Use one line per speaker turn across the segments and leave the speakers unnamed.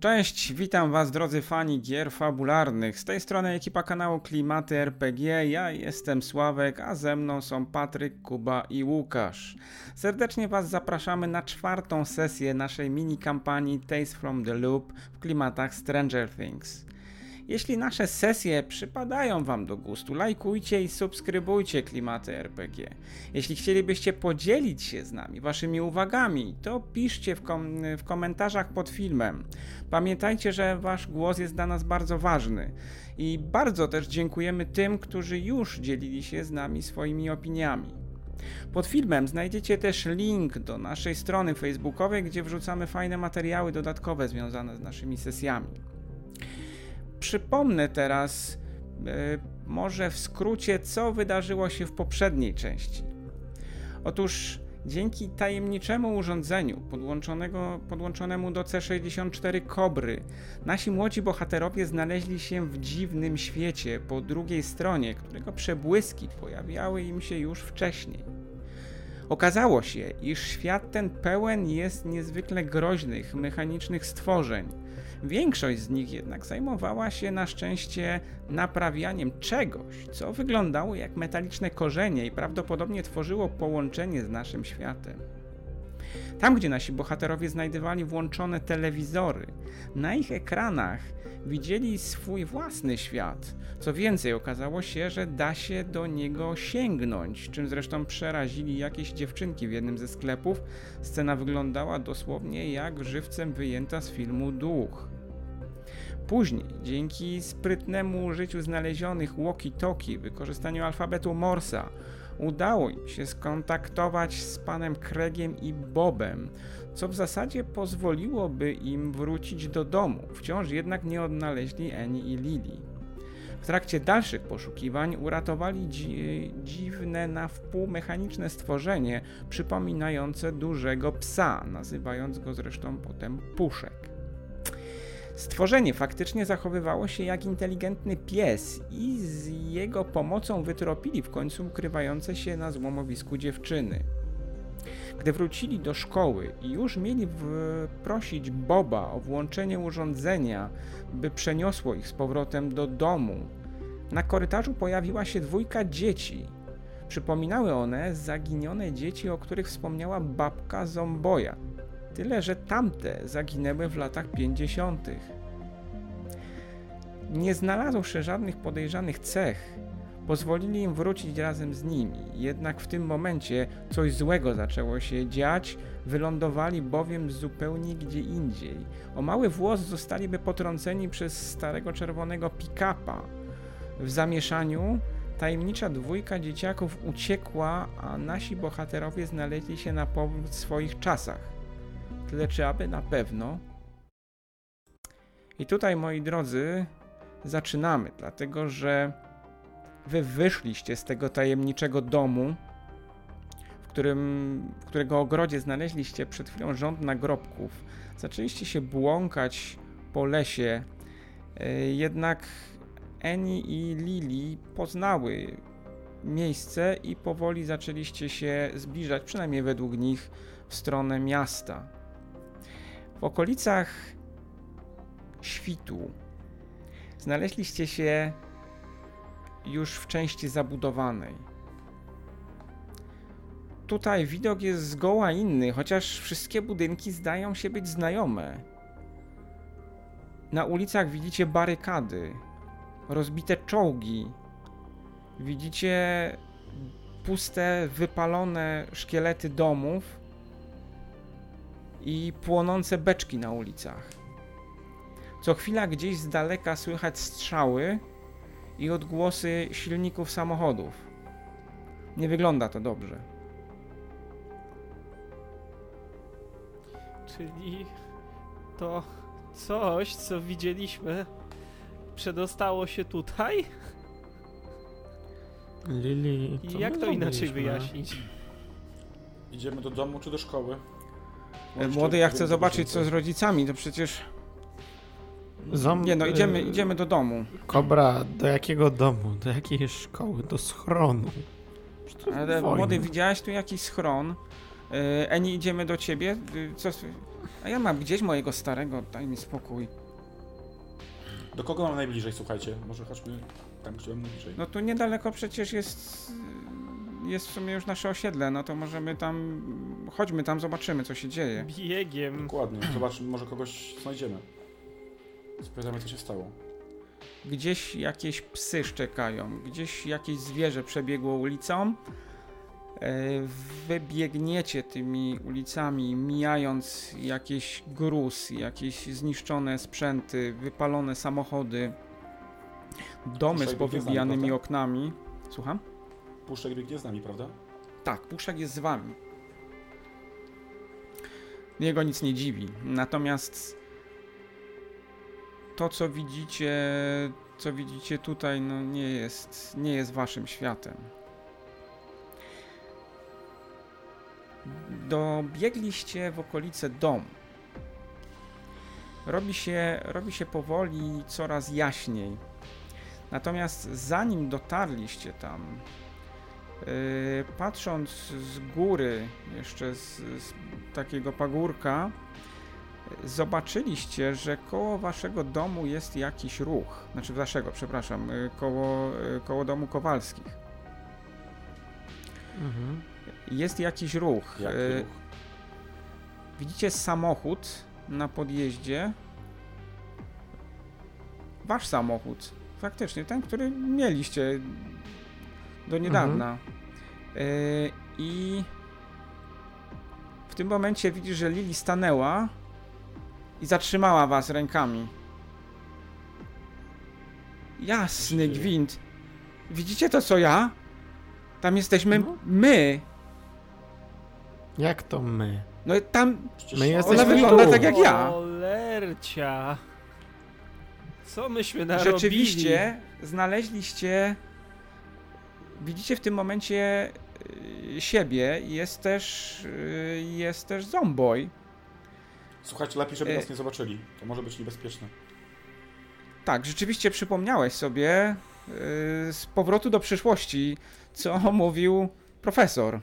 Cześć, witam Was drodzy fani gier fabularnych. Z tej strony ekipa kanału Klimaty RPG. Ja jestem Sławek, a ze mną są Patryk, Kuba i Łukasz. Serdecznie Was zapraszamy na czwartą sesję naszej mini kampanii Tales from the Loop w klimatach Stranger Things. Jeśli nasze sesje przypadają Wam do gustu, lajkujcie i subskrybujcie Klimaty RPG. Jeśli chcielibyście podzielić się z nami Waszymi uwagami, to piszcie w, kom w komentarzach pod filmem. Pamiętajcie, że Wasz głos jest dla nas bardzo ważny i bardzo też dziękujemy tym, którzy już dzielili się z nami swoimi opiniami. Pod filmem znajdziecie też link do naszej strony facebookowej, gdzie wrzucamy fajne materiały dodatkowe związane z naszymi sesjami. Przypomnę teraz, e, może w skrócie, co wydarzyło się w poprzedniej części. Otóż dzięki tajemniczemu urządzeniu podłączonego, podłączonemu do C64 Kobry, nasi młodzi bohaterowie znaleźli się w dziwnym świecie po drugiej stronie, którego przebłyski pojawiały im się już wcześniej. Okazało się, iż świat ten pełen jest niezwykle groźnych, mechanicznych stworzeń. Większość z nich jednak zajmowała się na szczęście naprawianiem czegoś, co wyglądało jak metaliczne korzenie i prawdopodobnie tworzyło połączenie z naszym światem. Tam, gdzie nasi bohaterowie znajdywali włączone telewizory, na ich ekranach widzieli swój własny świat. Co więcej, okazało się, że da się do niego sięgnąć, czym zresztą przerazili jakieś dziewczynki w jednym ze sklepów. Scena wyglądała dosłownie jak żywcem wyjęta z filmu Duch. Później, dzięki sprytnemu użyciu znalezionych walkie-talkie, wykorzystaniu alfabetu Morsa, udało im się skontaktować z panem Craigiem i Bobem, co w zasadzie pozwoliłoby im wrócić do domu. Wciąż jednak nie odnaleźli Annie i Lily. W trakcie dalszych poszukiwań uratowali dzi- dziwne na wpół mechaniczne stworzenie przypominające dużego psa, nazywając go zresztą potem Puszek. Stworzenie faktycznie zachowywało się jak inteligentny pies i z jego pomocą wytropili w końcu ukrywające się na złomowisku dziewczyny. Gdy wrócili do szkoły i już mieli w- prosić Boba o włączenie urządzenia, by przeniosło ich z powrotem do domu, na korytarzu pojawiła się dwójka dzieci. Przypominały one zaginione dzieci, o których wspomniała babka Zomboja tyle że tamte zaginęły w latach 50. Nie znalazłszy żadnych podejrzanych cech, pozwolili im wrócić razem z nimi. Jednak w tym momencie coś złego zaczęło się dziać, wylądowali bowiem zupełnie gdzie indziej. O mały włos zostaliby potrąceni przez starego czerwonego pick-upa. W zamieszaniu Tajemnicza dwójka dzieciaków uciekła, a nasi bohaterowie znaleźli się na powrót w swoich czasach tyle czy aby na pewno. I tutaj, moi drodzy, zaczynamy, dlatego że wy wyszliście z tego tajemniczego domu, w którym, w którego ogrodzie znaleźliście przed chwilą rząd nagrobków. Zaczęliście się błąkać po lesie, yy, jednak Annie i Lily poznały miejsce i powoli zaczęliście się zbliżać, przynajmniej według nich, w stronę miasta. W okolicach świtu znaleźliście się już w części zabudowanej. Tutaj widok jest zgoła inny, chociaż wszystkie budynki zdają się być znajome. Na ulicach widzicie barykady, rozbite czołgi, widzicie puste, wypalone szkielety domów i płonące beczki na ulicach. Co chwila gdzieś z daleka słychać strzały i odgłosy silników samochodów. Nie wygląda to dobrze.
Czyli to coś, co widzieliśmy, przedostało się tutaj?
Lili,
I
co
jak
my
to inaczej
zrobiliśmy?
wyjaśnić?
Idziemy do domu czy do szkoły?
E, Młody, ja chcę zobaczyć co z rodzicami, to przecież...
Zom...
Nie no, idziemy,
y,
idziemy do domu.
Kobra, do jakiego domu? Do jakiej szkoły? Do schronu? Przecież to jest
Ale
wojna.
młody, widziałeś tu jakiś schron? E, Eni, idziemy do ciebie? E, Co... s- A ja mam gdzieś mojego starego, daj mi spokój.
Do kogo mam najbliżej, słuchajcie? Może chodźmy tam, gdzie mam najbliżej.
No tu niedaleko przecież jest. Jest w sumie już nasze osiedle, no to możemy tam. Chodźmy tam, zobaczymy co się dzieje.
Biegiem.
Dokładnie. Zobaczmy, może kogoś znajdziemy. Spytamy, co się stało.
Gdzieś jakieś psy szczekają, gdzieś jakieś zwierzę przebiegło ulicą. E, Wybiegniecie tymi ulicami, mijając jakiś gruz, jakieś zniszczone sprzęty, wypalone samochody, domy z
Dzisiaj biegnie z nami,
powybijanymi
prawda?
oknami. Słucham?
Puszczek biegnie z nami, prawda?
Tak, Puszek jest z wami. Jego nic nie dziwi. Natomiast to, co widzicie, co widzicie tutaj, no nie jest, nie jest waszym światem. Dobiegliście w okolice domu. Robi się, robi się powoli coraz jaśniej. Natomiast zanim dotarliście tam, Yy, patrząc z góry, jeszcze z, z takiego pagórka, yy, zobaczyliście, że koło waszego domu jest jakiś ruch. Znaczy waszego, przepraszam, yy, koło, yy, koło domu Kowalskich.
Mhm.
Jest jakiś ruch.
Jak
E,
Yy,
ruch?
Widzicie samochód na podjeździe. Wasz samochód. Faktycznie, ten, który mieliście do niedawna. Yy, I w tym momencie widzisz, że Lili stanęła i zatrzymała was rękami. Jasny
dzieje?
gwint. Widzicie to, co ja? Tam jesteśmy
No.
my.
Jak to my?
No tam
Przecież
My
ona
jesteśmy
wygląda
tu.
tak jak ja.
Cholercia. Co myśmy narobili?
Rzeczywiście znaleźliście. Widzicie w tym momencie y, siebie. Jest też. y, Jest też zomboj.
Słuchajcie, lepiej,
E.
żeby
Yy.
nas nie zobaczyli. To może być niebezpieczne.
Tak, rzeczywiście przypomniałeś sobie y, z powrotu do przyszłości, co mówił profesor.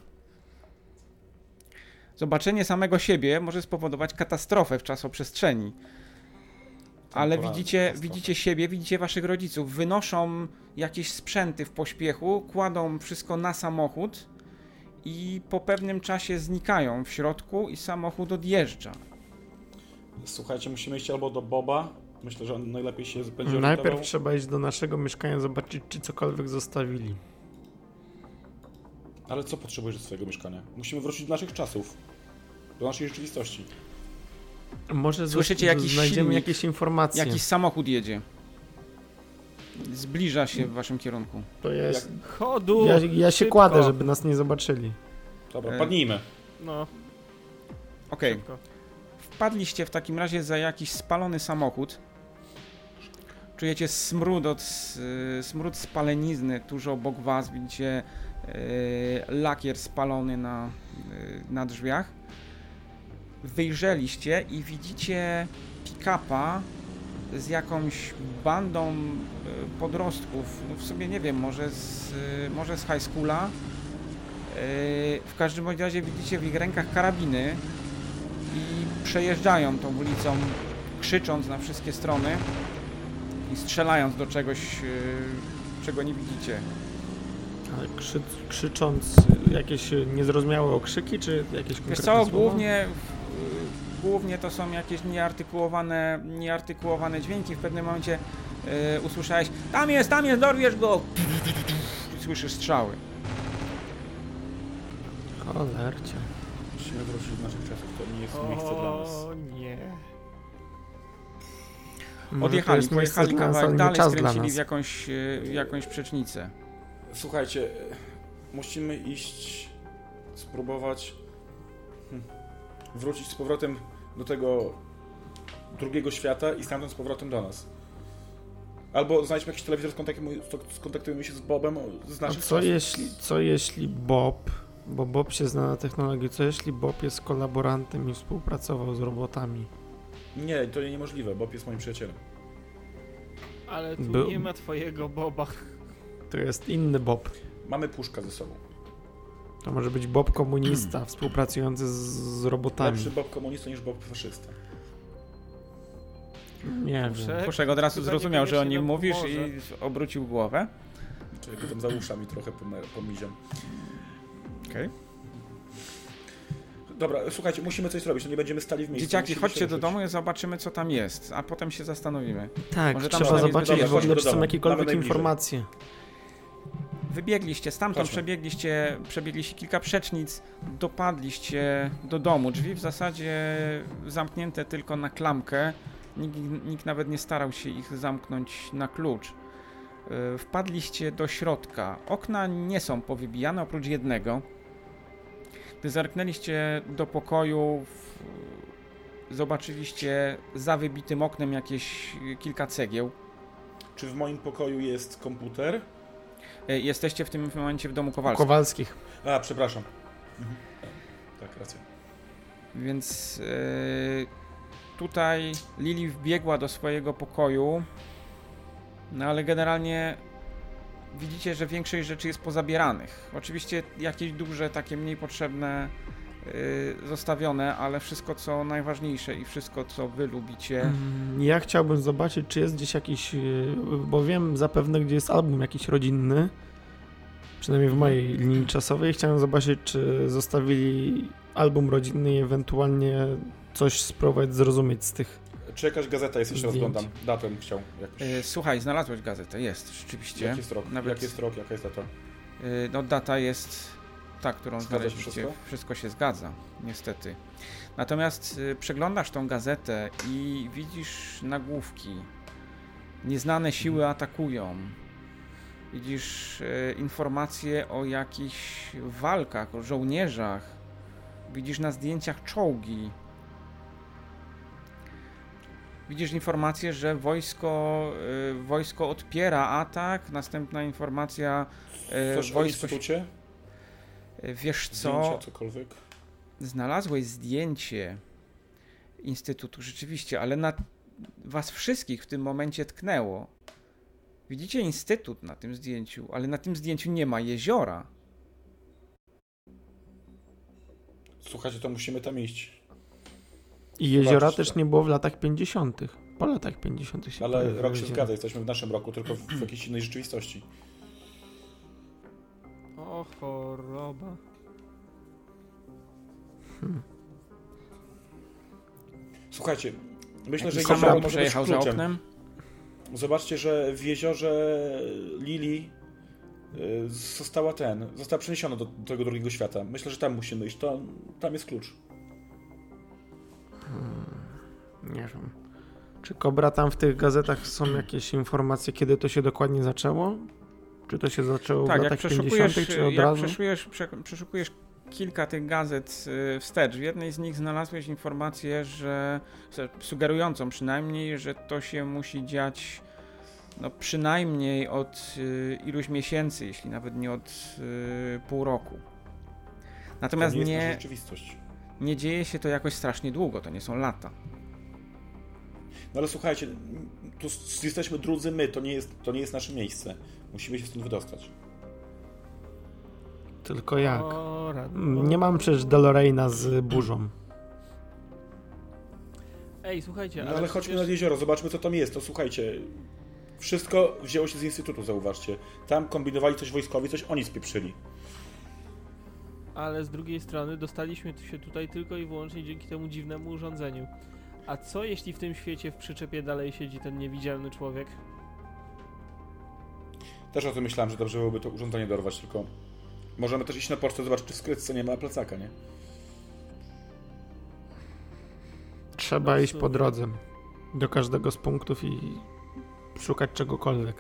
Zobaczenie samego siebie może spowodować katastrofę w czasoprzestrzeni. Ale
Temporalną
widzicie,
katastrofę.
widzicie siebie, widzicie waszych rodziców. Wynoszą jakieś sprzęty w pośpiechu, kładą wszystko na samochód i po pewnym czasie znikają w środku i samochód odjeżdża.
Słuchajcie, musimy iść albo do Boba. Myślę, że on najlepiej się będzie
No, Najpierw
orientował.
trzeba iść do naszego mieszkania, zobaczyć, czy cokolwiek zostawili.
Ale co potrzebujesz do swojego mieszkania? Musimy wrócić do naszych czasów. Do naszej rzeczywistości.
Może
Słyszycie
zas-
jakiś
znajdziemy
silnik?
jakieś informacje.
Jakiś samochód jedzie. Zbliża się w waszym kierunku.
To jest...
Chodu.
ja, ja się
szybko.
kładę, żeby nas nie zobaczyli.
Dobra,
E.
Yy.
padnijmy.
No,
Okej,
szybko.
wpadliście w takim razie za jakiś spalony samochód. Czujecie smród, od, s- smród spalenizny tuż obok was. Widzicie e, lakier spalony na, e, na drzwiach. Wyjrzeliście i widzicie pick-upa z jakąś bandą e, podrostków. No w sumie nie wiem, może z, e, może z high schoola. E, W każdym bądź razie widzicie w ich rękach karabiny i przejeżdżają tą ulicą, krzycząc na wszystkie strony i strzelając do czegoś, yy, czego nie widzicie.
Ale Krzy, krzycząc jakieś y, niezrozumiałe okrzyki, czy jakieś konkretne
Wiesz co,
słowa?
głównie, yy, głównie to są jakieś nieartykułowane, nieartykułowane dźwięki. W pewnym momencie yy, usłyszałeś, tam jest, tam jest, dorwiesz go! I słyszysz strzały.
Cholercie.
Musimy wrócić do naszych czasów. To nie jest miejsce dla nas.
O nie.
Może Mm, to
Odjechali,
jest miejsce
pojechali
dla nas, ale
kawałek
nie
dalej,
czas dla
skręcili
nas.
w jakąś, yy, w jakąś przecznicę.
Słuchajcie, e, musimy iść, spróbować hm, wrócić z powrotem do tego drugiego świata i stamtąd z powrotem do nas. Albo znajdźmy jakiś telewizor, skontaktujmy, skontaktujmy się z Bobem z
A
naszych
co
czasów.
jeśli, co jeśli Bob, bo Bob się zna na technologii, co jeśli Bob jest kolaborantem i współpracował z robotami?
Nie, to niemożliwe, Bob jest moim przyjacielem.
Ale tu
Był-
nie ma twojego boba.
To jest inny Bob.
Mamy puszka ze sobą.
To może być Bob komunista współpracujący z, z
Tak.
robotami.
Lepszy Bob komunista niż Bob faszysta.
Nie wiem.
Prze-
Poszek od razu
Chyba
zrozumiał, że o
niekoniecznie
nim
nam
mówisz
pomoże.
i obrócił głowę.
Czyli go tam za uszami trochę pomer- pomiziam.
Okej.
Dobra, słuchajcie, musimy coś zrobić, no nie będziemy stali w miejscu.
Dzieciaki,
musimy
chodźcie
się
do
ruszyć.
domu i zobaczymy, co tam jest, a potem się zastanowimy.
Tak,
Może tam
trzeba
przynajmniej
zobaczyć
zbudować
w ogóle,
do
czy są
domu.
jakiekolwiek
Nawet najbliżej.
informacje.
Wybiegliście stamtąd,
Chodźmy.
przebiegliście, przebiegliście kilka przecznic, dopadliście do domu. Drzwi w zasadzie zamknięte tylko na klamkę. Nikt, nikt nawet nie starał się ich zamknąć na klucz. Yy, Wpadliście do środka. Okna nie są powybijane oprócz jednego. Gdy zerknęliście do pokoju, w- zobaczyliście za wybitym oknem jakieś yy, kilka cegieł.
Czy w moim pokoju jest komputer?
Yy, Jesteście w tym momencie w domu Kowalskim.
Kowalskich.
A, przepraszam. Mhm. Tak, racja.
Więc yy, tutaj Lili wbiegła do swojego pokoju. No ale generalnie widzicie, że większość rzeczy jest pozabieranych. Oczywiście jakieś duże, takie mniej potrzebne yy, zostawione, ale wszystko co najważniejsze i wszystko co wy lubicie.
Mm, Ja chciałbym zobaczyć, czy jest gdzieś jakiś, yy, bo wiem zapewne, gdzie jest album jakiś rodzinny, przynajmniej w mojej linii czasowej. Chciałem zobaczyć, czy zostawili album rodzinny i ewentualnie coś spróbować zrozumieć z tych.
Czy jakaś gazeta jest? Jeszcze
Zdjęć.
rozglądam. Datę bym chciał. Jakoś.
Yy, słuchaj, znalazłeś gazetę, jest rzeczywiście.
Jak jest rok?
Nawet-
Jak jest rok? Jaka jest data?
Y, No data jest ta, którą
Zgadza się
znaleźliście. Wszystko?
wszystko?
się zgadza, niestety. Natomiast y, przeglądasz tą gazetę i widzisz nagłówki. Nieznane
Mhm.
siły atakują. Widzisz y, informacje o jakichś walkach, o żołnierzach. Widzisz na zdjęciach czołgi. Widzisz informację, że wojsko, y, wojsko odpiera atak. Następna informacja E,
Coś o
wojsko-
instytucie?
Y, Wiesz
Zdjęcia,
co?
cokolwiek?
Znalazłeś zdjęcie Instytutu rzeczywiście, ale na was wszystkich w tym momencie tknęło. Widzicie Instytut na tym zdjęciu, ale na tym zdjęciu nie ma jeziora.
Słuchajcie, to musimy tam iść.
I jeziora
Zobaczcie.
też nie było w latach 50. Po latach 50. się
Ale
pojawiły
rok się
jeziora.
zgadza, jesteśmy w naszym roku, tylko w, w jakiejś innej rzeczywistości.
O choroba.
Słuchajcie, myślę, że
Jakiś
jezioro
samochód
może być
przejechał za
kluczem.
oknem.
Zobaczcie, że w jeziorze Lili y, została ten, została przeniesiona do tego drugiego świata. Myślę, że tam musimy iść, to, tam jest klucz.
Nie wiem. Czy Kobra tam w tych gazetach są jakieś informacje, kiedy to się dokładnie zaczęło? Czy to się zaczęło
Tak,
w
jak
latach 50.,
przeszukujesz,
czy od
jak
razu?
przeszukujesz, prze, przeszukujesz kilka tych gazet y, wstecz, w jednej z nich znalazłeś informację, że se- sugerującą przynajmniej, że to się musi dziać no, przynajmniej od y, iluś miesięcy, jeśli nawet nie od y, pół roku. Natomiast
to nie,
nie,
jest nasza
nie,
rzeczywistość.
dzieje się to jakoś strasznie długo, to nie są lata.
No ale słuchajcie, tu s- jesteśmy drudzy my, to nie, jest, to nie jest nasze miejsce. Musimy się stąd wydostać.
Tylko jak?
O, rad-
Mm, Tak. Nie mam przecież Deloreina z burzą.
Ej, słuchajcie,
No ale chodźmy nad jezioro, zobaczmy co tam jest. To słuchajcie, wszystko wzięło się z instytutu, zauważcie. Tam kombinowali coś wojskowi, coś oni spieprzyli.
Ale z drugiej strony dostaliśmy się tutaj tylko i wyłącznie dzięki temu dziwnemu urządzeniu. A co jeśli w tym świecie w przyczepie dalej siedzi ten niewidzialny człowiek?
Też o tym myślałem, że dobrze byłoby to urządzenie dorwać, tylko możemy też iść na pocztę, zobaczyć czy w skrytce nie ma plecaka, nie?
Trzeba
No,
iść po
super.
drodze do każdego z punktów i szukać czegokolwiek.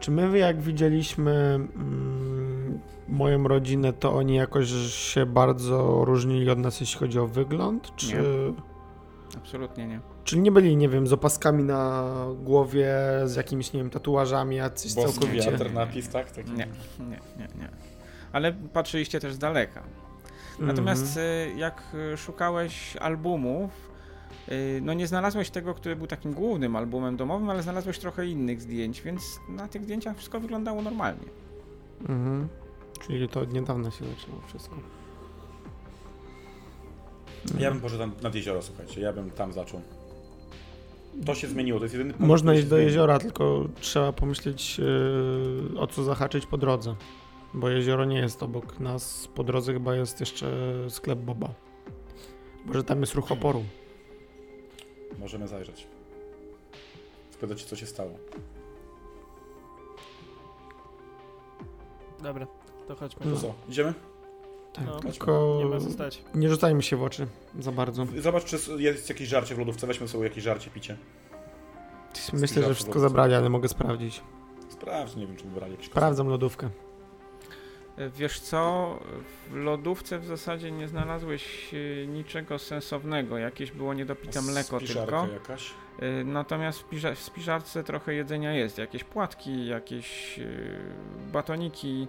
Czy my, jak widzieliśmy mm, moją rodzinę, to oni jakoś się bardzo różnili od nas, jeśli chodzi o wygląd? Czy...
Absolutnie nie.
Czyli nie byli, nie wiem, z opaskami na głowie, z jakimiś, nie wiem, tatuażami, jacyś
Boski
całkowicie.
wiatr, napis, tak? Taki.
Nie, nie, nie, nie. Ale patrzyliście też z daleka. Natomiast y, jak y, szukałeś albumów, y, no nie znalazłeś tego, który był takim głównym albumem domowym, ale znalazłeś trochę innych zdjęć, więc na tych zdjęciach wszystko wyglądało normalnie.
Mhm. Mhm. Czyli to od niedawna się zaczyna wszystko.
Ja bym poszedł tam nad jezioro, słuchajcie, ja bym tam zaczął. To się zmieniło, to jest jedyny punkt,
Można
który
iść
się
do
zmienił.
jeziora, tylko trzeba pomyśleć yy, o co zahaczyć po drodze. Bo jezioro nie jest obok nas. Po drodze chyba jest jeszcze sklep Boba. Może tam jest ruch oporu.
Możemy zajrzeć. Spytać, co się stało. No
Dobra, to chodźmy.
To
No.
co, idziemy?
Tak,
No.
tylko
Nie ma co stać.
nie rzucajmy się w oczy za bardzo.
Zobacz, czy jest jakieś żarcie w lodówce, weźmy sobie jakieś żarcie, picie.
Myślę, że
Zgadzam,
wszystko
zgadzam.
zabrali, ale mogę sprawdzić.
Sprawdź, nie wiem, czy wybrali jakieś
Sprawdzam lodówkę.
E, Wiesz co, w lodówce w zasadzie nie znalazłeś e, niczego sensownego. Jakieś było niedopite mleko
Spiszarka
tylko.
jakaś.
E, Natomiast w, piża- w spiżarce trochę jedzenia jest. Jakieś płatki, jakieś e, batoniki.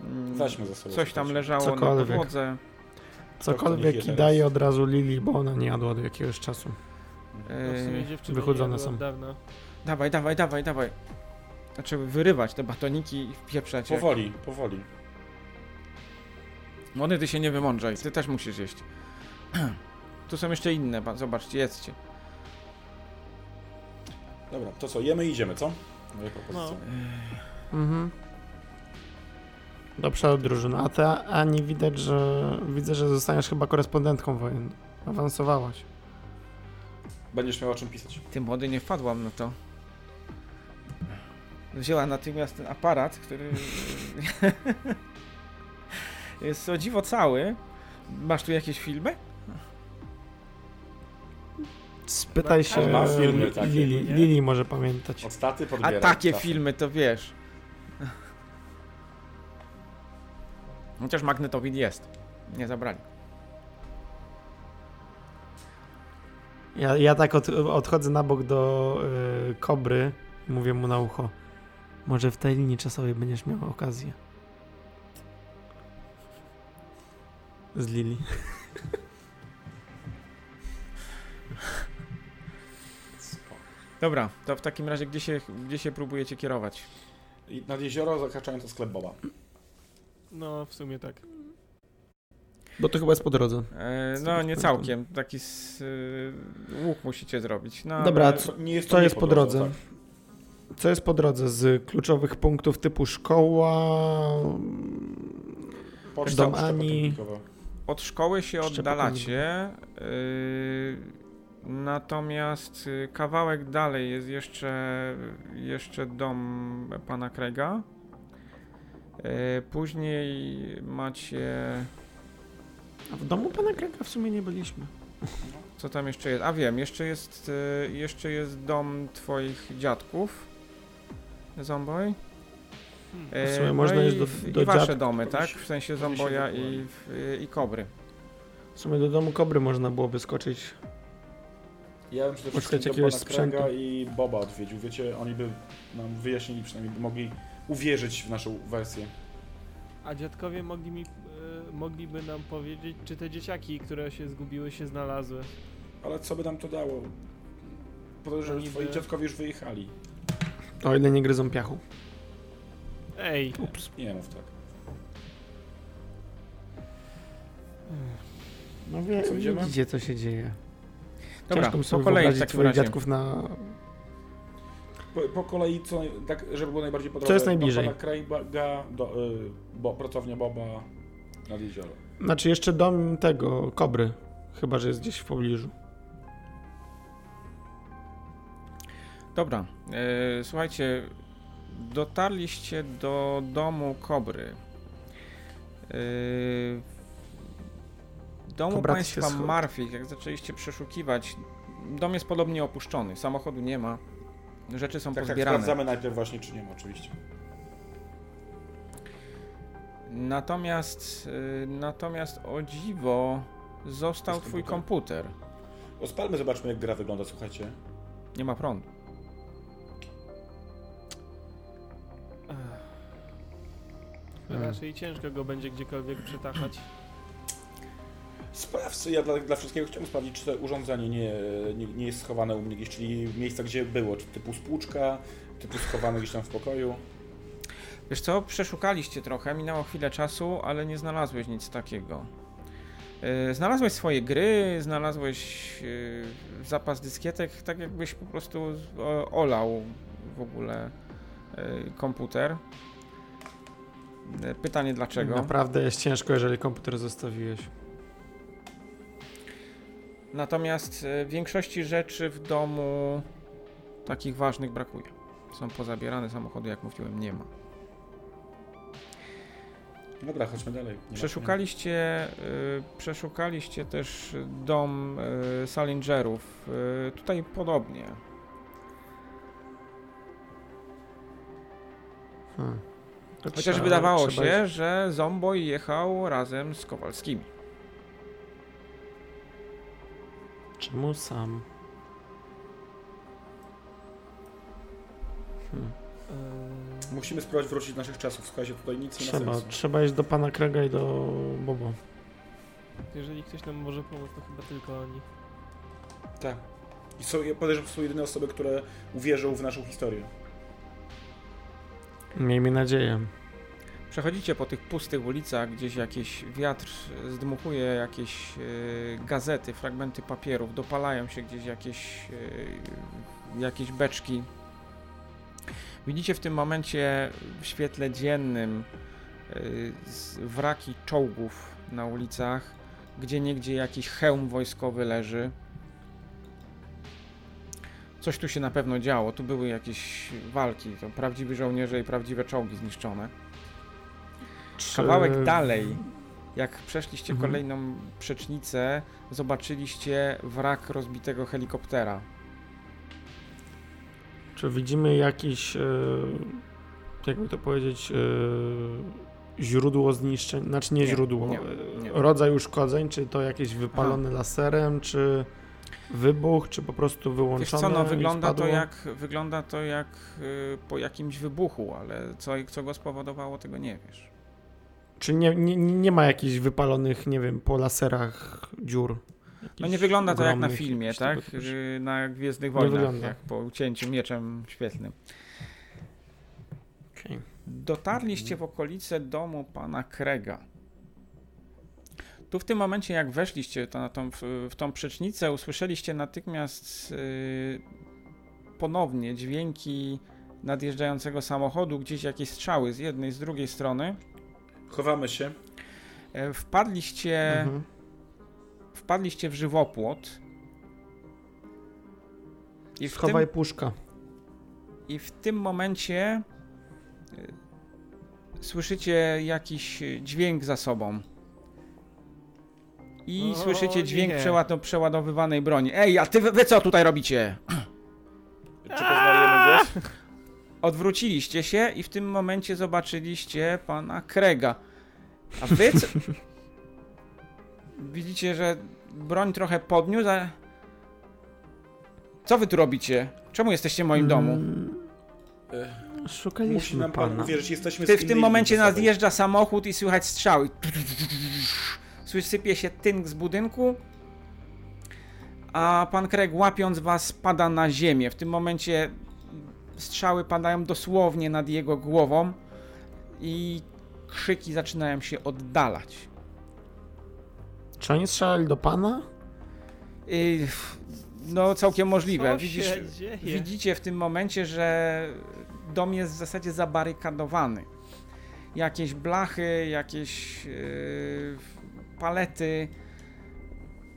mm,
Weźmy ze sobą.
Coś tam
słuchajcie.
leżało
Cokolwiek.
na podłodze.
niech je
Cokolwiek i
teraz.
daje od razu Lili, bo ona nie jadła do jakiegoś czasu.
Mhm.
No, w sumie
E,
dziewczyny
wychudzone
nie jadły
są.
od Dawna.
Dawaj, dawaj, dawaj, dawaj. Znaczy wyrywać te batoniki i wpieprzać. jak-
Powoli, powoli.
Młody, ty się nie wymądrzaj, ty też musisz jeść. Tu są jeszcze inne, ba- zobaczcie, jedzcie.
Dobra, to co, jemy i idziemy, co? Moje propozycje.
Mhm. Do przodu drużyna. A ty, Ani, widać, że widzę, że zostaniesz chyba korespondentką wojenną. Awansowałaś.
Będziesz miał o czym pisać.
Ty młody, nie wpadłam na to. Wzięła natychmiast ten aparat, który jest o dziwo cały. Masz tu jakieś filmy?
Spytaj się
Tak, Ma filmy takie, no
Lili.
nie?
Lili może pamiętać.
Od taty
A
podbieram.
takie
czasem.
filmy, to wiesz. Chociaż magnetowid jest. Nie zabrali.
Ja, ja tak od, odchodzę na bok do y, kobry i mówię mu na ucho. Może w tej linii czasowej będziesz miał okazję. Z Lili.
Spoko.
Dobra, to w takim razie gdzie się, gdzie się próbujecie kierować?
I nad jezioro zakraczając o sklep Boba.
No, w sumie tak.
Bo to chyba jest po drodze.
E,
Co
no
byś
nie
powiedział?
całkiem, taki s, y, łuk musicie zrobić. No,
Dobra,
ale-
co-
nie
Co
nie
jest po drodze? Co jest po drodze z kluczowych punktów typu szkoła?
tak. Poczta,
Dom
poczta
Ani.
potemnikowa.
od szkoły się
Szczepotliwy.
oddalacie, y, natomiast y, kawałek dalej jest jeszcze, jeszcze dom pana Krega. Y, później macie...
A w domu pana Kręga w sumie nie byliśmy.
Co tam jeszcze jest? A wiem, jeszcze jest, y, jeszcze jest dom twoich dziadków. Zomboj.
W
E,
sumie można
i,
iść do-
w-
do
I wasze
dziadków.
domy, tak? W sensie
Powinni się
Zomboja
wykułem.
i, w- y, i Kobry.
W sumie do domu kobry można byłoby skoczyć.
Ja bym przede wszystkim
Poszukać
do
jakiegoś
pana Kręga
sprzętu.
i Boba odwiedził. Wiecie, oni by nam wyjaśnili, przynajmniej by mogli uwierzyć w naszą wersję.
A dziadkowie mogli mi, e, mogliby nam powiedzieć, czy te dzieciaki, które się zgubiły, się znalazły.
Ale co by nam to dało? Podejrzewam, że
Niby-
twoi dziadkowie już wyjechali.
O ile nie gryzą piachu.
Ej,
Ups.
Nie mów tak.
No wie,
Co, idziemy?
widzicie co się dzieje.
Dobra,
Ciężko mi
po
sobie
kolei w
wyobrazić
takim
swoich
razie.
dziadków na...
Po, po kolei, co, tak, żeby było najbardziej po drodze.
jest
do
najbliżej?
Pana Krajbaga, do, y, bo, pracownia Boba nad jezioro. Tak,
Znaczy jeszcze dom tego, kobry. Chyba, że jest gdzieś w pobliżu.
Dobra, e, słuchajcie, dotarliście do domu Kobry. E, domu
Kobra to się
państwa
schodzi.
Marfik, jak zaczęliście przeszukiwać, dom jest podobnie opuszczony, samochodu nie ma, rzeczy są
Tak, tak,
pozbierane.
sprawdzamy najpierw właśnie, czy nie ma, oczywiście.
natomiast, e, natomiast o dziwo został
Jest
twój komputer.
Odpalmy, zobaczmy, jak gra wygląda, słuchajcie.
Nie ma prądu.
raczej ciężko go będzie gdziekolwiek przytachać.
Sprawdź, ja dla, dla wszystkiego chciałem sprawdzić, czy to urządzenie nie, nie, nie jest schowane u mnie gdzieś, czyli miejsca, gdzie było, czy typu spłuczka, typu schowane gdzieś tam w pokoju.
Wiesz co, przeszukaliście trochę, minęło chwilę czasu, ale nie znalazłeś nic takiego. Yy, Znalazłeś swoje gry, znalazłeś yy, zapas dyskietek, tak jakbyś po prostu z- o- olał w ogóle yy, komputer. Yy, Pytanie dlaczego?
Naprawdę jest ciężko, jeżeli komputer zostawiłeś.
Natomiast e, większości rzeczy w domu takich ważnych brakuje. Są pozabierane samochody, jak mówiłem, nie ma.
Dobra, chodźmy dalej. Nie ma-
Przeszukaliście, y, przeszukaliście też dom y, Salingerów. Y, tutaj podobnie.
Hmm. To
Chociaż
trzeba-
wydawało
Tak, trzeba
się, że Zomboj jechał razem z Kowalskimi.
iść- Czemu sam? Hmm.
E,
nie- Musimy spróbować wrócić do naszych czasów. Słuchajcie, tutaj nic nie ma
Trzeba,
sensu.
trzeba iść do pana Krega i do Bobo.
Jeżeli ktoś nam może pomóc, to chyba tylko oni.
Tak. I są, ja podejrzewam, że są jedyne osoby, które uwierzą w naszą historię.
Miejmy nadzieję.
Przechodzicie po tych pustych ulicach, gdzieś jakiś wiatr zdmuchuje jakieś y, gazety, fragmenty papierów, dopalają się gdzieś jakieś, y, jakieś beczki. Widzicie w tym momencie w świetle dziennym y, z- wraki czołgów na ulicach, gdzie niegdzie jakiś hełm wojskowy leży. Coś tu się na pewno działo, tu były jakieś walki, to prawdziwi żołnierze i prawdziwe czołgi zniszczone.
Czy-
Kawałek dalej, jak przeszliście
Yy. Mhm.
kolejną przecznicę, zobaczyliście wrak rozbitego helikoptera.
Czy widzimy jakieś, e, jakby to powiedzieć, e, źródło zniszczeń? Znaczy nie,
Nie,
źródło,
nie,
e,
nie.
rodzaj uszkodzeń, czy to jakieś wypalone laserem, czy wybuch, czy po prostu
Wiesz
wyłączone
co, no
i
wygląda to
spadło?
jak, wygląda to jak y, po jakimś wybuchu, ale co, co go spowodowało, tego nie wiesz. No
Czy nie, nie, nie ma jakichś wypalonych, nie wiem, po laserach dziur?
No nie
Jakichś
wygląda to jak na
ogromnych,
filmie,
jakichś
tak?
tego typu-
Y, Na Gwiezdnych
Nie
Wojnach,
wygląda.
jak po ucięciu mieczem świetlnym.
Okej.
Dotarliście w okolice domu pana Krega. Tu w tym momencie, jak weszliście to na tą, w, w tą przecznicę, usłyszeliście natychmiast yy, ponownie dźwięki nadjeżdżającego samochodu, gdzieś jakieś strzały z jednej, z drugiej strony.
Chowamy się.
E, Wpadliście,
Mhm.
wpadliście w żywopłot. I w tym
Schowaj puszka.
I w tym momencie y, słyszycie jakiś y, dźwięk za sobą. I
O,
słyszycie dźwięk
nie.
przeład- przeładowywanej broni. Ej, a ty wy, wy co tutaj robicie?
Czy
Eee.
poznajemy głos?
Odwróciliście się i w tym momencie zobaczyliście pana Krega. A wy co? Widzicie, że broń trochę podniósł, a... Co wy tu robicie? Czemu jesteście w moim domu?
Mm,
E, Musi
Szukaliśmy
nam pan
pana.
uwierzyć, jesteśmy
Ty
z
w tym
innymi
momencie
ludźmi ze sobą.
nadjeżdża samochód i słychać strzały. Słyszy, sypie się tynk z budynku. A pan Craig łapiąc was pada na ziemię. W tym momencie strzały padają dosłownie nad jego głową i krzyki zaczynają się oddalać.
Czy oni strzelali do pana?
Yy, No całkiem możliwe.
Co
Widzisz,
się dzieje?
Widzicie w tym momencie, że dom jest w zasadzie zabarykadowany. Jakieś blachy, jakieś yy, palety,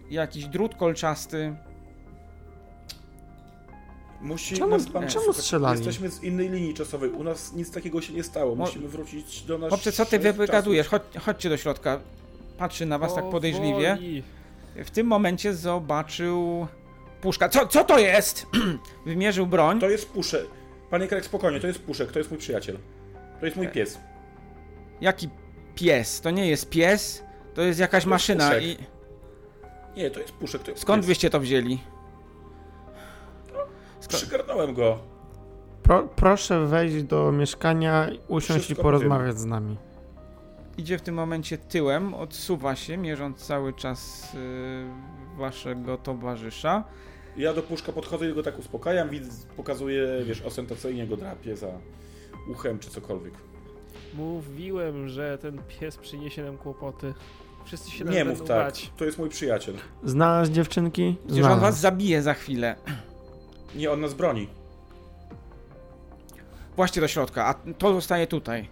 jakiś drut kolczasty.
Musi
Czemu-
nas pan
czemu
słuchać.
strzelali?
Jesteśmy z innej linii czasowej. U nas nic takiego się nie stało.
Mo-
Musimy wrócić do nas.
Chłopcze, co ty wy- wygadujesz? Chodź, chodźcie do środka. Patrzy na was tak podejrzliwie.
Powoli.
W tym momencie zobaczył puszka. Co, co to jest? Wymierzył broń.
To jest puszek. Panie Krek, spokojnie, to jest puszek, to jest mój przyjaciel. To jest mój pies.
Jaki pies? To nie jest pies, to jest jakaś maszyna.
puszek.
I
Nie, to jest puszek, to jest
skąd
pies.
wyście to wzięli? Sko-
Przygarnąłem go.
Pro, proszę wejść do mieszkania, usiąść
Wszystko
i porozmawiać z nami.
Idzie w tym momencie tyłem, odsuwa się, mierząc cały czas y, waszego towarzysza.
Ja do puszka podchodzę i go tak uspokajam, widz pokazuje, wiesz, ostentacyjnie go drapie za uchem czy cokolwiek.
Mówiłem, że ten pies przyniesie nam kłopoty. Wszyscy się nam
Nie
będą
mów tak,
bać.
to jest mój przyjaciel.
Znalazł dziewczynki?
Przecież on was zabije za chwilę.
Nie, on nas broni.
Właśnie do środka, a to zostaje tutaj.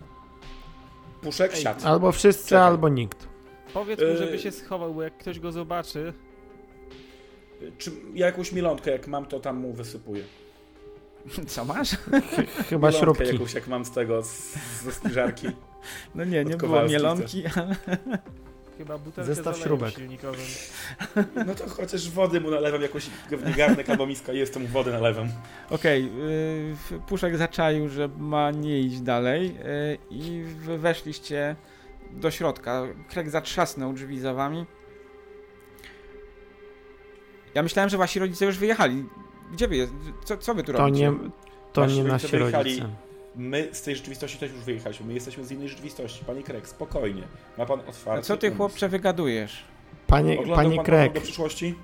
Puszek,
Ej,
siad.
Albo wszyscy,
Czekaj.
albo nikt.
Powiedz mu,
Y-
żeby się schował, bo jak ktoś go zobaczy,
Czy ja jakąś milątkę, jak mam, to tam mu wysypuję.
Co masz?
Chyba
Mielonkę
śrubki.
jakąś, jak mam z tego, z, ze spiżarki.
No nie,
nie Od było Kowalskich mielonki,
ale...
chyba butelkę
Zestaw
z
śrubek.
olejem silnikowym.
No to chociaż wody mu nalewam, jakoś pewnie garnek albo miska, jest to mu wody nalewam.
Okej, y, Puszek zaczaił, że ma nie iść dalej y, i wy weszliście do środka. Krek zatrzasnął drzwi za wami. Ja myślałem, że wasi rodzice już wyjechali. Gdzie wy jest? Co, co wy tu
To
robicie?
nie, to
Wasi
nie
rodzice
nasi
wyjechali.
rodzice.
My z tej rzeczywistości też już wyjechaliśmy, my jesteśmy z innej rzeczywistości. Panie Krek, spokojnie. Ma pan
A
otwarty
co ty
umysł.
chłopcze wygadujesz?
Panie,
Oglądał
panie
pan
Krek,
do przyszłości?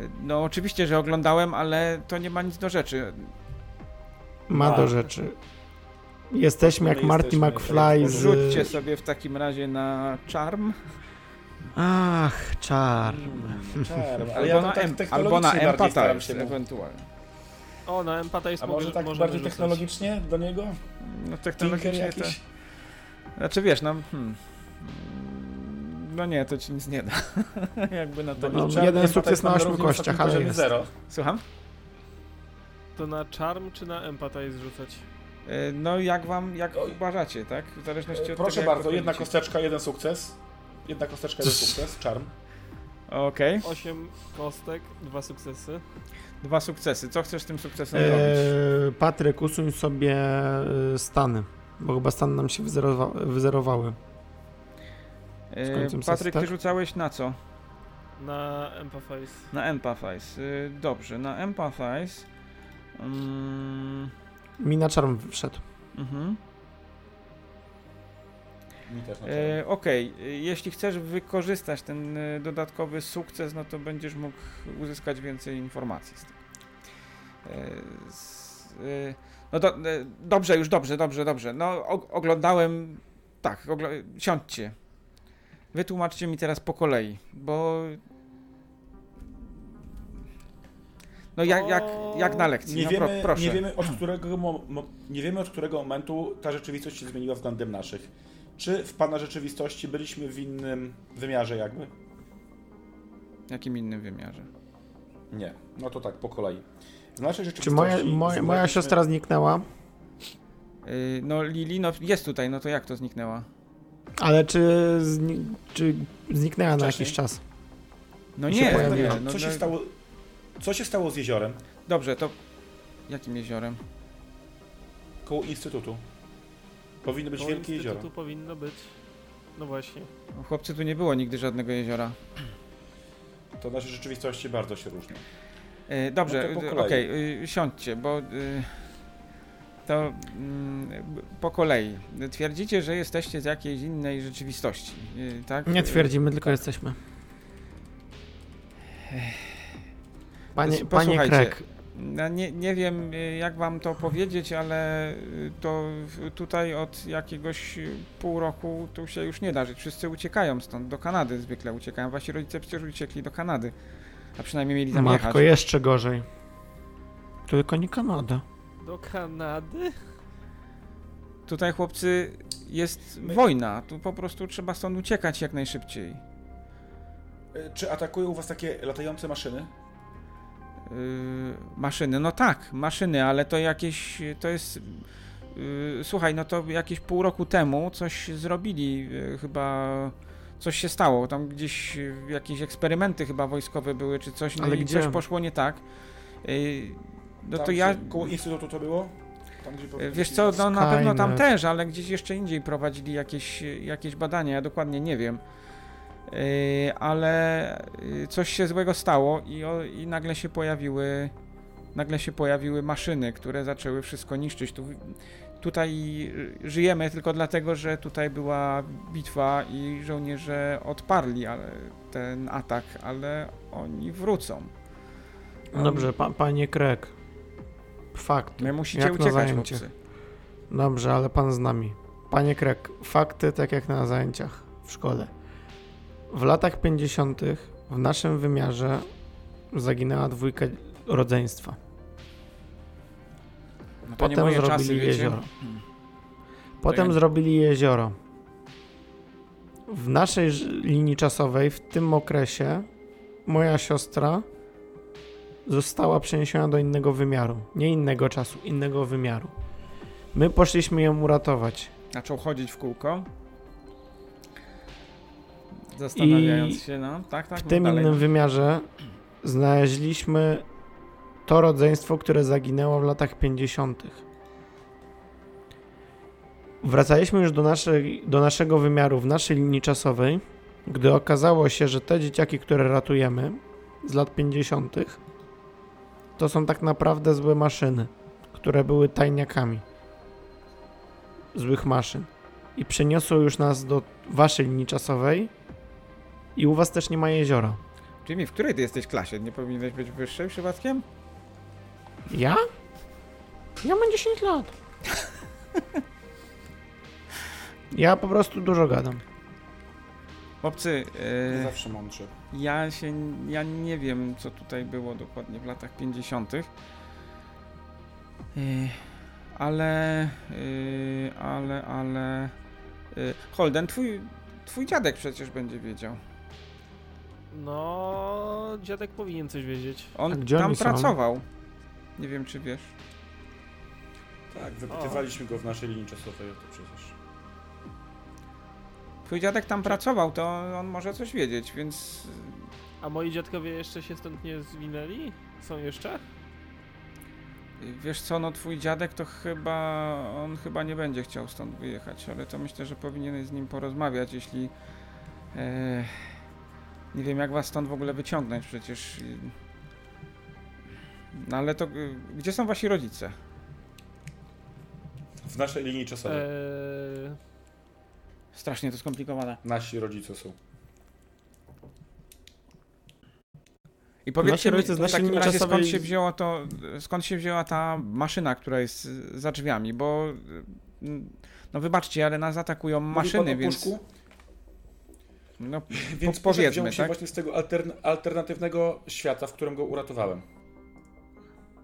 Y, No oczywiście, że oglądałem, ale to nie ma nic do rzeczy.
ma do
A.
rzeczy. Jesteśmy jak
Tak. My
Marty
jesteśmy, tak
McFly
jest.
Rzućcie
z...
sobie w takim razie na charm.
Ach, czar.
Mm, Czarm. Ale
Albo,
ja
na,
to tak
em- albo
technologicznie
na
bardziej
empata
staram się. no.
jest,
mówić.
ewentualnie.
O, na empata jest
A może
mogę-
tak
możemy
bardziej
rzucać.
technologicznie do niego?
No
Tinker
technologicznie to...
jakiś?
Znaczy wiesz, no. Hmm. No nie, to ci nic nie da. Jakby na to.
No,
Czarm
jeden
jest
sukces na
tak
ośmiu
równie wysokim
kościach, ale
poziomie
jest.
Zero.
Słucham?
To na charm czy na empata jest rzucać?
E, No jak wam, jak
Oj. E,
uważacie, tak? W zależności od
Proszę
tego,
bardzo,
jak
jedna
podchodzicie.
kosteczka, jeden sukces. Jedna kosteczka, jeden sukces, czarm.
Okej,
8 kostek, dwa sukcesy.
dwa sukcesy. Co chcesz z tym sukcesem
E,
robić?
Eee, Patryk, usuń sobie e, stany, bo chyba stany nam się wyzerowa wyzerowały.
E,
z końcem sesji,
Patryk, ty
tak?
rzucałeś na co?
Na empathize.
Na empathize. E, Dobrze, na empathize. Mm,
Mi na czarm wszedł.
mhm.
Mi też na czarm.
E, Okej, e, jeśli chcesz wykorzystać ten e, dodatkowy sukces, no to będziesz mógł uzyskać więcej informacji z tego. E, z, e, no do, e, dobrze, już dobrze, dobrze, dobrze. No og- oglądałem, tak, ogl siądźcie. Wytłumaczcie mi teraz po kolei, bo... No jak, jak, jak na lekcji,
Nie
no
wiemy,
pro, proszę.
nie, wiemy, od którego, mo- mo- nie wiemy od którego momentu ta rzeczywistość się zmieniła względem naszych. Czy w pana rzeczywistości byliśmy w innym wymiarze jakby?
W jakim innym wymiarze?
Nie. No to tak, po kolei. W naszej rzeczywistości...
Czy moja, moja, moja
znaleźliśmy-
siostra zniknęła?
E, no Lili, no jest tutaj, no to jak to zniknęła?
Ale czy, zni czy zniknęła na
Wcześniej?
jakiś czas?
No
I się
nie, nie,
pojawiła.
no,
Co się
no,
stało... Co się stało z jeziorem
Dobrze, to jakim jeziorem?
koło Instytutu? Powinno być
Koło
wielkie jezioro.
instytutu powinno być. No właśnie.
O, Chłopcy, tu nie było nigdy żadnego jeziora.
To nasze rzeczywistości bardzo się różnią.
E, dobrze,
No to po
e,
kolei.
okej, e, siądźcie, bo e, to mm, b- po kolei. Twierdzicie, że jesteście z jakiejś innej rzeczywistości, e, tak?
Nie
E,
twierdzimy, tylko jesteśmy. Panie,
Pos-
panie
posłuchajcie.
Krek,
No, nie, nie wiem, e, jak wam to powiedzieć, ale e, to w- tutaj od jakiegoś e, pół roku tu się już nie da żyć. Wszyscy uciekają stąd, do Kanady zwykle uciekają. Wasi rodzice przecież uciekli do Kanady, a przynajmniej mieli tam jechać.
matko, jeszcze gorzej. Tylko nie Kanada.
Do Kanady?
Tutaj, chłopcy, jest
My-
wojna. Tu po prostu trzeba stąd uciekać jak najszybciej.
Y, Czy atakują was takie latające maszyny?
Yy, maszyny, no tak, maszyny, ale to jakieś, to jest... Yy, słuchaj, no to jakieś pół roku temu coś zrobili, yy, chyba... Coś się stało, tam gdzieś yy, jakieś eksperymenty chyba wojskowe były, czy coś, no
Ale
i
gdzie?
coś poszło nie tak. Yy, no
Tam
to
przy-
ja...
Koło Instytutu to było? Tam, gdzie powinni-
Wiesz co, no na pewno tam
Skynet.
też, ale gdzieś jeszcze indziej prowadzili jakieś, jakieś badania, ja dokładnie nie wiem. Yy, ale yy, coś się złego stało i, o, i nagle się pojawiły nagle się pojawiły maszyny, które zaczęły wszystko niszczyć. Tu, tutaj yy, żyjemy tylko dlatego, że tutaj była bitwa i żołnierze odparli ale, ten atak, ale oni wrócą. No.
Dobrze, pa, panie Krek. Fakt.
My musicie
Jak na
uciekać,
zajęcie.
chłopcy.
Dobrze, ale pan z nami. Panie Krek, fakty tak jak na zajęciach w szkole. W latach 50. w naszym wymiarze zaginęła dwójka rodzeństwa.
No to nie
Potem
moje
zrobili
czasy, wiecie. Hmm.
jezioro. Potem
nie-
zrobili jezioro. W naszej ż- linii czasowej, w tym okresie, moja siostra została przeniesiona do innego wymiaru. Nie innego czasu, innego wymiaru. My poszliśmy ją uratować.
Zaczął chodzić w kółko. Zastanawiając
I
się, no, tak, tak.
W
mów
tym
dalej.
innym wymiarze znaleźliśmy to rodzeństwo, które zaginęło w latach 50. Wracaliśmy już do, naszej, do naszego wymiaru, w naszej linii czasowej, gdy okazało się, że te dzieciaki, które ratujemy z lat 50., to są tak naprawdę złe maszyny, które były tajniakami złych maszyn. I przeniosło już nas do waszej linii czasowej, i u was też nie ma jeziora.
Jimmy, w której ty jesteś klasie? Nie powinieneś być wyższej przypadkiem?
Ja? Ja mam 10 lat. Ja po prostu dużo gadam.
Chłopcy,
Nie
yy,
zawsze mądrzy.
ja się, ja nie wiem, co tutaj było dokładnie w latach 50. Yy, ale, yy, ale, ale... Yy, Holden, twój, twój dziadek przecież będzie wiedział.
No, dziadek powinien coś wiedzieć.
On
A gdzie
tam
oni są?
pracował. Nie wiem, czy wiesz.
Tak, wypytywaliśmy go w naszej linii czasowej o to przecież.
Twój dziadek tam pracował, to on może coś wiedzieć, więc
A moi dziadkowie jeszcze się stąd nie zwinęli? Są jeszcze?
y, wiesz co, no twój dziadek to chyba, on chyba nie będzie chciał stąd wyjechać, ale to myślę, że powinieneś z nim porozmawiać, jeśli, e, nie wiem jak was stąd w ogóle wyciągnąć przecież. y. No ale to, y, gdzie są wasi rodzice?
W naszej linii czasowej.
E.
Eee,
Strasznie to skomplikowane.
Nasi rodzice są.
I powiedzcie
Nasi
mi,
Znaczy, rodzice z
w
naszej
takim
linii
razie skąd
czasowej-
się wzięła to, skąd się wzięła ta maszyna, która jest y, za drzwiami, bo y, no wybaczcie, ale nas atakują
Mówił pan
maszyny,
o
więc
puszku,
no,
więc
po- powiedzmy,
wziął się
tak?
właśnie z tego altern- alternatywnego świata, w którym go uratowałem.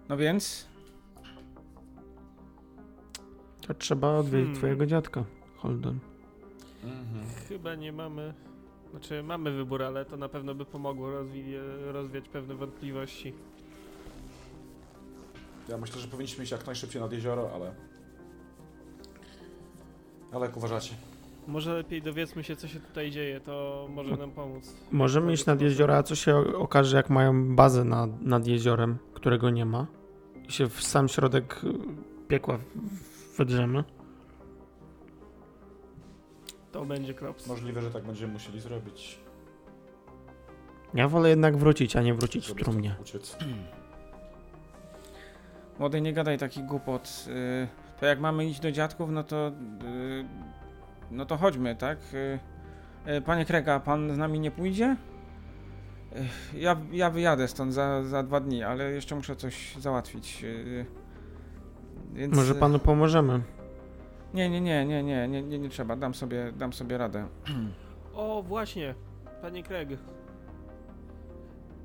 no więc
To trzeba odwiedzić
Hmm.
twojego dziadka, Holden.
Mhm.
chyba nie mamy. Znaczy, mamy wybór, ale to na pewno by pomogło rozwi- rozwiać pewne wątpliwości.
Ja myślę, że powinniśmy iść jak najszybciej nad jezioro, ale... Ale jak uważacie?
Może lepiej dowiedzmy się, co się tutaj dzieje, to może nam pomóc.
Możemy iść nad jeziora, a co się o- okaże, jak mają bazę nad, nad jeziorem, którego nie ma? I się w sam środek y, piekła w- wedrzemy?
To będzie klops.
Możliwe, że tak będziemy musieli zrobić.
Ja wolę jednak wrócić, a nie wrócić w
żeby
trumnie.
stąd Uciec.
młody nie gadaj taki głupot. y, To jak mamy iść do dziadków, no to y, no to chodźmy, tak? Y, y, Panie Krega, pan z nami nie pójdzie? Ech, Ja, ja wyjadę stąd za, za dwa dni, ale jeszcze muszę coś załatwić. y, Więc...
Może panu pomożemy.
Nie, nie, nie, nie, nie, nie, nie, nie trzeba, dam sobie, dam sobie radę.
O, właśnie, panie Craig,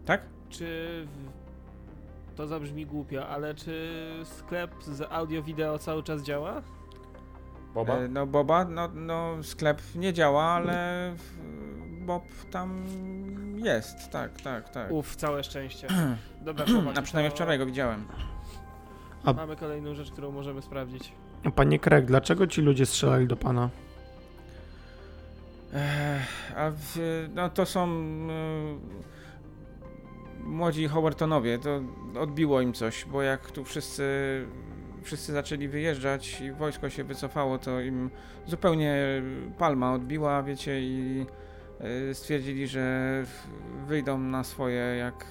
Tak?
czy. W... To zabrzmi głupio, ale czy sklep z audio-wideo cały czas działa?
Boba?
E, No Boba, no, no sklep nie działa, ale w- Bob tam jest, tak, tak, tak.
Uff, całe szczęście. Dobra, chłopaki,
A przynajmniej
to
wczoraj go widziałem.
Mamy kolejną rzecz, którą możemy sprawdzić.
Panie Krek, dlaczego ci ludzie strzelali do pana?
Ech, A w, no to są y, młodzi Howertonowie, to odbiło im coś, bo jak tu wszyscy, wszyscy zaczęli wyjeżdżać i wojsko się wycofało, to im zupełnie palma odbiła, wiecie, i y, stwierdzili, że w- wyjdą na swoje, jak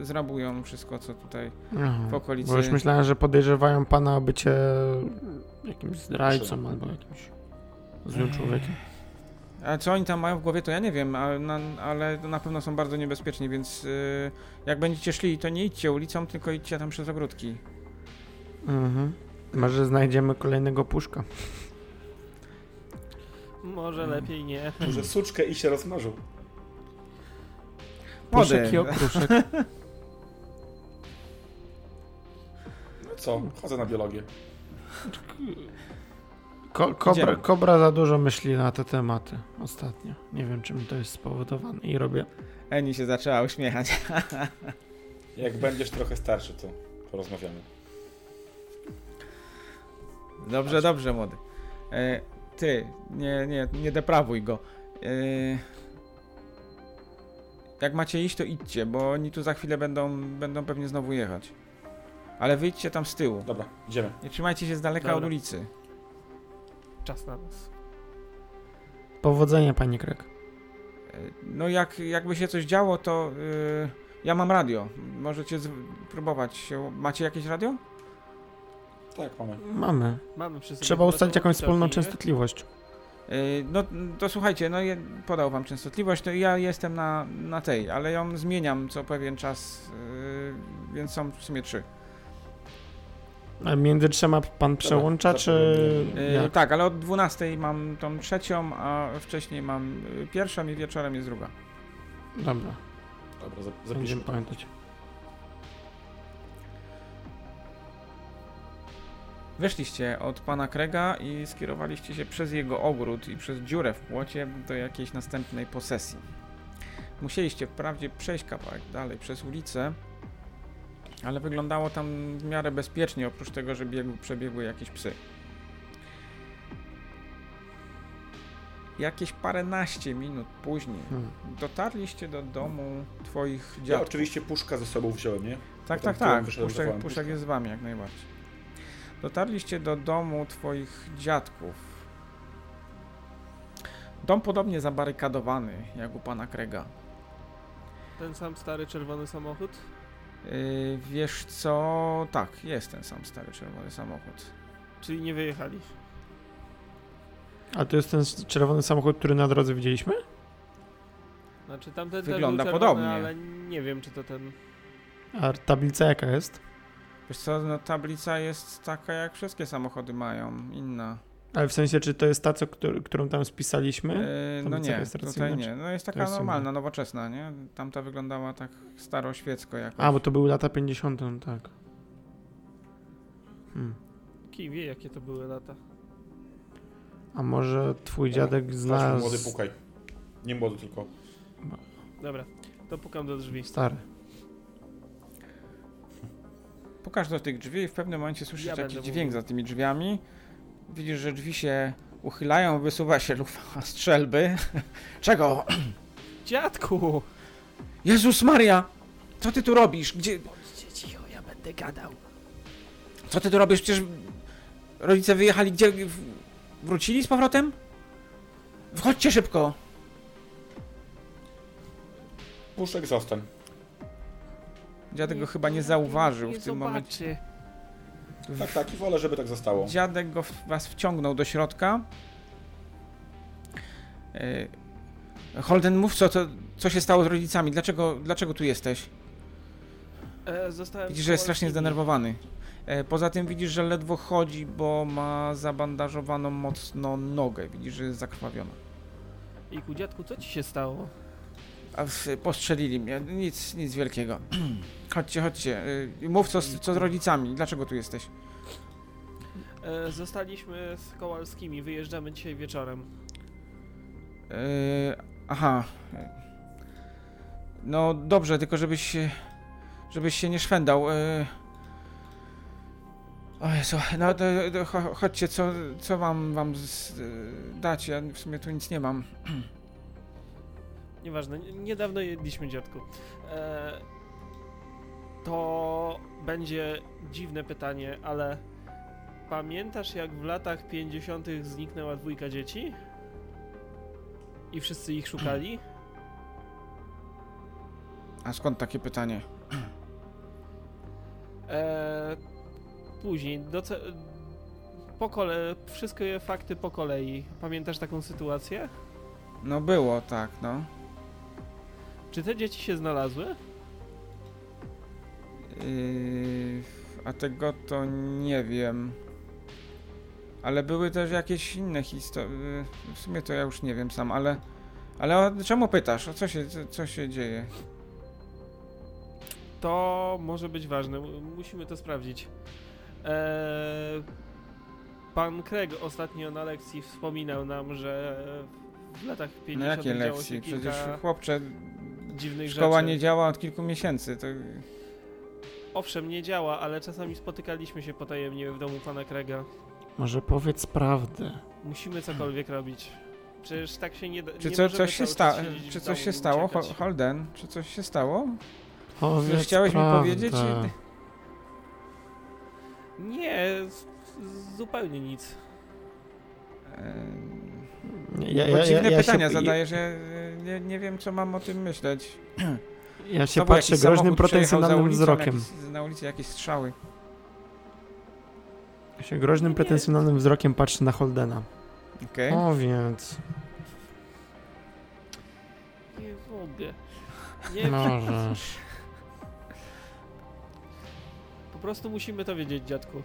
y, zrabują wszystko, co tutaj
Aha,
w okolicy.
Bo już myślałem, że podejrzewają pana o bycie jakimś zdrajcą albo jakimś złym człowiekiem.
A co oni tam mają w głowie, to ja nie wiem, ale na, ale na pewno są bardzo niebezpieczni, więc y, jak będziecie szli, to nie idźcie ulicą, tylko idźcie tam przez ogródki.
Mhm. Może znajdziemy kolejnego puszka.
Może
Hmm.
lepiej nie.
Może suczkę i się rozmarzył.
Puszek
Młody.
i okruszek.
No co, chodzę na biologię.
Ko kobra,
Idziemy.
kobra za dużo myśli na te tematy ostatnio. Nie wiem, czym to jest spowodowane i robię.
Eni się zaczęła uśmiechać.
Jak będziesz trochę starszy, to porozmawiamy.
Dobrze, dobrze, młody. E, ty, nie, nie, nie deprawuj go. E, jak macie iść, to idźcie, bo oni tu za chwilę będą, będą pewnie znowu jechać. Ale wyjdźcie tam z tyłu.
Dobra, idziemy.
Nie trzymajcie się z daleka
Dobra.
od ulicy.
Czas na nas.
Powodzenia, panie Krek.
E, No jak, jakby się coś działo, to y, ja mam radio. Możecie z, próbować się. Macie jakieś radio?
Tak, mamy.
Mamy.
Mamy przy sobie
Trzeba ustalić
chyba tą
jakąś wspólną
trafię.
częstotliwość.
Y, No to słuchajcie, no ja- podał wam częstotliwość, to ja jestem na, na tej, ale ją zmieniam co pewien czas, y, więc są w sumie trzy.
A E, między trzema pan przełącza, czy.
Y,
Jak?
Tak, ale od 12 mam tą trzecią, a wcześniej mam y, pierwszą i wieczorem jest druga.
Dobra,
Dobra, za-
będziemy
zapiszmy.
pamiętać.
Weszliście od pana Krega i skierowaliście się przez jego ogród i przez dziurę w płocie do jakiejś następnej posesji. Musieliście wprawdzie przejść kawałek dalej przez ulicę, ale wyglądało tam w miarę bezpiecznie, oprócz tego, że biegł, przebiegły jakieś psy. Jakieś paręnaście minut później
Hmm.
dotarliście do domu twoich
Ja
dziadków.
oczywiście puszka ze sobą wziąłem, nie?
Tak,
Potem
tak,
tyłem
tak.
wyszedłem,
Puszek,
zachowałem
puszek
puszkę.
jest z wami jak najbardziej. Dotarliście do domu twoich dziadków. Dom podobnie zabarykadowany jak u pana Krega.
Ten sam stary czerwony samochód?
Yy, wiesz co? Tak, jest ten sam stary czerwony samochód.
Czyli nie wyjechali.
A to jest ten czerwony samochód, który na drodze widzieliśmy?
Znaczy tamten
Wygląda
też był czerwony,
podobnie.
ale nie wiem czy to ten...
A tablica jaka jest?
Wiesz co? No, tablica jest taka jak wszystkie samochody mają, inna.
Ale w sensie, czy to jest ta, co, któr- którą tam spisaliśmy?
Yy, no
Tablica
nie,
jest
tutaj
racyjna,
nie. No jest taka
jest inna?
normalna, nowoczesna, nie? Tamta wyglądała tak staroświecko jakoś.
A, bo to były lata 50, no tak. Hmm.
Kim wie jakie to były lata.
A może
No,
twój dziadek
Chodźmy,
zna.
Znaczy, młody,
z-
pukaj. Nie młody, tylko.
Dobra, to pukam do drzwi.
Stary.
Pukasz do tych drzwi i w pewnym momencie słyszysz
Ja
taki
będę
dźwięk
mówił.
za tymi drzwiami. Widzisz, że drzwi się uchylają, wysuwa się lufa strzelby. Czego?
Dziadku!
Jezus Maria! Co ty tu robisz? Gdzie...
Bądźcie cicho, ja będę gadał.
Co ty tu robisz? Przecież rodzice wyjechali gdzie... w- Wrócili z powrotem? Wchodźcie szybko!
Puszek, zostań.
Dziadek go chyba nie zauważył
nie
w tym momencie.
zobaczy.
Tak, tak, i wolę, żeby tak zostało.
Dziadek go w, was wciągnął do środka. E, Holden, mów co, co, co się stało z rodzicami? Dlaczego, dlaczego tu jesteś?
E, zostałem
Widzisz, że jest
w
strasznie
Polsce.
zdenerwowany. E, Poza tym widzisz, że ledwo chodzi, bo ma zabandażowaną mocno nogę. Widzisz, że jest zakrwawiona.
Iku, dziadku, co ci się stało?
A w- postrzelili mnie. Nic, nic wielkiego. chodźcie, chodźcie. E, Mów co, z- co z rodzicami. Dlaczego tu jesteś?
E, zostaliśmy z Kołalskimi, wyjeżdżamy dzisiaj wieczorem.
E, Aha. E, No dobrze, tylko żebyś się, żebyś się nie szwendał. E, O Jezu, no to, to, cho- chodźcie, co, co wam, wam z, e, dać? Ja w sumie tu nic nie mam.
Nieważne, n- niedawno jedliśmy, dziadku. E, to będzie dziwne pytanie, ale pamiętasz jak w latach 50. zniknęła dwójka dzieci? I wszyscy ich szukali?
A skąd takie pytanie?
E, później, doce- po kole- wszystkie fakty po kolei. Pamiętasz taką sytuację?
No było, tak, no.
Czy te dzieci się znalazły?
Yy, a tego to nie wiem. Ale były też jakieś inne historie. W sumie to ja już nie wiem sam, ale. Ale o, czemu pytasz? O co się, co, co się dzieje?
To może być ważne, mu- musimy to sprawdzić. Eee, pan Craig ostatnio na lekcji wspominał nam, że w latach 50.
No jakie
działo
lekcje?
się kilka
Przecież chłopcze,
dziwnych
szkoła
rzeczy.
nie działa od kilku miesięcy. To...
Owszem, nie działa, ale czasami spotykaliśmy się potajemnie w domu pana Craiga.
Może powiedz prawdę.
Musimy cokolwiek robić. Przecież tak się nie da.
Hmm. Czy,
nie
co,
możemy
coś, się
cały czas
sta...
siedzieć w
czy
domu
coś się
i
stało?
czekać.
Ho- Holden, czy coś się stało?
Powiedz
chciałeś mi
prawdę.
powiedzieć?
Nie, z- z- zupełnie nic.
Ehm,
Ja,
Bo
ja, ja,
dziwne
ja
pytania
się,
zadaję, że e, nie, nie wiem, co mam o tym myśleć.
Ja, ja się
Znowu
patrzę
jakiś samochód
groźnym,
przejechał za
pretensjonalnym
ulicą,
wzrokiem.
Jakieś, na ulicy jakieś strzały.
Ja się groźnym,
Nie.
pretensjonalnym wzrokiem patrzę na Holdena.
Okej.
Powiedz,
Nie mogę. Nie,
możesz.
po prostu musimy to wiedzieć, dziadku.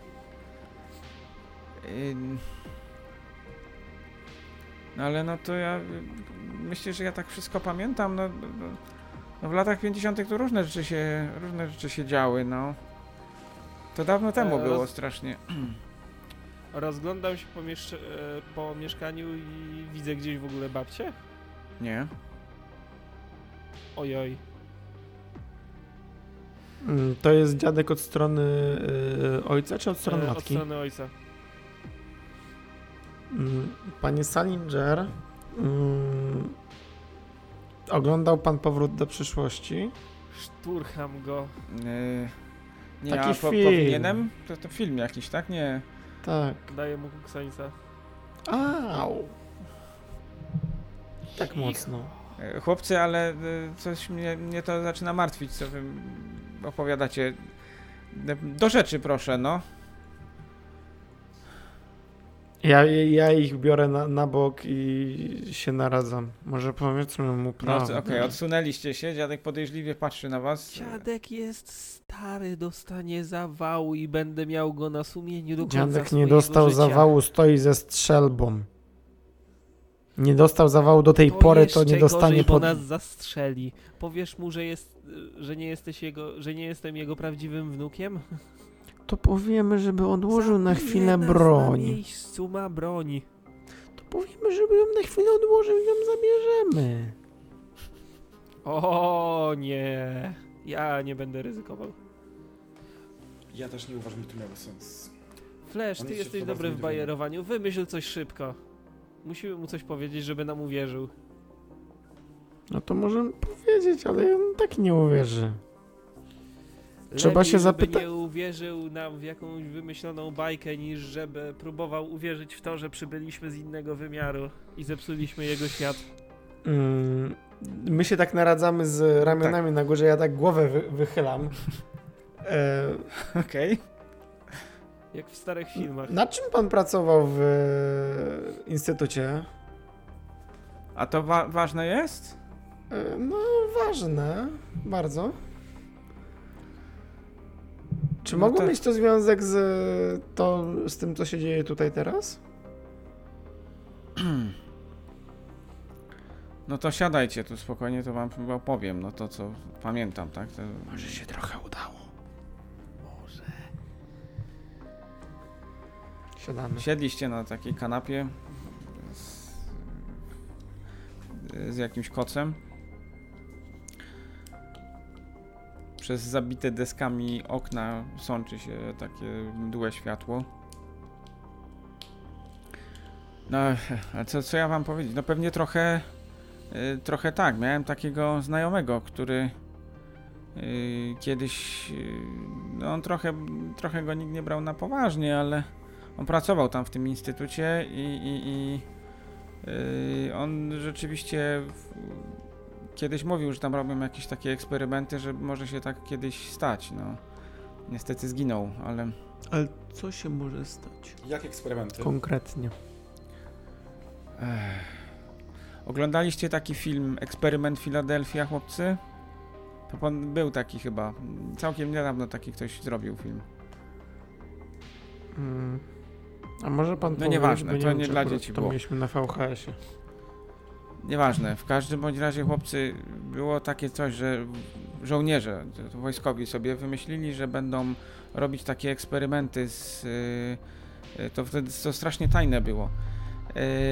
Ym. No ale no to ja y, myślę, że ja tak wszystko pamiętam. No, no, no, no w latach 50. to różne rzeczy się różne rzeczy się działy, no. To dawno temu
E,
było
roz-
strasznie.
Rozglądam się po, mieszcz- e, po mieszkaniu i widzę gdzieś w ogóle babcię.
Nie.
Ojoj.
Mm, To jest dziadek od strony y, ojca czy od strony
E, Od
matki?
strony ojca.
Mm, Panie Salinger, mm, oglądał pan Powrót do przyszłości?
Szturcham go.
Yy, nie,
Taki
a po,
film.
powinienem? To, to film jakiś, tak? Nie.
Tak.
Daję mu kuksańca.
Au. Tak mocno.
E, Chłopcy, ale e, coś mnie, mnie to zaczyna martwić, co wy m, opowiadacie. E, Do rzeczy proszę, no.
Ja, ja ich biorę na, na bok i się naradzam. Może powiedzmy mu
no
prawdę.
Okej, odsunęliście się, dziadek podejrzliwie patrzy na was.
Dziadek jest stary, dostanie zawału i będę miał go na sumieniu do końca
Dziadek nie
swojego
dostał
życia.
zawału, stoi ze strzelbą. Nie dostał zawału do tej pory, to
jeszcze
nie dostanie
gorzej,
pod...
bo nas zastrzeli. Powiesz mu, że jest, że nie jesteś jego, że nie jestem jego prawdziwym wnukiem?
To powiemy, żeby odłożył na
Zabije
chwilę
nas
broń.
Na miejscu ma broń.
To powiemy, żeby ją na chwilę odłożył i ją zabierzemy.
O nie. Ja nie będę ryzykował.
Ja też nie uważam, że to miało sens.
Flash,
On
ty
jest
jesteś
jeszcze
dobry
bardzo
w bajerowaniu. Wymyśl coś szybko. Musimy mu coś powiedzieć, żeby nam uwierzył.
No to możemy powiedzieć, ale on tak nie uwierzy. Trzeba
Lepiej,
się
Żeby
zapyta-
nie uwierzył nam w jakąś wymyśloną bajkę, niż żeby próbował uwierzyć w to, że przybyliśmy z innego wymiaru i zepsuliśmy jego świat.
Mm, my się tak naradzamy z ramionami na górze, ja tak głowę wy, wychylam. E,
Okej.
Jak w starych filmach.
na czym pan pracował w e, instytucie?
A to wa- ważne jest?
E, no, ważne, bardzo. Czy
No
mogło
to-
mieć to związek z, e, to, z tym, co się dzieje tutaj teraz?
No to siadajcie tu spokojnie, to wam chyba opowiem, no to co pamiętam, tak? To...
Może się trochę udało.
Może.
Siadamy.
Siedliście na takiej kanapie z, z jakimś kocem. Przez zabite deskami okna sączy się takie mdłe światło. No, a co, co ja wam powiedzieć? No pewnie trochę, y, trochę tak. Miałem takiego znajomego, który y, kiedyś, y, no on trochę, trochę go nikt nie brał na poważnie, ale on pracował tam w tym instytucie i, i, i yy, on rzeczywiście w, kiedyś mówił, że tam robią jakieś takie eksperymenty, że może się tak kiedyś stać. No. Niestety zginął, ale
Ale co się może stać?
Jak eksperymenty?
Konkretnie.
oglądaliście taki film Eksperyment Filadelfia, chłopcy? To pan był taki chyba. Całkiem niedawno taki ktoś zrobił film.
Mm. A może pan
No
powiedzieć,
nieważne,
bo
to
wiem,
nie
czy
dla
akurat
dzieci
To
było.
mieliśmy na VHS-ie.
Nieważne, w każdym bądź razie chłopcy było takie coś, że żołnierze to wojskowi sobie wymyślili, że będą robić takie eksperymenty z. y, y, To wtedy to strasznie tajne było.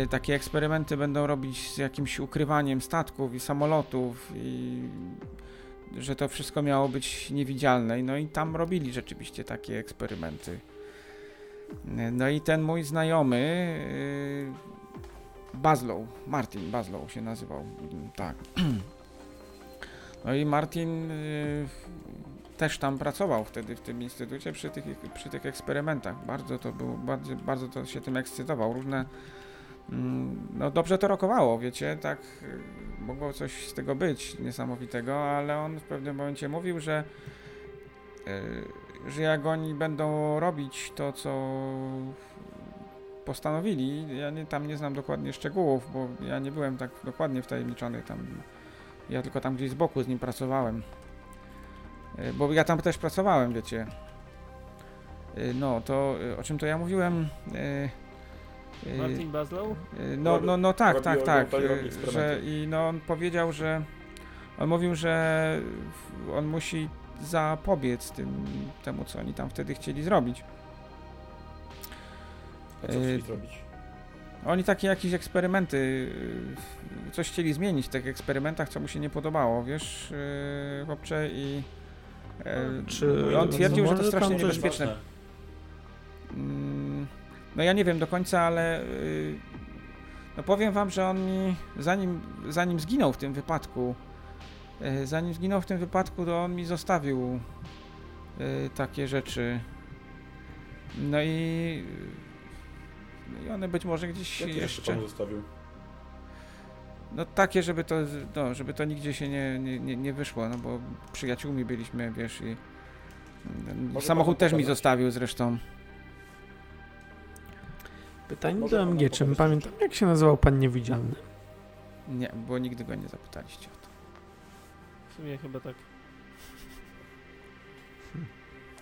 Y, Takie eksperymenty będą robić z jakimś ukrywaniem statków i samolotów, i że to wszystko miało być niewidzialne. No i tam robili rzeczywiście takie eksperymenty. Y, No i ten mój znajomy, y, Bazlow, Martin Bazlow się nazywał, mm, tak. No i Martin y, też tam pracował wtedy w tym instytucie przy tych, przy tych eksperymentach. Bardzo to było, bardzo, bardzo to się tym ekscytował. Różne, mm, no dobrze to rokowało, wiecie, tak y, mogło coś z tego być niesamowitego, ale on w pewnym momencie mówił, że y, że jak oni będą robić to, co postanowili. Ja nie, tam nie znam dokładnie szczegółów, bo ja nie byłem tak dokładnie wtajemniczony tam. Ja tylko tam gdzieś z boku z nim pracowałem. Y, Bo ja tam też pracowałem, wiecie. Y, No, to y, o czym to ja mówiłem? Y, y,
Martin Baslow?
Y, No,
Robi-
no, no tak,
robi-
tak,
robi-
tak.
robi
y,
eksperymenty.
Że, I no, on powiedział, że. On mówił, że w- on musi zapobiec tym, temu, co oni tam wtedy chcieli zrobić.
A
e,
co
Yy,
chcieli zrobić?
Oni takie jakieś eksperymenty, y, coś chcieli zmienić w tych eksperymentach, co mu się nie podobało, wiesz, y, chłopcze, i y,
Czy-
i on twierdził,
no
że to
może
strasznie
tam coś-
niebezpieczne. Mm, No ja nie wiem do końca, ale y, no powiem wam, że on mi, zanim, zanim zginął w tym wypadku, y, zanim zginął w tym wypadku, to on mi zostawił y, takie rzeczy. No i, no i one być może gdzieś
Jakie jeszcze
jeszcze...
pan zostawił?
No takie, żeby to, no, żeby to nigdzie się nie, nie, nie, nie wyszło, no bo przyjaciółmi byliśmy, wiesz, i y,
Może
samochód
pan
też mi
pokazać?
zostawił zresztą.
Pytanie
Może
do
pan nam
MG, czy
opowiedzieć?
pamiętam jak się nazywał pan niewidzialny?
Nie, bo nigdy go nie zapytaliście o to.
W sumie chyba tak.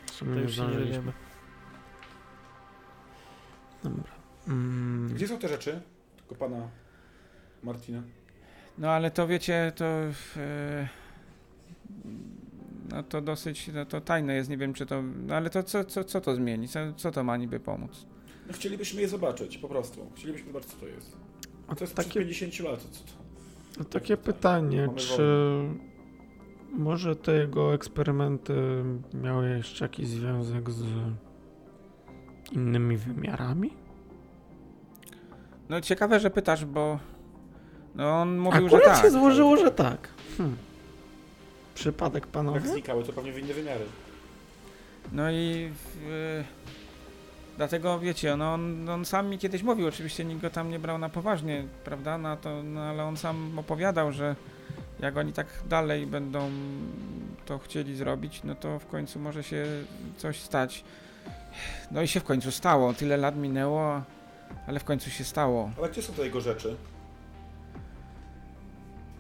W sumie
To już się nie
zdążyliśmy.
dowiemy.
Dobra. Mm,
Gdzie są te rzeczy? Tylko pana Martina.
No ale to wiecie, to. e, No to dosyć, no to tajne jest, nie wiem czy to, no ale to co, co, co to zmieni, co, co to ma niby pomóc?
No, chcielibyśmy je zobaczyć, po prostu. Chcielibyśmy zobaczyć, co to jest.
a
To jest
takie,
przed 50 lat. Co to?
a takie pytanie,
Mamy
czy może te jego eksperymenty miały jeszcze jakiś związek z innymi wymiarami?
No ciekawe, że pytasz, bo no on mówił,
Akurat
że tak.
się złożyło, że tak. Hmm. Przypadek
Jak
panowie?
znikały, to pewnie w inne wymiary.
No i w, dlatego wiecie, no on, on sam mi kiedyś mówił, oczywiście nikt go tam nie brał na poważnie, prawda? No, to, no ale on sam opowiadał, że jak oni tak dalej będą to chcieli zrobić, no to w końcu może się coś stać. No i się w końcu stało. Tyle lat minęło, ale w końcu się stało.
Ale gdzie są te jego rzeczy?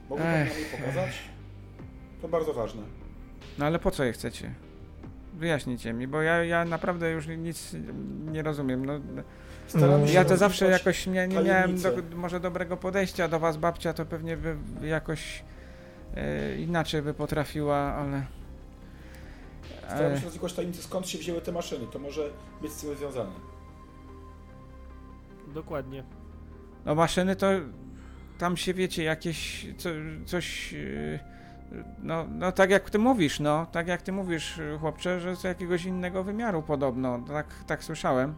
Mogę pan nam je pokazać? To bardzo ważne.
No ale po co je chcecie? Wyjaśnijcie mi, bo ja, ja naprawdę już nic nie rozumiem. No,
Mm.
Ja to
rozwiązać
zawsze jakoś nie, nie miałem do,
tajemnicę.
może dobrego podejścia do was, babcia to pewnie by jakoś e, inaczej by potrafiła, ale...
Starałem
E,
się rozwikłać tajemnicę, skąd się wzięły te maszyny. To może być z tym związane.
Dokładnie.
no maszyny to tam się wiecie, jakieś co, coś... e, No, no tak jak ty mówisz, no, tak jak ty mówisz, chłopcze, że z jakiegoś innego wymiaru podobno, tak, tak słyszałem.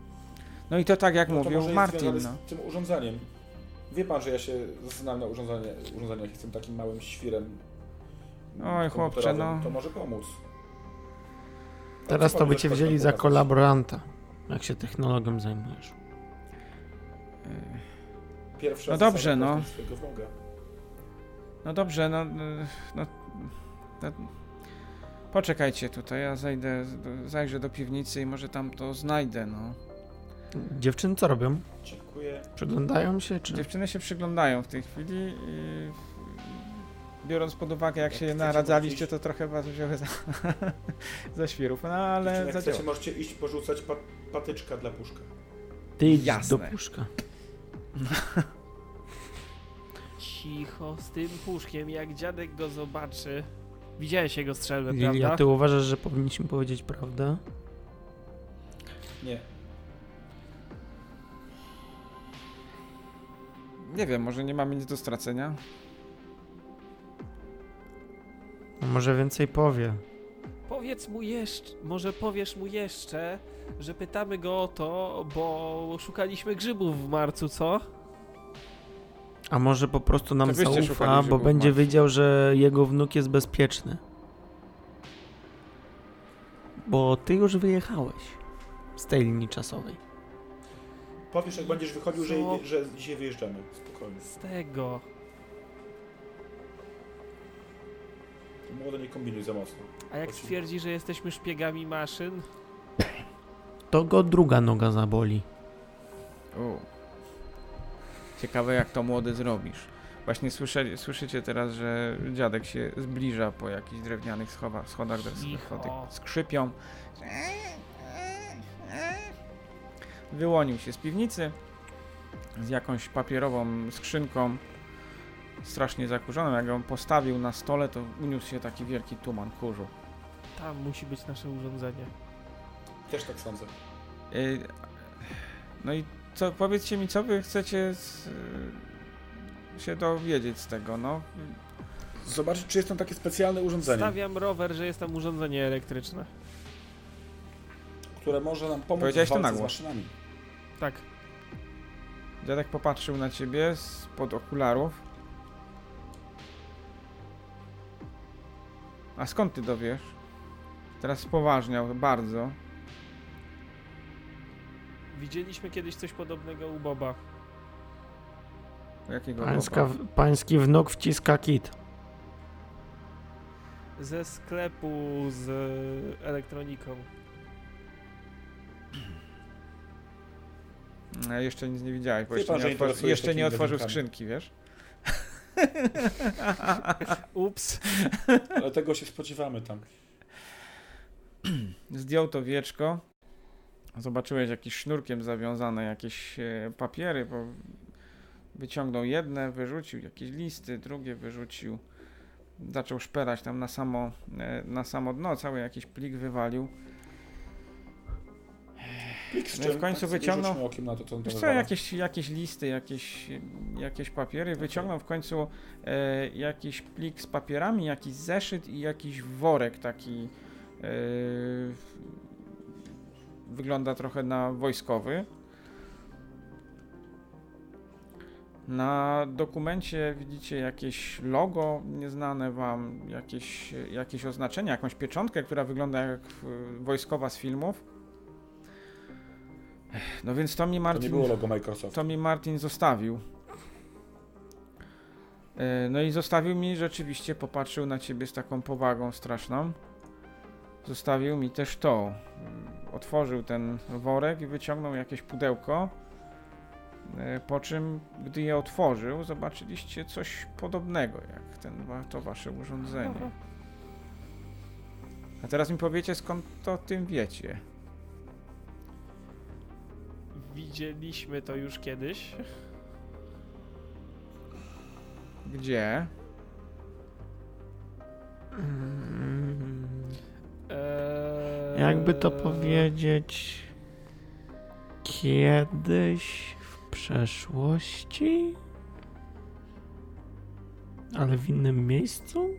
No i to tak jak
No to może
mówił
jest
Martin, no.
związane z tym urządzeniem. Wie pan, że ja się znam na urządzanie, urządzeniach, jestem takim małym świrem.
Oj, chłopcze,
komputerowym.
no.
To może pomóc. A
Teraz
co
to
pan
by cię
doktor
wzięli za
pokazać?
kolaboranta, jak się technologią zajmujesz.
E,
Pierwsza
No dobrze,
zasada
no.
Swojego wroga.
No dobrze, no, y, no, no. Poczekajcie tutaj, ja zajdę, zajrzę do piwnicy i może tam to znajdę, no.
Dziewczyny co robią?
Dziękuję.
Przyglądają się, czy...
Dziewczyny się przyglądają w tej chwili i biorąc pod uwagę, jak
Jak
się
chcecie
naradzaliście,
podnieść-
to trochę was wzięły za, za świrów, no ale
Dziewczyny, jak
zadziała.
chcecie, możecie iść porzucać pa patyczka dla puszka.
Ty idź
Jasne.
do puszka.
Cicho z tym puszkiem, jak dziadek go zobaczy. Widziałeś jego strzelbę,
Lili, a
prawda?
ty uważasz, że powinniśmy powiedzieć prawdę?
Nie.
Nie wiem, może nie mamy nic do stracenia.
A No może więcej powie.
Powiedz mu jeszcze, może powiesz mu jeszcze, że pytamy go o to, bo szukaliśmy grzybów w marcu, co?
A może po prostu nam
To wyście szukali
zaufa, bo
grzybów,
będzie
Max.
wiedział, że jego wnuk jest bezpieczny. Bo ty już wyjechałeś z tej linii czasowej.
Powiesz, jak będziesz wychodził, że,
Co?
że dzisiaj wyjeżdżamy. Spokojnie.
Z tego.
To Młodo nie kombinuj za mocno.
A jak
Chodźmy.
twierdzi, że jesteśmy szpiegami maszyn?
To go druga noga zaboli.
U. Ciekawe, jak to młody zrobisz. Właśnie słyszeli, słyszycie teraz, że dziadek się zbliża po jakichś drewnianych schowa, schodach, które sobie
Cicho.
schody skrzypią. Wyłonił się z piwnicy z jakąś papierową skrzynką, strasznie zakurzoną. Jak ją postawił na stole, to uniósł się taki wielki tuman kurzu.
Tam musi być nasze urządzenie.
Też tak sądzę.
Y, No i co, powiedzcie mi, co wy chcecie z, y, się dowiedzieć z tego, no?
Zobaczyć, czy jest tam takie specjalne urządzenie,
Stawiam rower, że jest tam urządzenie elektryczne.
które może nam pomóc w
Powiedziałeś to
walce
na
z
głos.
maszynami.
Tak.
Dziadek popatrzył na ciebie spod okularów. A skąd ty dowiesz? Teraz spoważniał bardzo.
Widzieliśmy kiedyś coś podobnego u Boba.
Jakiego
Pańska,
boba?
pański wnuk wciska kit.
Ze sklepu z e, elektroniką.
No, jeszcze nic nie widziałeś, bo
Wie
jeszcze
pan,
nie,
że
otworzy,
interesujesz
jeszcze nie
takimi
otworzył
gadunkami.
skrzynki, wiesz?
Ups.
Ale tego się spodziewamy tam.
Zdjął to wieczko. Zobaczyłeś jakiś sznurkiem zawiązane jakieś e, papiery, bo wyciągnął jedne, wyrzucił jakieś listy, drugie wyrzucił. Zaczął szperać tam na samo, e, na samo dno, cały jakiś plik wywalił.
Plik z
No i w
czym?
końcu
Tak sobie
wyciągnął-
rzućmy okiem na to, co on
Wiesz
tam
co,
wywala.
jakieś, jakieś listy, jakieś, jakieś papiery. Wyciągnął w końcu e, jakiś plik z papierami, jakiś zeszyt i jakiś worek taki. E, wygląda trochę na wojskowy. Na dokumencie widzicie jakieś logo nieznane wam, jakieś, jakieś oznaczenie, jakąś pieczątkę, która wygląda jak e, wojskowa z filmów. No więc Tommy
To nie
Martin
było logo Microsoft.
to mi Martin zostawił. E, No i zostawił mi rzeczywiście, popatrzył na ciebie z taką powagą straszną. Zostawił mi też to. Mm, Otworzył ten worek i wyciągnął jakieś pudełko. E, Po czym, gdy je otworzył, zobaczyliście coś podobnego jak ten, wa- to wasze urządzenie. A teraz mi powiecie, skąd to o tym wiecie.
Widzieliśmy to już kiedyś.
Gdzie?
Mm,
Eee...
Jakby to powiedzieć. Kiedyś w przeszłości? Ale w innym miejscu?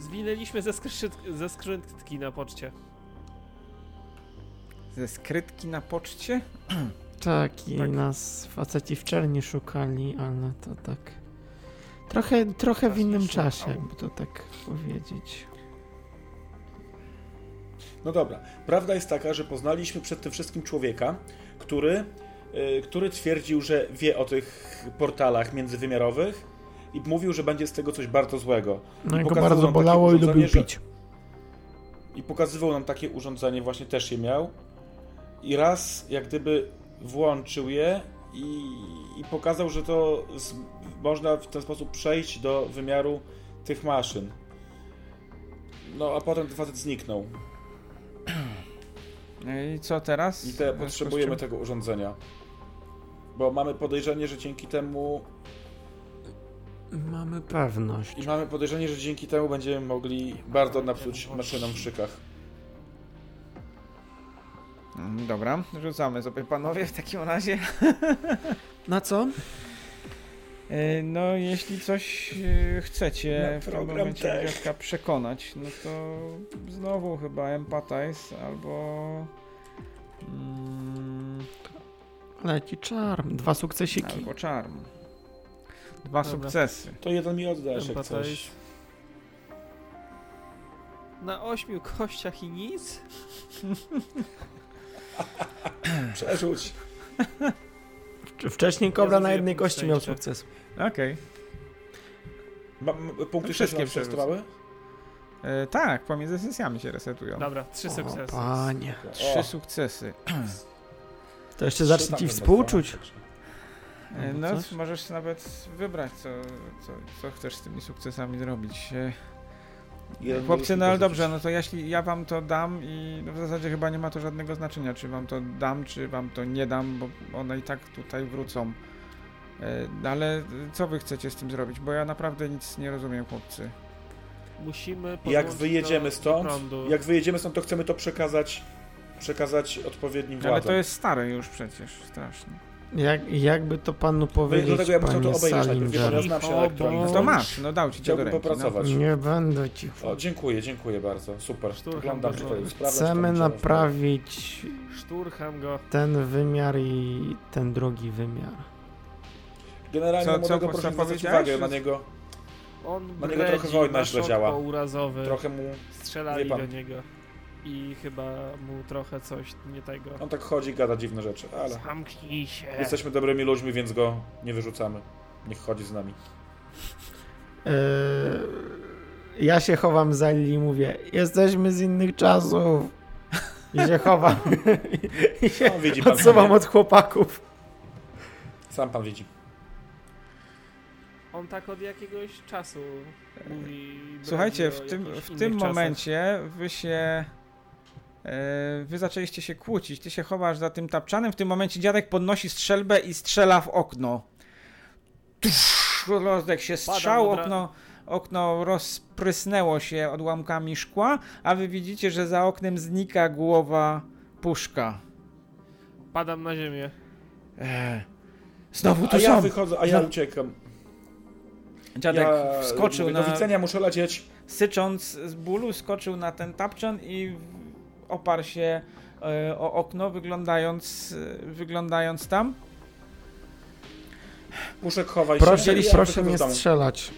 Zwinęliśmy ze, skrzyt... ze skrzynki na poczcie.
Ze skrytki na poczcie?
Tak, i
Tak.
nas faceci w czerni szukali, ale to tak. Trochę, trochę w
Czas nie
innym
szukał.
czasie, jakby to tak powiedzieć.
No dobra, prawda jest taka, że poznaliśmy przed tym wszystkim człowieka, który, y, który twierdził, że wie o tych portalach międzywymiarowych i mówił, że będzie z tego coś bardzo złego.
No i go
pokazywał
bardzo
nam takie
bolało i
urządzenie,
lubił
że-
pić.
I pokazywał nam takie urządzenie, właśnie też je miał. I raz jak gdyby włączył je i, i pokazał, że to z, można w ten sposób przejść do wymiaru tych maszyn. No, a potem ten facet zniknął.
No I co teraz? W
I
związku z
te, potrzebujemy
czym?
tego urządzenia. Bo mamy podejrzenie, że dzięki temu.
Mamy pewność.
I mamy podejrzenie, że dzięki temu będziemy mogli bardzo napsuć maszynom w szykach.
Mm, Dobra, rzucamy sobie panowie w takim razie.
Na co?
E, No, jeśli coś e, chcecie
Na
w tym
program
momencie
też.
dziadka przekonać, no to znowu chyba empathize albo... Mm,
Ale jaki czarm. Dwa sukcesiki.
albo charm. Dwa
Dobra.
sukcesy.
To jeden mi oddasz, jak
Empata
coś.
jest. Na ośmiu kościach i nic?
Przerzuć.
Wcz- Wcześniej kobra
Ja
na jednej
zrobię
kości miał
szczęście.
sukces.
Okej.
Ma, m-
No
punkty
wszystkie
wszystkie przetestowały?
E, Tak, pomiędzy sesjami się resetują.
Dobra, trzy
O,
sukcesy.
panie.
Trzy sukcesy.
To jeszcze zacznie ci
no.
współczuć.
E,
Albo
No,
coś?
możesz nawet wybrać, co, co, co chcesz z tymi sukcesami zrobić. E,
Jeden
Chłopcy,
mieliśmy
no ale
dorzucić.
dobrze, no to jeśli ja wam to dam i no w zasadzie chyba nie ma to żadnego znaczenia, czy wam to dam, czy wam to nie dam, bo one i tak tutaj wrócą. E, no Ale co wy chcecie z tym zrobić? Bo ja naprawdę nic nie rozumiem, chłopcy.
Musimy
Jak
podłączyć
wyjedziemy
do
stąd,
no.
prądu.
jak wyjedziemy stąd, to chcemy to przekazać przekazać odpowiednim
Ale to
władzom.
jest stare już przecież, strasznie.
Jak, jakby to panu powiedzieć,
No dlatego ja bym chciał to
panie
obejrzeć najpierw, wie pan, ja
Salinger?
znam się
O
na elektronice.
No to masz, no dał ci cię do
Chciałbym
ręki. No.
popracować.
Nie będę ci.
O, dziękuję, dziękuję bardzo. Super.
Szturcham
Oglądam
bardzo.
tutaj. sprawdzam, czy
Chcemy
tam trzeba-
naprawić
Szturcham go.
ten wymiar i ten drugi wymiar.
Generalnie
Co- co-
młodego
co
proszę zwracać
powiedziałeś?
uwagę na niego.
On
Na No niego
bredzi
trochę wojna
ma
źle
szok
działa.
Urazowy.
Trochę mu...
Strzelali
wie pan.
do niego. I chyba mu trochę coś nie tego.
On tak chodzi, gada dziwne rzeczy, No, ale...
Zamknij się.
E.
Jesteśmy dobrymi ludźmi, więc go nie wyrzucamy. Niech chodzi z nami.
Eee, ja się chowam za Lili i mówię, jesteśmy z innych czasów. I się chowam. I się
No, widzi pan.
odsuwam od chłopaków.
Sam pan widzi.
On tak od jakiegoś czasu mówi.
Słuchajcie,
bredzi
w
o
tym,
jakichś
w
innych
tym
czasach.
momencie wy się. e, Wy zaczęliście się kłócić. Ty się chowasz za tym tapczanem. W tym momencie dziadek podnosi strzelbę i strzela w okno. Tusz, Rozdech się strzał,
Padam od
okno, okno rozprysnęło się odłamkami szkła, a wy widzicie, że za oknem znika głowa puszka.
Padam na ziemię.
E, Znowu
A
tu
ja
są!
wychodzę, a ja
No.
uciekam.
Dziadek
ja
wskoczył
mówię,
na,
Do widzenia, muszę lecieć.
sycząc z bólu, skoczył na ten tapczan i w- oparł się e, o okno, wyglądając, e, wyglądając tam.
Muszek, chowaj się.
Proszę,
Ja
proszę
wychodzę
nie
z domu.
strzelać.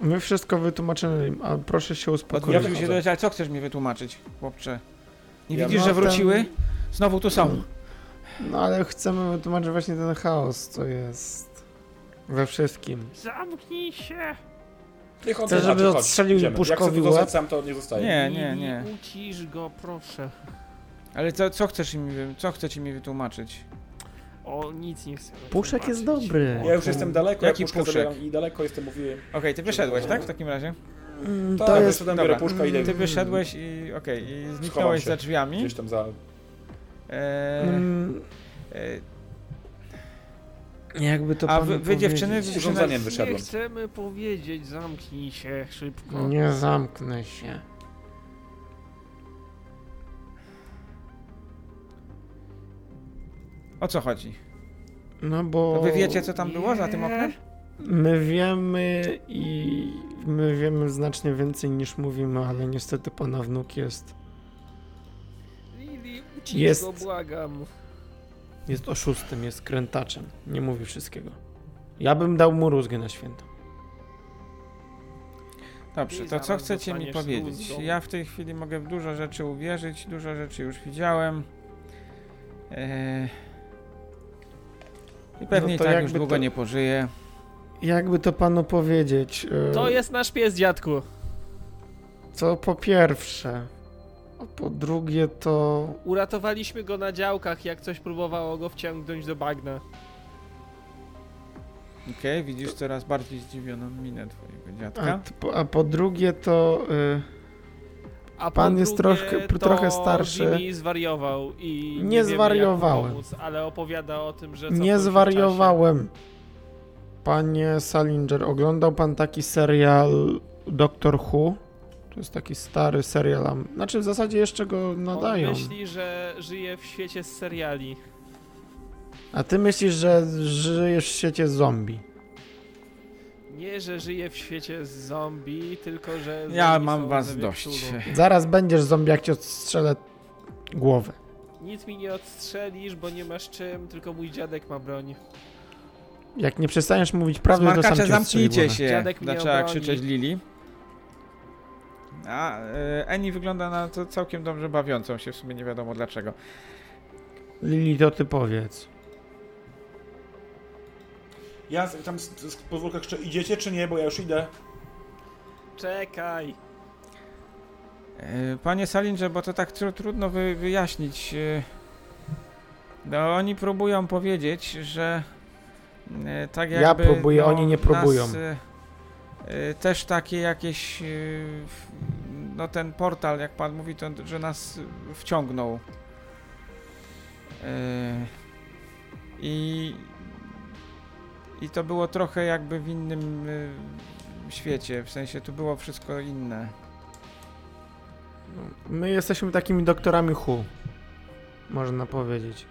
My wszystko wytłumaczymy im, a proszę się uspokoić.
Odwrócił
Ja
się
wychodzę.
do ale co chcesz mi wytłumaczyć, chłopcze? Nie
Ja
widzisz,
mam
że wróciły?
ten-
Znowu tu są.
No ale chcemy wytłumaczyć właśnie ten chaos, co jest we wszystkim.
Zamknij się!
Niech on
Chcę,
zobaczy,
żeby
chodź,
odstrzelił
idziemy.
puszkowi
Jak chcę tu zostać
łeb?
sam, to nie zostaje.
Nie, nie, nie.
Lili, Ucisz go, proszę.
Ale co, co chcesz mi, wy- co chcecie mi wytłumaczyć?
O, nic nie chcę.
Puszek jest dobry.
Ja już jestem daleko,
Jaki
ja puszkę
puszek?
zabieram i daleko jestem, mówiłem.
Okej, ty wyszedłeś, tak? W takim razie?
Mm,
To,
To jest...
tam biorę
dobra.
puszkę i idę
Ty wyszedłeś i okej, i zniknąłeś
się.
za drzwiami.
gdzieś tam za...
E,
Mm,
e,
Jakby to
a
panu
wy, wy dziewczyny, wy
powiedzieć.
dziewczyny
urządzeniem
Nie
wyszedłem.
chcemy powiedzieć, zamknij się szybko.
Nie zamknę się.
o co chodzi?
No bo...
To wy wiecie, co tam było za tym oknem?
My wiemy i my wiemy znacznie więcej niż mówimy, ale niestety pana wnuk jest,
Lili, ucisz
Jest.
go, błagam.
jest oszustem, jest krętaczem. Nie mówi wszystkiego. Ja bym dał mu rózgę na święto.
Dobrze,
Ty
to co
zaraz
chcecie mi
dostaniesz tu
powiedzieć?
z domu.
Ja w tej chwili mogę w dużo rzeczy uwierzyć, dużo rzeczy już widziałem. Eee... I pewnie
No to
i tak już
jakby
długo
to-
nie pożyję.
Jakby to panu powiedzieć, e,
To jest nasz pies, dziadku.
co po pierwsze, a po drugie to
Uratowaliśmy go na działkach, jak coś próbowało go wciągnąć do bagna.
Okej, widzisz coraz bardziej zdziwioną minę twojego
a,
dziadka.
t- po- a po drugie to y,
A po
Pan jest
drugie,
troszkę-
to
trochę starszy.
Jimmy zwariował i
Nie
wiemy, jak mu
zwariowałem.
Pomóc, ale opowiada o tym, że. cofnął
Nie
się w
zwariowałem. Panie Salinger, oglądał pan taki serial Doctor Who? To jest taki stary serial. am- Znaczy w zasadzie jeszcze go
czasie.
nadają.
On myśli, że żyje w świecie z seriali.
A ty myślisz, że żyjesz w świecie zombie.
Nie, że żyje w świecie z zombie, tylko że.
Ja
zombie
mam
są
was
ze
dość.
wieprzulu.
Zaraz będziesz zombie, jak cię odstrzelę głowę.
Nic mi nie odstrzelisz, bo nie masz czym, tylko mój dziadek ma broń.
Jak nie przestaniesz mówić prawdy, to sam
Smarkacze,
cię odstrzeli
zamknijcie
głowę.
się!
Dziadek mnie
Zaczęła
obroni.
krzyczeć Lili. A, e, Eni wygląda na to całkiem dobrze bawiącą się, w sumie nie wiadomo dlaczego.
Lili, to ty powiedz.
Ja z- tam z, z podwórka jeszcze idziecie czy nie, bo ja już idę.
Czekaj!
E, Panie Salinże, bo to tak tru- trudno wy, wyjaśnić. e. No, oni próbują powiedzieć, że e, tak
Ja
jakby...
próbuję,
no,
oni nie próbują.
Nas, e, e, też takie jakieś... e, w- No ten portal, jak pan mówi, to, że nas wciągnął. E, I... I to było trochę jakby w innym e, świecie, w sensie tu było wszystko inne.
My jesteśmy takimi doktorami Who. Można powiedzieć.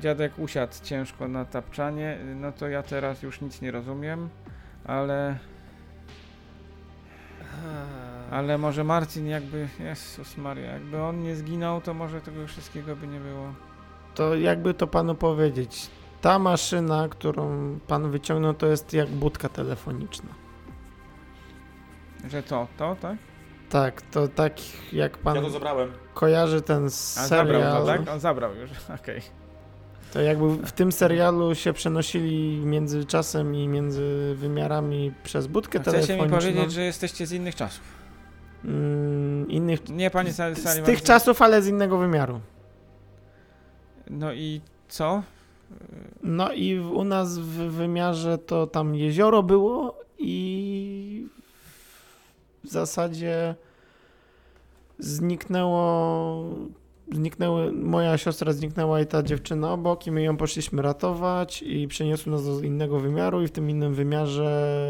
Dziadek usiadł ciężko na tapczanie, no to ja teraz już nic nie rozumiem, ale, ale może Marcin jakby, Jezus Maria, jakby on nie zginął, to może tego wszystkiego by nie było.
To jakby to panu powiedzieć, ta maszyna, którą pan wyciągnął, to jest jak budka telefoniczna.
Że to, to, tak?
Tak, to tak jak pan
Ja to zabrałem.
kojarzy ten
A zabrał
serial,
to, tak? On zabrał już, okej.
to jakby w tym serialu się przenosili między czasem i między wymiarami przez budkę
Chcecie mi
telefoniczną.
powiedzieć, że jesteście z innych czasów.
Mm, innych...
Nie, panie Sal-
Z
Salimon.
tych czasów, ale z innego wymiaru.
No i co?
No i w, u nas w wymiarze to tam jezioro było i w zasadzie zniknęło, zniknęły, moja siostra zniknęła i ta dziewczyna obok i my ją poszliśmy ratować i przeniosły nas do innego wymiaru i w tym innym wymiarze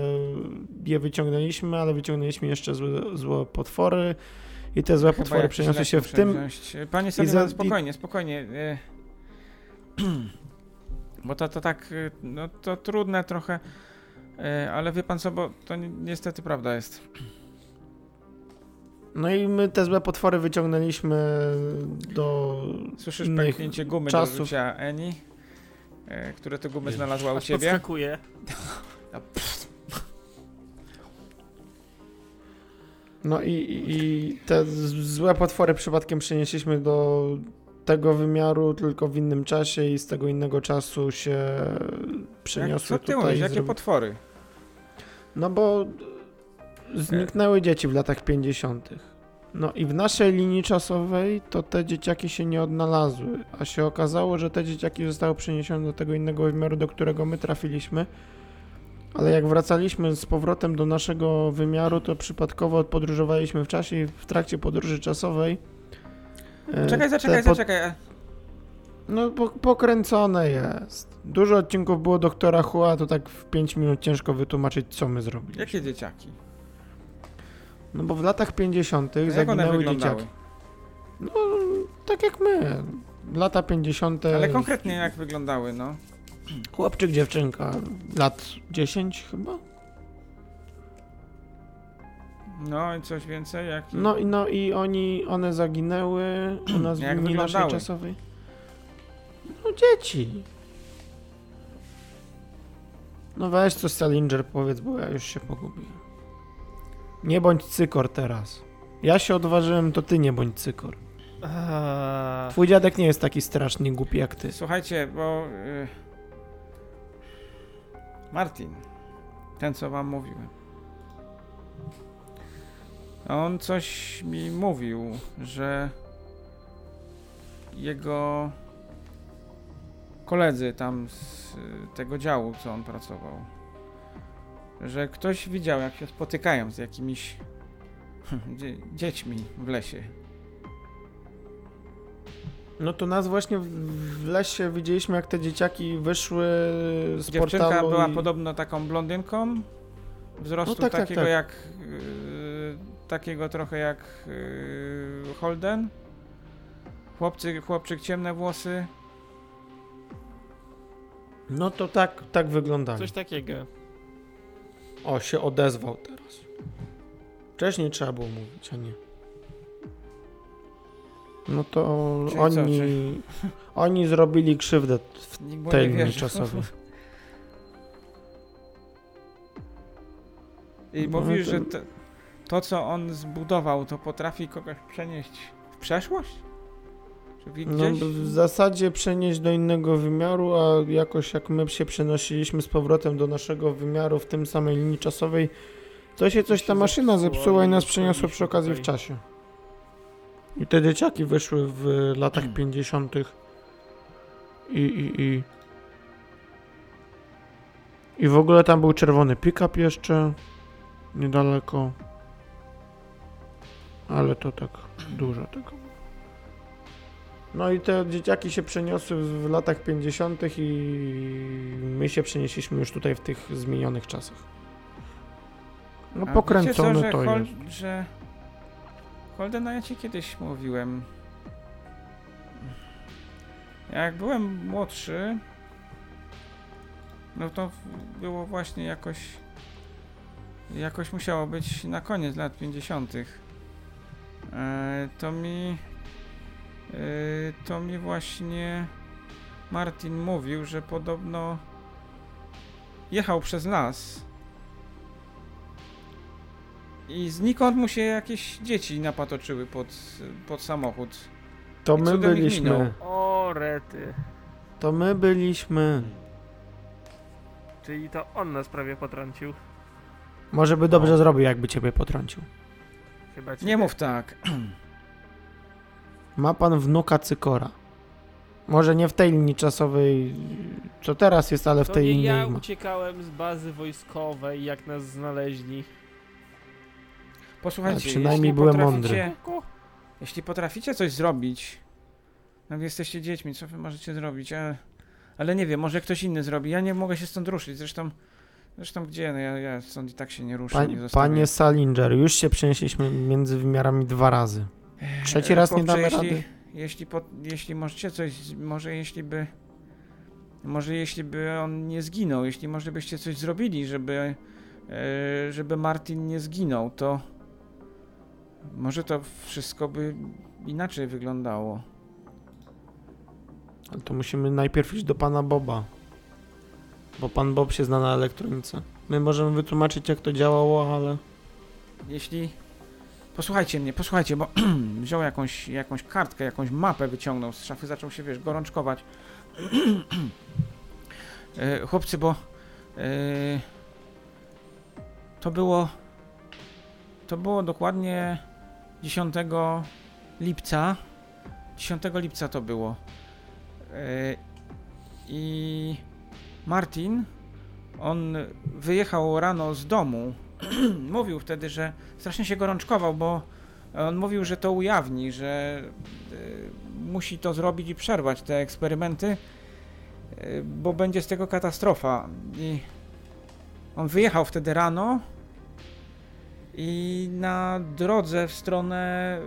je wyciągnęliśmy, ale wyciągnęliśmy jeszcze złe, złe potwory i te złe
Chyba
potwory
jakiś
przeniosły
lek
się w
muszę
tym,
wziąć. E, Panie Salimon,
i-
spokojnie, spokojnie. e, Bo to, to tak, e, no to trudne trochę, e, ale wie pan co, bo to ni- niestety prawda jest.
No i my te złe potwory wyciągnęliśmy do.
Słyszysz
Innych
pęknięcie gumy
czasów.
do rzucia Eni, e, które to gumy
Wiem.
znalazła u
Aż
tak
ciebie.
podskakuje.
No i, i- i te z- złe potwory przypadkiem przenieśliśmy do tego wymiaru, tylko w innym czasie i z tego innego czasu się
Jak, co
przeniosły
ty
tutaj.
mówisz,
i
jakie
zrobi-
potwory?
No bo zniknęły dzieci w latach 50. No i w naszej linii czasowej to te dzieciaki się nie odnalazły, a się okazało, że te dzieciaki zostały przeniesione do tego innego wymiaru, do którego my trafiliśmy. Ale jak wracaliśmy z powrotem do naszego wymiaru, to przypadkowo podróżowaliśmy w czasie i w trakcie podróży czasowej. e,
Czekaj,
te
zaczekaj,
pot-
zaczekaj. e,
No po- pokręcone jest. Dużo odcinków było doktora Hua, to tak w 5 minut ciężko wytłumaczyć, co my zrobiliśmy.
Jakie dzieciaki?
No bo w latach 50.
Jak one
zaginęły
wyglądały?
dzieciaki. No, tak jak my. Lata 50.
Ale konkretnie jak wyglądały, no.
Chłopczyk, dziewczynka. Lat 10 chyba.
No i coś więcej? Jak...
No, i- no i oni, one zaginęły u nas
Jak
w linii naszej
wyglądały?
czasowej. No dzieci. No weź coś Salinger powiedz, bo ja już się pogubiłem. Nie bądź cykor teraz. Ja się odważyłem, to ty nie bądź cykor.
Eee,
Twój dziadek nie jest taki strasznie głupi jak ty.
Słuchajcie, bo. y, Martin, ten co wam mówiłem. On coś mi mówił, że jego koledzy tam z y, tego działu, co on pracował, że ktoś widział, jak się spotykają z jakimiś Dzie- dziećmi w lesie.
No to nas właśnie w- w lesie widzieliśmy, jak te dzieciaki wyszły z
Dziewczynka
portalu
była
i...
podobno taką blondynką, wzrostu
No tak, tak,
takiego
tak.
jak... Yy, takiego trochę jak yy, Holden. Chłopcy, chłopczyk ciemne włosy.
No to tak, tak wyglądali.
Coś takiego.
O, się odezwał teraz. Wcześniej trzeba było mówić, a nie. No to
Czyli co,
oni...
czyli-
Oni zrobili krzywdę w
Nikt mu
tej
nie
linii
wierzy.
czasowej.
I
No,
mówisz,
to-
że to, to, co on zbudował, to potrafi kogoś przenieść w przeszłość? Czy
No,
gdzieś?
w zasadzie przenieść do innego wymiaru, a jakoś jak my się przenosiliśmy z powrotem do naszego wymiaru w tym samej linii czasowej, to się coś
się
ta maszyna
zepsuło
zepsuła i
i
nas
nie
przeniosła przy
przenieśli
okazji w
tutaj.
czasie. I te dzieciaki wyszły w latach 50. I, i, i. I w ogóle tam był czerwony pick-up jeszcze niedaleko. Ale to tak dużo tego. No i te dzieciaki się przeniosły w latach 50. i my się przenieśliśmy już tutaj w tych zmienionych czasach. No
A
pokręcone
wiecie co,
to
że
jest.
Hol- że Holdena ja ci kiedyś mówiłem. Jak byłem młodszy, no to w- było właśnie jakoś. Jakoś musiało być na koniec lat 50. E, to mi. e, To mi właśnie Martin mówił, że podobno jechał przez las. I znikąd mu się jakieś dzieci napatoczyły pod, pod samochód.
To
i
my
cudem ich minął.
byliśmy.
O rety.
To my byliśmy.
Czyli to on nas prawie potrącił.
Może by dobrze zrobił, jakby ciebie potrącił.
Chyba cię.
Nie mów tak.
Ma pan wnuka Cykora. Może nie w tej linii czasowej, co teraz jest, ale w
To
tej
nie
innej
ja
ma.
uciekałem z bazy wojskowej, jak nas znaleźli.
Posłuchajcie,
Ale przynajmniej
jeśli
byłem
potraficie,
Kuku.
Jeśli potraficie coś zrobić, no wy jesteście dziećmi, co wy możecie zrobić? A, ale nie wiem, może ktoś inny zrobi. Ja nie mogę się stąd ruszyć. Zresztą, zresztą gdzie? No ja, ja stąd i tak się nie ruszę. nie
Pań,
zostawię.
panie Salinger, już się przenieśliśmy między wymiarami dwa razy. Trzeci
E,
raz nie
chłopcze,
damy
jeśli,
rady.
Jeśli, po, jeśli możecie coś, z- może jeśli by, może jeśli by on nie zginął, jeśli może byście coś zrobili, żeby, e, żeby Martin nie zginął, to może to wszystko by inaczej wyglądało.
Ale to musimy najpierw iść do pana Boba. Bo pan Bob się zna na elektronice. My możemy wytłumaczyć, jak to działało, ale.
Jeśli. Posłuchajcie mnie, posłuchajcie, bo wziął jakąś, jakąś kartkę, jakąś mapę wyciągnął z szafy, zaczął się, wiesz, gorączkować. E, Chłopcy, bo e, to było to było dokładnie 10 lipca. 10 lipca to było. E, I Martin, on wyjechał rano z domu mówił wtedy, że strasznie się gorączkował, bo on mówił, że to ujawni, że y, musi to zrobić i przerwać te eksperymenty, y, bo będzie z tego katastrofa. I on wyjechał wtedy rano i na drodze w stronę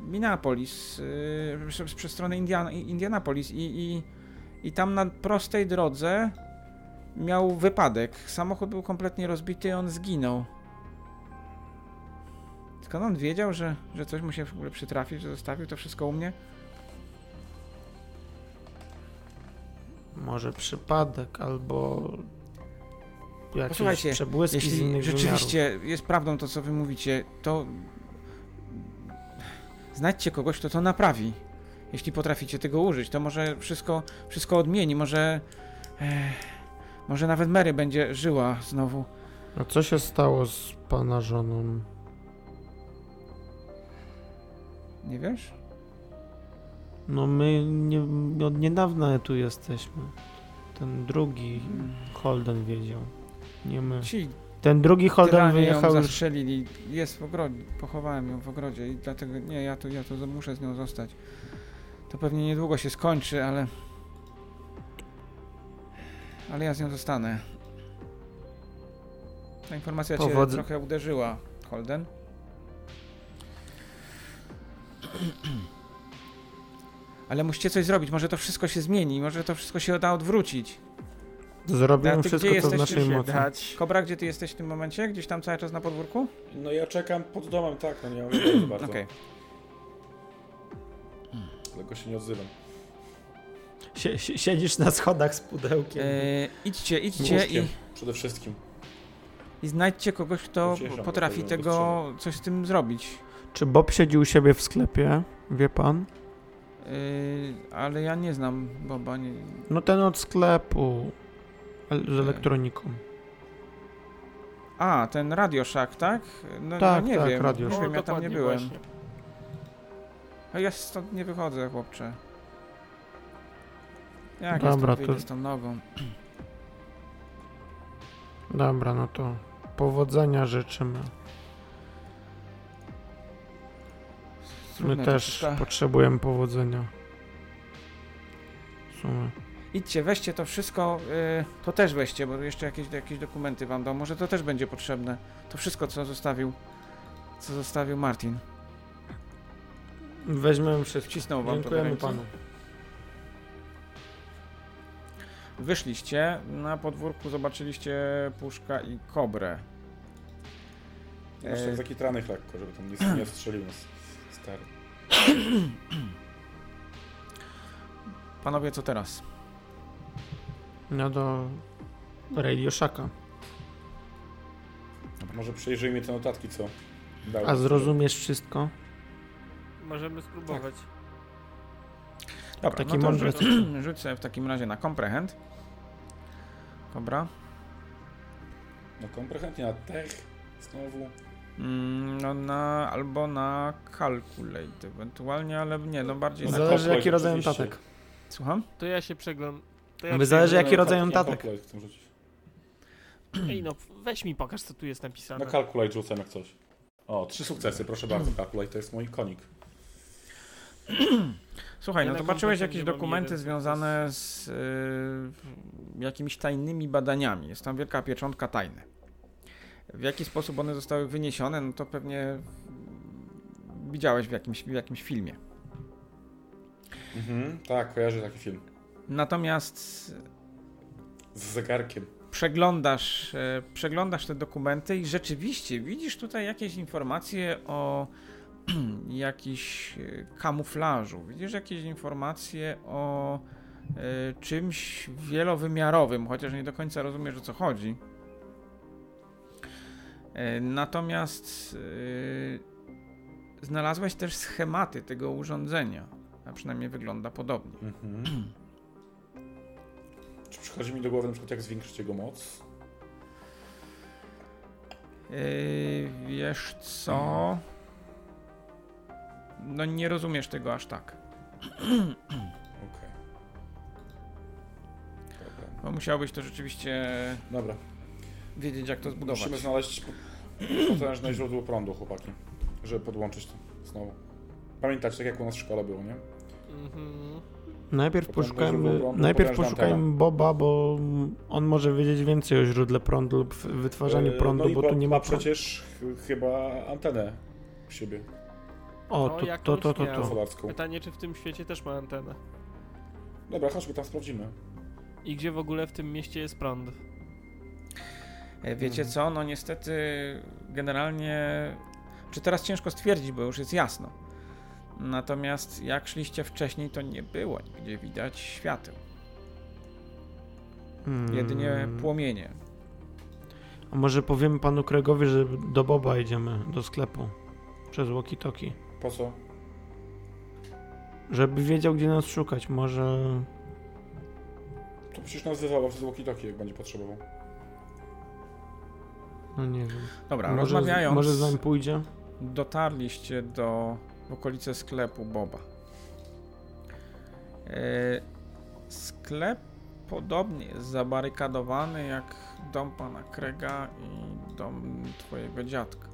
y, Minneapolis, y, przez, przez stronę Indian, Indianapolis i, i, i tam na prostej drodze miał wypadek. Samochód był kompletnie rozbity i on zginął. Skąd on wiedział, że, że coś mu się w ogóle przytrafi, że zostawił to wszystko u mnie?
Może przypadek, albo. Jakieś
Posłuchajcie,
przebłyski z
Jeśli
innych wymiarów.
rzeczywiście jest prawdą to, co wy mówicie, to znajdźcie kogoś, kto to naprawi. Jeśli potraficie tego użyć, to może wszystko, wszystko odmieni, może... eh, może nawet Mary będzie żyła znowu.
A co się stało z pana żoną?
Nie wiesz?
No my nie, od niedawna tu jesteśmy. Ten drugi Holden wiedział. Nie my.
Ci
Ten drugi Holden
Tyranie
wyjechał
ją
już.
zastrzelili. Jest w ogrodzie. Pochowałem ją w ogrodzie i dlatego nie, ja tu, ja tu muszę z nią zostać. To pewnie niedługo się skończy, ale... Ale ja z nią zostanę. Ta informacja
Powodz-
cię trochę uderzyła, Holden. Ale musicie coś zrobić, może to wszystko się zmieni, może to wszystko się da odwrócić. A
Zrobimy
ty
wszystko,
gdzie
co w
jesteś,
naszej
już nie
mocy.
dać.
Kobra, gdzie ty jesteś w tym momencie? Gdzieś tam cały czas na podwórku?
No ja czekam pod domem, tak, no nie mam za bardzo.
Okej.
Dlatego się nie odzywam.
Sie- sie- Siedzisz na schodach z pudełkiem.
E, idźcie, idźcie i,
Łóżkiem. Przede wszystkim.
i znajdźcie kogoś, kto
Pocieszam,
potrafi
dlatego
tego coś z tym zrobić.
Czy Bob siedzi u siebie w sklepie? Wie pan?
E, ale ja nie znam Boba. Nie,
No ten od sklepu el- z
E.
elektroniką.
a, ten radioszak, tak? No,
Tak,
no nie
tak,
wiem.
Radio
Nie
Shack.
wiem, ja tam nie
dokładnie,
byłem.
właśnie.
A ja stąd nie wychodzę, chłopcze. Jak
Dobra,
Dobra, ja
to-
stąd to... z tą nogą?
Dobra, no to powodzenia życzymy. My
Trudne to
też
wszystko.
potrzebujemy powodzenia. W sumie.
Idźcie, weźcie to wszystko, y, to też weźcie, bo jeszcze jakieś, jakieś dokumenty wam dam, może to też będzie potrzebne. To wszystko, co zostawił, co zostawił Martin.
Weźmiemy wszystko.
Wcisnął wam to do
Dziękujemy
ręki.
panu.
Wyszliście, na podwórku zobaczyliście Puszka i Kobrę.
Ja Masz tak
E.
zakitrany lekko, żeby tam nic nie strzelił nas. Stary.
Panowie, co teraz?
No do Radio Shacka.
Może przejrzyjmy te notatki, co dał.
A zrozumiesz wszystko?
Możemy spróbować.
Tak. Dobra, no
Taki
to
mądry
rzuć, rzuć sobie w takim razie na comprehend. Dobra.
No komprehentnie, a tech znowu.
Mm, no na, albo na calculate ewentualnie, ale nie, no bardziej na...
Zale-
Zależy jaki
kopłek,
rodzaj
oczywiście.
notatek.
Słucham?
To ja się przeglądam. To
Wy zależy,
przeglądam-
jaki rodzaj
Na
notatek.
calculate tak, chcę rzucić.
Ej no, weź mi pokaż co tu jest napisane.
Na calculate rzucam jak coś. O, trzy sukcesy, proszę bardzo. Calculate to jest mój konik.
Słuchaj, no
Ja na
zobaczyłeś
comprehend
jakieś
mam
dokumenty
jeden
związane z y, jakimiś tajnymi badaniami. Jest tam wielka pieczątka tajny. W jaki sposób one zostały wyniesione, no to pewnie mm, widziałeś w jakimś, w jakimś filmie.
Mhm, tak, kojarzę taki film.
Natomiast
Z zegarkiem.
przeglądasz, e, przeglądasz te dokumenty i rzeczywiście widzisz tutaj jakieś informacje o jakiś e, kamuflażu, widzisz jakieś informacje o e, czymś wielowymiarowym, chociaż nie do końca rozumiesz o co chodzi. E, Natomiast e, znalazłeś też schematy tego urządzenia, a przynajmniej wygląda podobnie.
Mhm. Czy przychodzi mi do głowy na przykład jak zwiększyć jego moc?
Yy, wiesz co? No nie rozumiesz tego aż tak,
Okej. Dobra.
bo musiałbyś to rzeczywiście
Dobra.
wiedzieć jak to zbudować.
Musimy znaleźć po- potężne źródło prądu, chłopaki, żeby podłączyć to znowu. Pamiętać, tak jak u nas w szkole było, nie?
Mhm.
Najpierw
Potem
poszukajmy,
będzie był prąd,
najpierw
potężna
poszukajmy Boba, bo on może wiedzieć więcej o źródle prądu lub w- wytwarzaniu
E,
prądu,
no i
bo tu
Bob
nie ma prądu.
przecież ch- chyba antenę w siebie,
O,
No,
to,
jakąś
to, to, to,
miał.
to.
solarską.
Pytanie, czy w tym świecie też ma antenę?
Dobra, chodźmy tam, sprawdzimy.
I gdzie w ogóle w tym mieście jest prąd?
E, Wiecie co? No niestety generalnie czy teraz ciężko stwierdzić, bo już jest jasno. Natomiast jak szliście wcześniej, to nie było nigdzie widać świateł,
Mm.
jedynie płomienie.
A może powiemy panu Kregowi, że do Boba idziemy, do sklepu. Przez walkie-talkie.
Po co?
Żeby wiedział, gdzie nas szukać. Może...
To przecież nas wywoła przez walkie-talkie, jak będzie potrzebował.
No nie wiem.
Dobra,
może,
rozmawiając,
może z nami pójdzie?
dotarliście do w okolice sklepu Boba. E, sklep podobnie jest zabarykadowany jak dom pana Krega i dom twojego dziadka.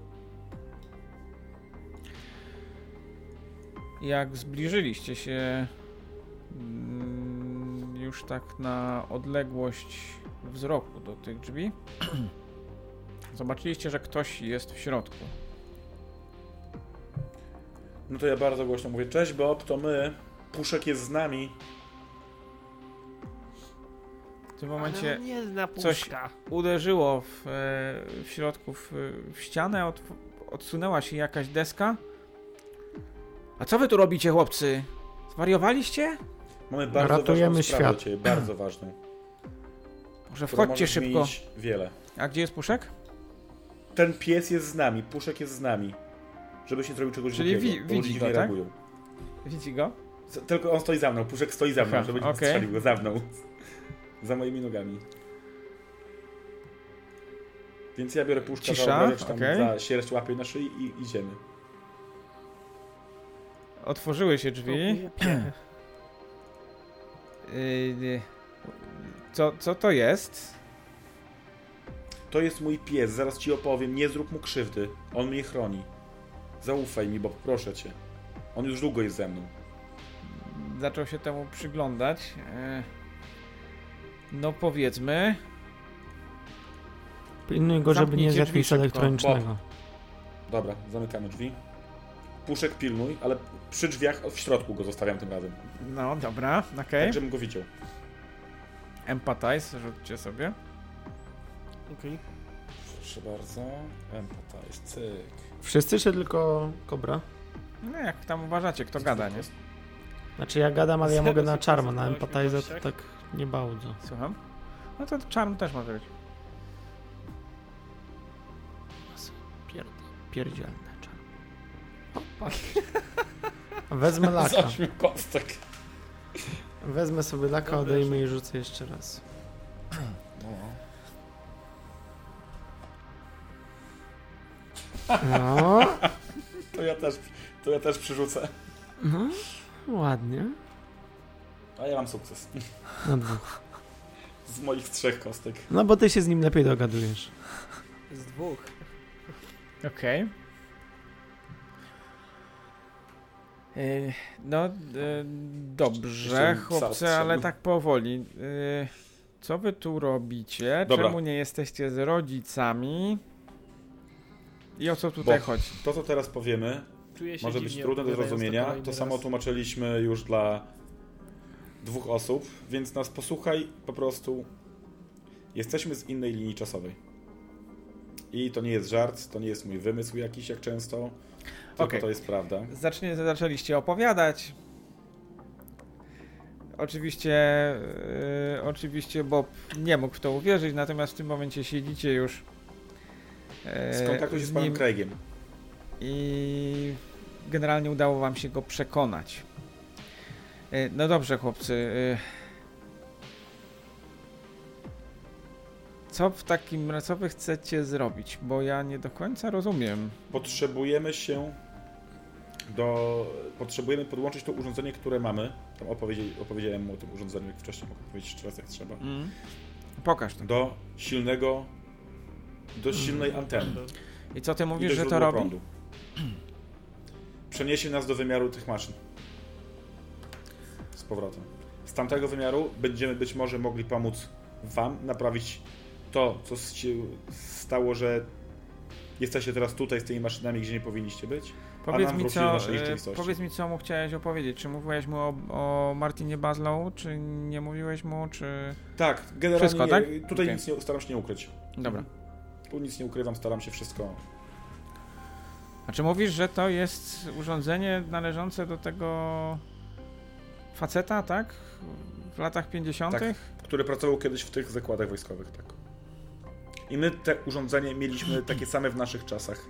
Jak zbliżyliście się mm, już tak na odległość wzroku do tych drzwi, zobaczyliście, że ktoś jest w środku.
No to ja bardzo głośno mówię, cześć Bob, to my. Puszek jest z nami.
W tym
Ale
momencie
on nie zna
coś-
puszka.
uderzyło w, e, w środku w, w ścianę, od, odsunęła się jakaś deska. A co wy tu robicie, chłopcy? Zwariowaliście?
Mamy bardzo
Ratujemy
ważną sprawę
świat.
dla ciebie, bardzo ważną.
Może
która
wchodźcie
może
szybko.
zmienić Wiele.
A gdzie jest puszek?
Ten pies jest z nami, puszek jest z nami. Żebyś nie zrobił czegoś
Czyli
głupiego,
wi-
bo
widzi
ludzie
go,
nie
tak?
reagują.
Widzi go?
Z- Tylko on stoi za mną, puszek stoi za mną,
Aha,
żeby nie
okej.
strzelił go za mną. za moimi nogami. Więc ja biorę puszka
Cisza,
za obręcz, tam
okej.
za sierść łapię na szyi i idziemy.
Otworzyły się drzwi. Y, Co, co to jest?
To jest mój pies, zaraz ci opowiem, nie zrób mu krzywdy. On mnie chroni. Zaufaj mi, Bob, proszę cię. On już długo jest ze mną.
Zaczął się temu przyglądać. E, No powiedzmy.
Pilnuj go, żeby
Zamknijcie
nie zjadł
drzwi
nic
szybko,
elektronicznego.
Dobra, zamykamy drzwi. Puszek pilnuj, ale przy drzwiach w środku go zostawiam tym razem.
No dobra, okej.
Tak, żebym go widział.
Empathize, rzućcie sobie.
Okej.
Proszę bardzo. Empathize, cyk.
Wszyscy czy tylko Kobra?
No jak tam uważacie, kto gada, nie?
Znaczy ja gadam, ale ja mogę na
Zero
czarma, na
sukcesów na
empathizer
osiemnaściach.
to tak nie bardzo.
Słucham? No to czarm też może być.
Pierdzielne czarma. Opa. Wezmę laka.
kostek.
Wezmę sobie laka,
Dobra,
odejmę i rzucę jeszcze raz. No,
To ja też, to ja też przerzucę.
no, ładnie.
A ja mam sukces.
Na dwóch.
Z moich trzech kostek.
No bo ty się z nim lepiej dogadujesz.
Z dwóch.
Okej. Y, No, y,
Jeszcze
dobrze,
bym psa
chłopcy,
ostrzegł.
ale tak powoli. Y, Co wy tu robicie?
Dobra.
Czemu nie jesteście z rodzicami? I o co tutaj
Bo-
chodzi?
To, co teraz powiemy,
Czuję się
może
dziwnie,
być trudne do
opowiadając
zrozumienia.
kolejny
To samo
raz.
tłumaczyliśmy już dla dwóch osób, więc nas posłuchaj po prostu. Jesteśmy z innej linii czasowej. I to nie jest żart, to nie jest mój wymysł jakiś jak często, tylko
Okej.
to jest prawda.
Zacznie, zaczęliście opowiadać. Oczywiście, e, oczywiście Bob nie mógł w to uwierzyć, natomiast w tym momencie siedzicie już. e,
Skontaktuj się z panem
nim
Craigiem.
I generalnie udało wam się go przekonać. E, No dobrze, chłopcy. e, Co w takim razie, co wy chcecie zrobić? Bo ja nie do końca rozumiem.
Potrzebujemy się do... Potrzebujemy podłączyć to urządzenie, które mamy. Tam opowiedzieli, opowiedziałem mu o tym urządzeniu, jak wcześniej mogę powiedzieć jeszcze raz jak trzeba.
Pokaż to.
Do silnego... Do silnej anteny.
I co ty mówisz,
i do
że to
źródła
robi?
prądu. Przeniesie nas do wymiaru tych maszyn. Z powrotem. Z tamtego wymiaru będziemy być może mogli pomóc Wam naprawić to, co się stało, że jesteście teraz tutaj z tymi maszynami, gdzie nie powinniście być.
Powiedz
nam
mi,
wrócił do
co,
naszej
e,
rzeczywistości.
powiedz mi, co mu chciałeś opowiedzieć. Czy mówiłeś mu o, o Martinie Bazlow, czy nie mówiłeś mu, czy...
Tak, generalnie
Wszystko, tak?
tutaj
Okej.
nic nie, staram się nie ukryć.
Dobra.
Tu nic nie ukrywam, staram się wszystko.
A czy mówisz, że to jest urządzenie należące do tego faceta, tak? W latach 50.
Tak. Który pracował kiedyś w tych zakładach wojskowych, tak. I my te urządzenie mieliśmy takie same w naszych czasach,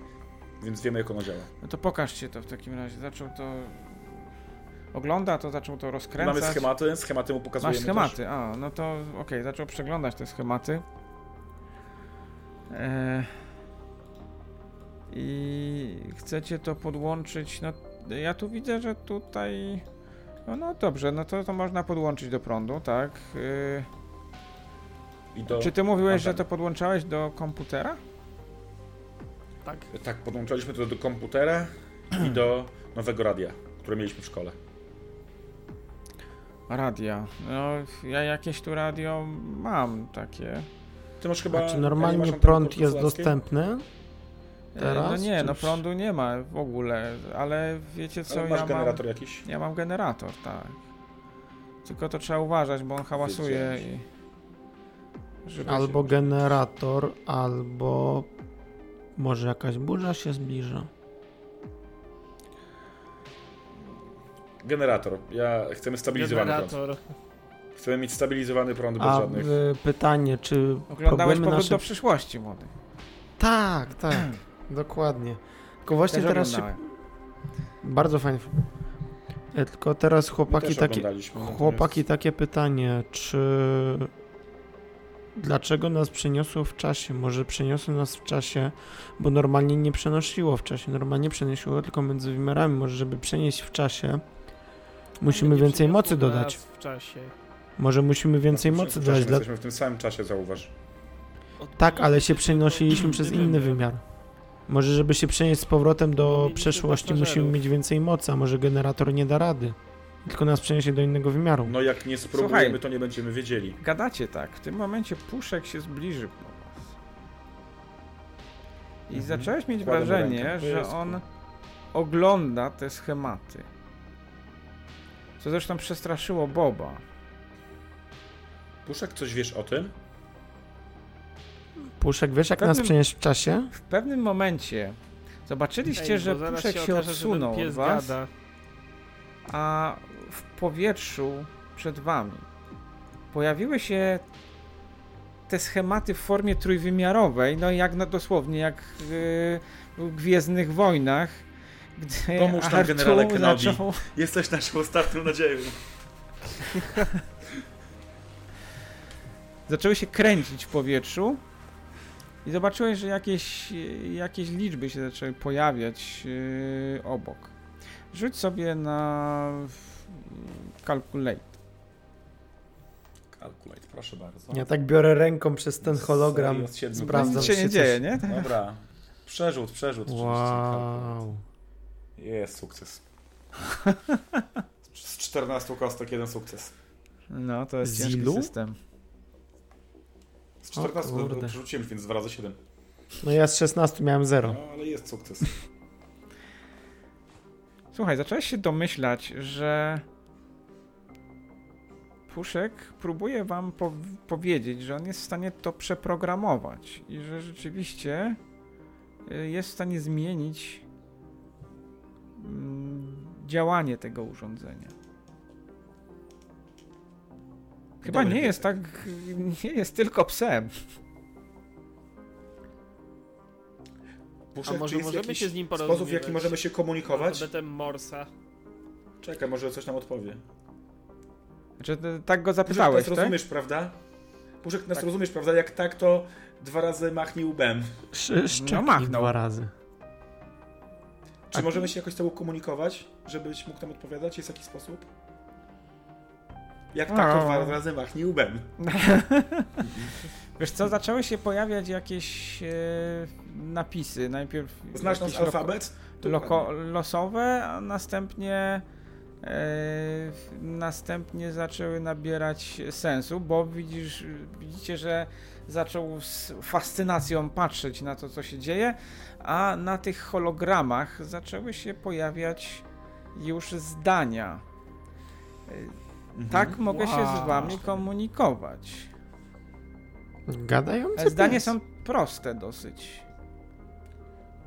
więc wiemy, jak ono działa.
No to pokażcie to w takim razie. Zaczął to... Ogląda to, zaczął to rozkręcać.
Mamy schematy, schematy mu pokazujemy
Masz schematy, a, no to okej, zaczął przeglądać te schematy. E, I chcecie to podłączyć, no ja tu widzę, że tutaj... No, no dobrze, no to, to można podłączyć do prądu, tak? Y,
i do...
Czy ty mówiłeś, że
anteny.
to podłączałeś do komputera?
Tak.
Tak, podłączaliśmy to do komputera i do nowego radia, które mieliśmy w szkole.
Radia. No, ja jakieś tu radio mam takie. Y,
Ty masz chyba...
A czy
nie masz
Znaczy, normalnie
anteny
prąd jest
portugalskiej?
dostępny?
E,
Teraz?
no nie,
Czy
no
już-
prądu nie ma w ogóle, ale wiecie co,
Ale masz
ja mam...
generator jakiś?
Ja mam generator, tak. Tylko to trzeba uważać, bo on hałasuje i... Żeby
Albo generator, albo może jakaś burza się zbliża.
Generator. Ja... Chcemy stabilizowany prąd.
Generator.
Chcemy mieć stabilizowany prąd No bez
A
żadnych...
y, pytanie, czy
Oglądałeś
problemy
powrót
nasze...
do przyszłości, młody.
Tak, tak, dokładnie. Tylko właśnie
Też
teraz się...
oglądałem.
Bardzo fajnie. E, Tylko teraz
My
chłopaki
też
takie...
oglądaliśmy, natomiast-
Chłopaki, takie pytanie, czy dlaczego nas przeniosło w czasie? Może przeniosło nas w czasie, bo normalnie nie przenosiło w czasie, normalnie przenosiło tylko między wymiarami. Może żeby przenieść w czasie, musimy
Nie
więcej
przyniosło
mocy
nas
dodać.
W czasie.
Może musimy więcej mocy
Wcześniej
dodać. Dla...
Jesteśmy w tym samym czasie, zauważ.
Tak, ale się przenosiliśmy przez inny wymiar. Może żeby się przenieść z powrotem do
Mieliśmy
przeszłości,
pasażerów.
musimy mieć więcej mocy, a może generator nie da rady. Tylko nas przeniesie do innego wymiaru.
No jak nie spróbujemy,
Słuchaj.
to nie będziemy wiedzieli.
Gadacie tak, w tym momencie puszek się zbliżył do was. I
Mhm.
zacząłeś mieć
Kładę mu
wrażenie,
rękę.
że
Jezu.
on ogląda te schematy. Co zresztą przestraszyło Boba.
Puszek, coś wiesz o tym?
Puszek, wiesz jak nas
Pewnym-
przenieść w czasie?
W pewnym momencie zobaczyliście,
Ej,
że
bo no zaraz
puszek się,
okaże, że ten
odsunął od
pies
was.
gada.
a w powietrzu przed wami pojawiły się te schematy w formie trójwymiarowej, no jak na, dosłownie jak yy, w Gwiezdnych Wojnach, gdy
Pomóż nam,
Artu
generale Kenobi.
zaczął,
Jesteś naszą ostatnią nadzieją.
zaczęły się kręcić w powietrzu i zobaczyłeś, że jakieś, jakieś liczby się zaczęły pojawiać yy, obok. Rzuć sobie na w- calculate.
Kalkulajt, proszę bardzo.
Ja tak biorę ręką przez ten hologram.
Serio, z siedmiu
Sprawdzam
Nic się nie
czy coś-
dzieje, nie?
Dobra. Przerzut, przerzut. oczywiście.
Wow.
Jest sukces. Z 14 kostek jeden sukces.
No, to jest
Z
ciężki
ilu?
system.
Z
O
14
kurde.
przerzuciłem, więc dwa razy 7.
No ja z 16 miałem
No,
0.
ale jest sukces.
Słuchaj, zacząłeś się domyślać, że Puszek próbuje wam po- powiedzieć, że on jest w stanie to przeprogramować i że rzeczywiście y, jest w stanie zmienić mm, działanie tego urządzenia. Chyba
Dobry
nie jest tak, nie jest tylko psem.
Puszek,
A
czy
może
jest
możemy
jakiś
się z nim No, porozumiewać?
Sposób, w jaki możemy się komunikować?
Alfabetem Morsa.
Czekaj, może coś nam odpowie.
Znaczy, t- tak go
Puszek,
zapytałeś,
nas
tak?
rozumiesz, prawda? Puszek, nas rozumiesz, prawda? Jak tak, to dwa razy machnij łbem.
Sz- Szczeknij
No machnął.
dwa razy.
Czy możemy się jakoś z tobą komunikować, żebyś mógł nam odpowiadać? Jest jakiś sposób? Jak tak, to dwa razy machnij łbem.
Wiesz co, zaczęły się pojawiać jakieś e, napisy. Najpierw
Znasz nasz
jakieś loko-
alfabet?
Loko, losowe, a następnie e, następnie zaczęły nabierać sensu, bo widzisz, widzicie, że zaczął z fascynacją patrzeć na to, co się dzieje, a na tych hologramach zaczęły się pojawiać już zdania.
Mhm.
Tak mogę się z
Wow.
wami komunikować.
Gadający
Zdania
pies.
są proste dosyć.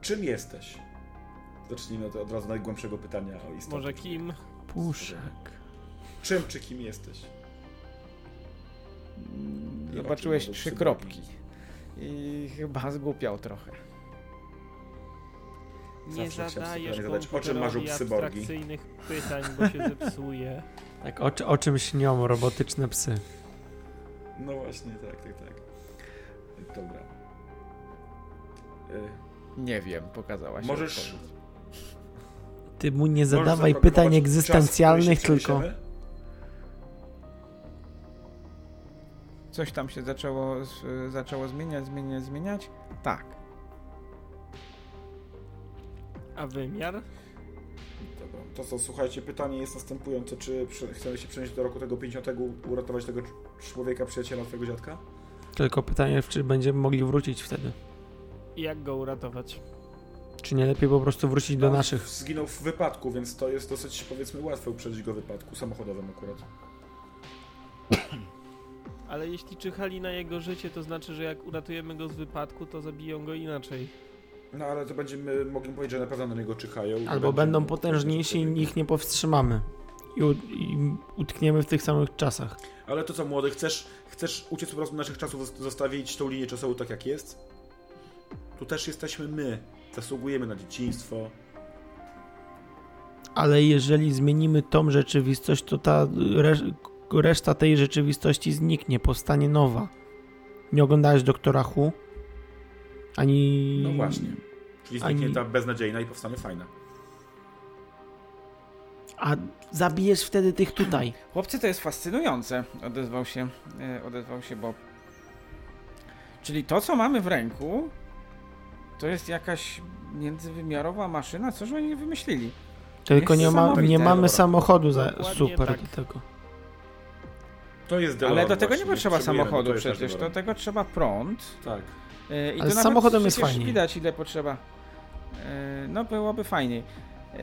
Czym jesteś? Zacznijmy od, od razu najgłębszego pytania o istotę.
Może kim?
Puszek.
Czym czy kim jesteś?
Zobaczyłeś
Jakie
trzy
nowe
kropki. I chyba zgłupiał trochę.
Nie
Zawsze chciałem
zadajesz
sobie zadać, o czym marzą
komputerowi
psy Borgi?
abstrakcyjnych pytań, bo się zepsuje.
Tak, o, czy- o czym śnią robotyczne psy?
No właśnie, tak, tak, tak. Dobra. Y,
Nie wiem, pokazała się.
Możesz-
odpowiedź.
Ty mu nie
możesz
zadawaj
zaprogramować
pytań
czas,
egzystencjalnych,
który się
tylko
przeniesiemy?
Coś tam się zaczęło, z- zaczęło zmieniać, zmieniać, zmieniać. Tak.
A wymiar?
Dobra. To co, słuchajcie, pytanie jest następujące. Czy prze- chcemy się przenieść do roku tego 50, uratować tego cz- człowieka, przyjaciela twojego dziadka?
Tylko pytanie, czy będziemy mogli wrócić wtedy?
I jak go uratować?
Czy nie lepiej po prostu wrócić do
On
naszych?
Zginął w wypadku, więc to jest dosyć, powiedzmy, łatwe uprzedzić go w wypadku samochodowym akurat.
Ale jeśli czyhali na jego życie, to znaczy, że jak uratujemy go z wypadku, to zabiją go inaczej.
No ale to będziemy mogli powiedzieć, że na pewno na niego czyhają. i
Albo
będziemy-
będą potężniejsi i ich nie powstrzymamy. I, u, I utkniemy w tych samych czasach.
Ale to co, młody, chcesz, chcesz uciec po prostu do naszych czasów, zos- zostawić tą linię czasową tak jak jest? Tu też jesteśmy my. Zasługujemy na dzieciństwo.
Ale jeżeli zmienimy tą rzeczywistość, to ta resz- reszta tej rzeczywistości zniknie, powstanie nowa. Nie oglądałeś doktora Hu? Ani.
No właśnie. Czyli zniknie
Mm. Ani-
ta beznadziejna i powstanie fajna.
A zabijesz wtedy tych tutaj.
Chłopcy, to jest fascynujące, odezwał się, e, odezwał się Bob. Czyli to, co mamy w ręku, to jest jakaś międzywymiarowa maszyna, coś oni wymyślili.
Tylko nie, ma,
Niesamowite,
nie mamy
dobra.
samochodu za
Dokładnie
super
tak.
do tego.
To jest
Ale
DeLorean
do tego nie
właśnie,
potrzeba
potrzebujemy, no
samochodu
to jest nasz
przecież, tak- do
DeLorean.
tego trzeba prąd.
Tak.
E, I to
Ale z
nawet
samochodem jest
przecież
fajniej.
widać, ile potrzeba. E, No, byłoby fajniej. E,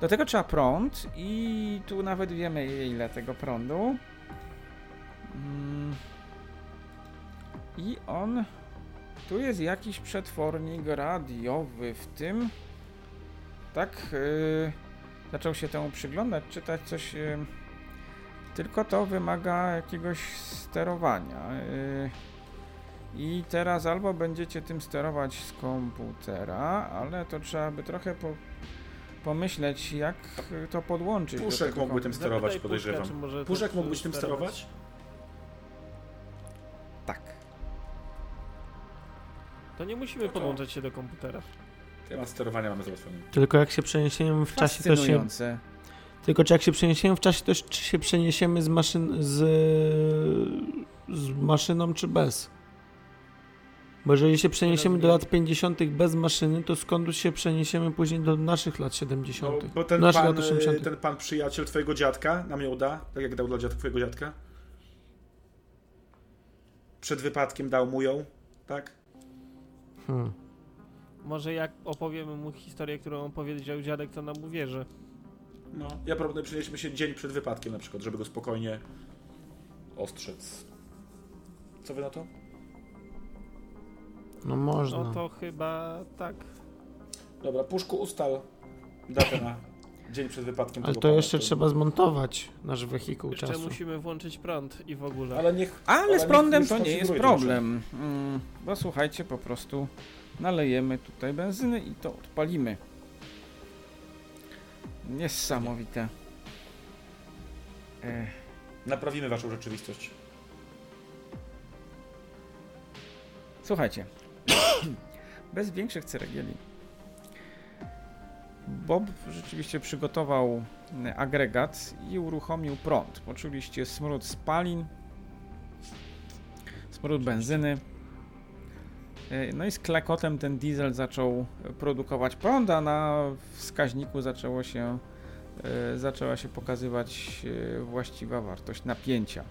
Do tego trzeba prąd i tu nawet wiemy, ile tego prądu. Mm. I on... Tu jest jakiś przetwornik radiowy w tym. Tak, e, zaczął się temu przyglądać, czytać coś... e, Tylko to wymaga jakiegoś sterowania. e, i teraz albo będziecie tym sterować z komputera, ale to trzeba by trochę po, pomyśleć, jak y, to podłączyć. do
Puszek
tego
mógłby tym
komputera.
Sterować,
Zapytaj
podejrzewam.
Puszka, czy może
Puszek
też,
mógłbyś
y,
tym sterować?
Tak.
To nie musimy podłączać się do komputera.
Temat sterowania mamy załatwiony.
Tylko jak się przeniesiemy w czasie, to się.
Fascynujące.
Tylko czy jak się przeniesiemy w czasie, to czy się przeniesiemy z maszyn. z. z maszyną, czy bez? Bo jeżeli się przeniesiemy do lat 50. bez maszyny, to skąd się przeniesiemy później do naszych lat 70.
No,
bo ten
Nasz
pan,
lat 80.
y, ten pan przyjaciel twojego dziadka nam ją da, tak jak dał dla dziadka twojego dziadka. Przed wypadkiem dał mu ją, tak?
Hmm.
Może jak opowiemy mu historię, którą opowiedział dziadek, to nam uwierzy.
No. Ja proponuję przynieśmy się dzień przed wypadkiem na przykład, żeby go spokojnie ostrzec. Co wy na to?
No można.
No to chyba tak.
Dobra, puszku ustal datę na dzień przed wypadkiem.
Ale
tego
to
pana,
jeszcze
to-
trzeba zmontować nasz wehikuł
Jeszcze
czasu.
musimy włączyć prąd i w ogóle.
Ale niech...
Ale
Ale
z
niech-
prądem
niech
to nie
skonfiguruje
jest
to
problem. Mm, Bo słuchajcie, po prostu nalejemy tutaj benzyny i to odpalimy. Niesamowite. E,
Naprawimy waszą rzeczywistość.
Słuchajcie. Bez większych ceregieli. Bob rzeczywiście przygotował e, agregat i uruchomił prąd. Poczuliście smród spalin, smród benzyny. E, No i z klekotem ten diesel zaczął e, produkować prąd, a na wskaźniku zaczęło się, e, zaczęła się pokazywać e, właściwa wartość napięcia.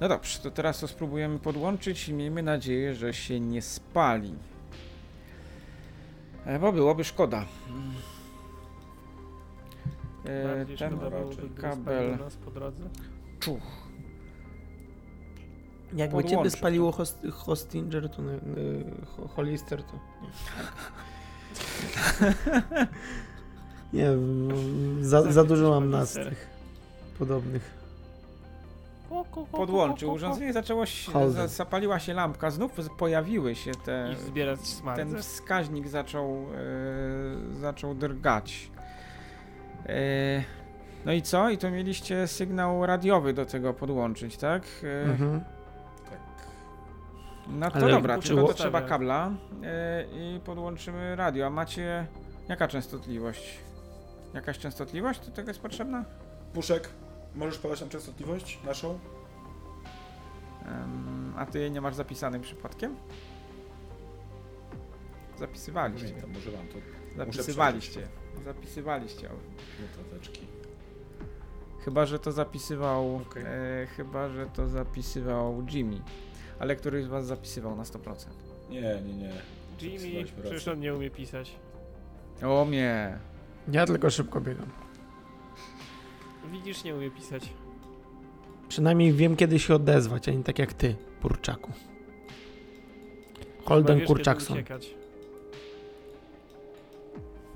No dobrze, to teraz to spróbujemy podłączyć i miejmy nadzieję, że się nie spali. E, Bo byłoby szkoda. Mm. E,
Bardziej
Ten
szkoda byłoby, gdyby
kabel
spadł do nas po drodze.
czuch.
Jakby
Podłączę
ciebie
to.
spaliło host, Hostinger, to nie, y, ho- Hollister, to nie. nie, w- za, za dużo mam nas tych podobnych.
Ko, ko, ko, ko,
podłączył
ko, ko.
urządzenie, zaczęło się,
Holder.
za- zapaliła się lampka, znów z- pojawiły się te,
I zbierać smarze.
ten wskaźnik zaczął, e, zaczął drgać. E, no i co? I to mieliście sygnał radiowy do tego podłączyć, tak? E,
Mhm.
No to
Ale
dobra,
kurczę,
tylko to
ustawiam.
trzeba kabla e, i podłączymy radio. A macie jaka częstotliwość? Jakaś częstotliwość do tego jest potrzebna?
Puszek, możesz podać nam częstotliwość naszą?
Em, a ty jej nie masz zapisanym przypadkiem? Zapisywaliście.
Pamiętam, może mam to
Zapisywaliście. Zapisywaliście.
notateczki.
Chyba, że to zapisywał.
Okej.
E, chyba, że to zapisywał Jimmy. Ale któryś z was zapisywał na 100%.
Nie, nie, nie.
Jimmy,
Zapisywaliśmy
przecież
rację.
on nie umie pisać.
O nie.
Ja tylko szybko biegam.
Widzisz, nie umie pisać.
Przynajmniej wiem, kiedy się odezwać, a nie tak jak ty, kurczaku.
Chyba
Holden
wiesz, kiedy
Kurczakson.
uciekać.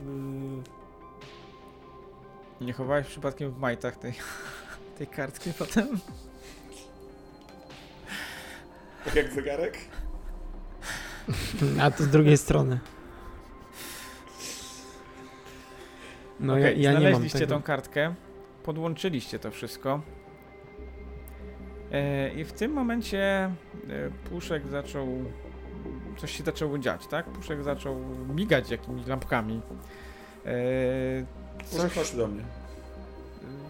Mm,
Nie chowałeś przypadkiem w majtach tej, tej kartki potem?
Tak jak zegarek?
A to z drugiej strony. No ja,
Okej,
ja nie mam
znaleźliście
tego.
tą kartkę, podłączyliście to wszystko. E, I w tym momencie e, Puszek zaczął. Coś się zaczęło dziać, tak? Puszek zaczął migać jakimiś lampkami. E,
Może chodź do mnie.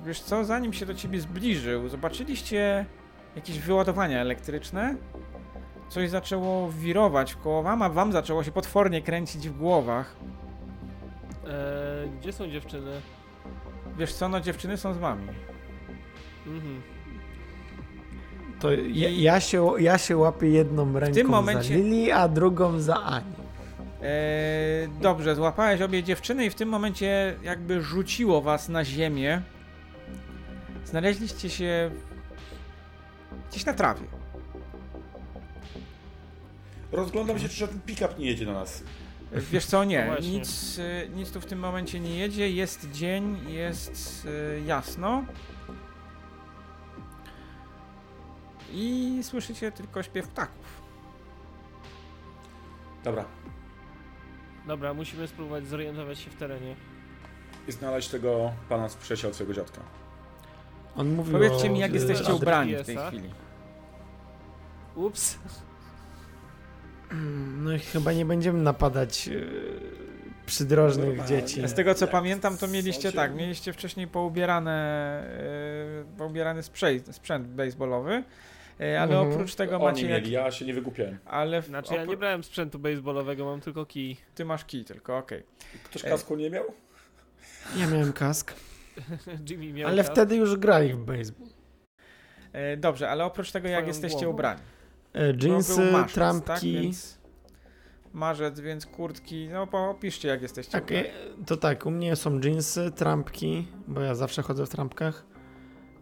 Wiesz co, zanim się do ciebie zbliżył, zobaczyliście jakieś wyładowania elektryczne. Coś zaczęło wirować koło wam, a wam zaczęło się potwornie kręcić w głowach.
e, gdzie są dziewczyny?
Wiesz co, no dziewczyny są z wami.
Mhm.
To ja, ja, się, ja się łapię jedną ręką
momencie-
za Lili, a drugą za Ani.
Eee, dobrze, złapałeś obie dziewczyny i w tym momencie jakby rzuciło was na ziemię. Znaleźliście się gdzieś na trawie.
Rozglądam się, czy żaden pick-up nie jedzie na nas.
Wiesz co, nie,
Właśnie.
nic, y, nic tu w tym momencie nie jedzie, jest dzień, jest y, jasno. I słyszycie tylko śpiew ptaków.
Dobra,
Dobra, musimy spróbować zorientować się w terenie.
i znaleźć tego pana z przyjaciela od swojego dziadka.
On mówił
Powiedzcie
o,
mi, jak
y,
jesteście
adres-
ubrani w tej
GPS-a.
chwili.
Ups.
No i chyba nie będziemy napadać yy, przydrożnych
Normalnie.
dzieci.
Z tego co
Jak
pamiętam, to mieliście
chcecie.
tak, mieliście wcześniej poubierane, y, poubierany sprzęt, sprzęt baseballowy, y, ale
Mhm.
oprócz tego
Oni
macie
mieli,
jak,
ja się nie wygłupiałem.
ale w,
Znaczy, ja
opró-
nie brałem sprzętu baseballowego, mam tylko kij.
ty masz kij tylko, okej.
Ktoś
Ej.
kasku nie miał?
Ja miałem kask.
Jimmy miał
Ale
kask.
wtedy już grali w baseball. E,
Y, Dobrze, ale oprócz tego jak
Twoją
jesteście
głową?
ubrani.
E,
No,
Dżinsy,
był marzec, tak?
trampki.
Więc marzec, więc kurtki. No po- opiszcie jak jesteście.
Tak, e, to tak, u mnie są dżinsy, trampki, bo ja zawsze chodzę w trampkach.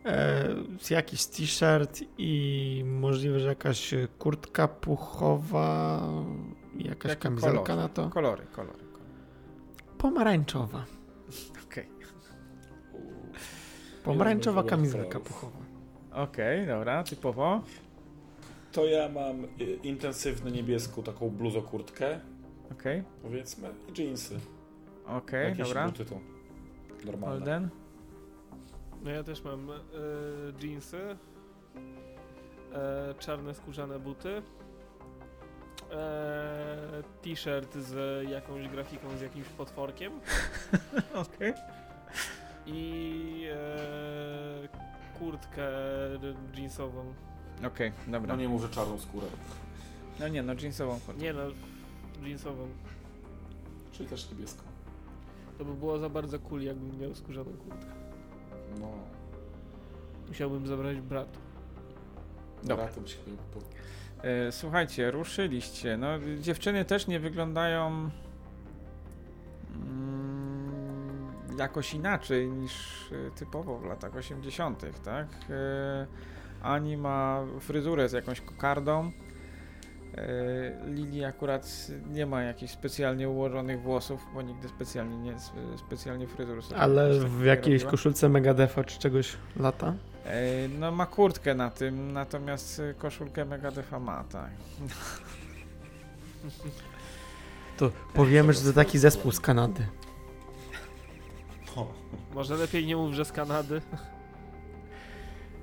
E, jakiś t-shirt i możliwe, że jakaś e, kurtka puchowa, jakaś
Jaki
kamizelka
kolor?
na to.
Kolory, kolory. kolory.
Pomarańczowa.
Okej.
Pomarańczowa
Jeden był
kamizelka
kolorów.
puchowa.
Okej, dobra, typowo.
To ja mam y, intensywny niebieską taką bluzokurtkę,
Okej,
powiedzmy, i jeansy.
okej,
Jakieś
dobra.
buty to normalne.
Holden.
No ja też mam e, jeansy, e, czarne skórzane buty, e, t-shirt z jakąś grafiką, z jakimś potworkiem
Okej.
i e, kurtkę jeansową.
Okej, dobra.
No nie mówię czarną skórę.
No nie, no jeansową kurtkę.
Nie no, jeansową.
Czyli też niebieską.
To by było za bardzo cool, jakbym miał skórzaną kurtkę.
No,
Musiałbym zabrać bratu.
Dobra.
bratem się chyba po-
E, Słuchajcie, ruszyliście. No, dziewczyny też nie wyglądają mm, jakoś inaczej niż e, typowo w latach 80., tak? E, Ani ma fryzurę z jakąś kokardą. E, Lili akurat nie ma jakichś specjalnie ułożonych włosów, bo nigdy specjalnie nie specjalnie fryzur sobie
Ale
jakoś tak
w
nie
jakiejś
robiła.
koszulce Megadefa czy czegoś lata?
E, No ma kurtkę na tym, natomiast e, koszulkę Megadefa ma, tak.
To powiemy, że to taki zespół z Kanady.
po-
Może lepiej nie mów, że z Kanady.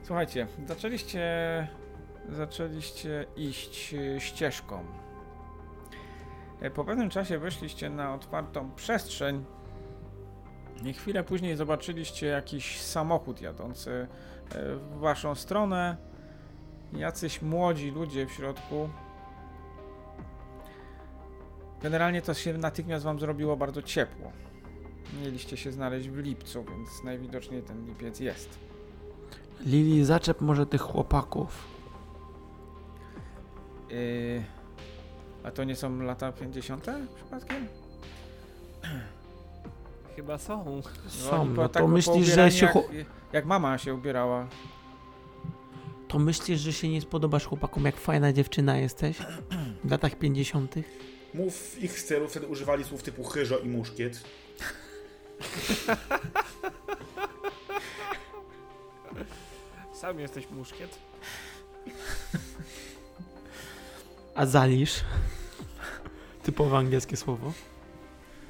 Słuchajcie, zaczęliście, zaczęliście iść y, ścieżką. E, Po pewnym czasie wyszliście na otwartą przestrzeń. I chwilę później zobaczyliście jakiś samochód jadący e, w waszą stronę. jacyś młodzi ludzie w środku. Generalnie to się natychmiast wam zrobiło bardzo ciepło. Mieliście się znaleźć w lipcu, więc najwidoczniej ten lipiec jest.
Lili, zaczep może tych chłopaków.
Yy, a to nie są lata 50. przypadkiem?
Chyba są.
Są,
Oni po-
no
tak
to myślisz, że
poubierani
się...
Jak,
chło-
jak mama się ubierała.
To myślisz, że się nie spodobasz chłopakom, jak fajna dziewczyna jesteś? W latach 50.
Mów w ich stylu, wtedy używali słów typu chyżo i muszkiet.
Sam jesteś muszkiet.
A zalisz? Typowe angielskie słowo.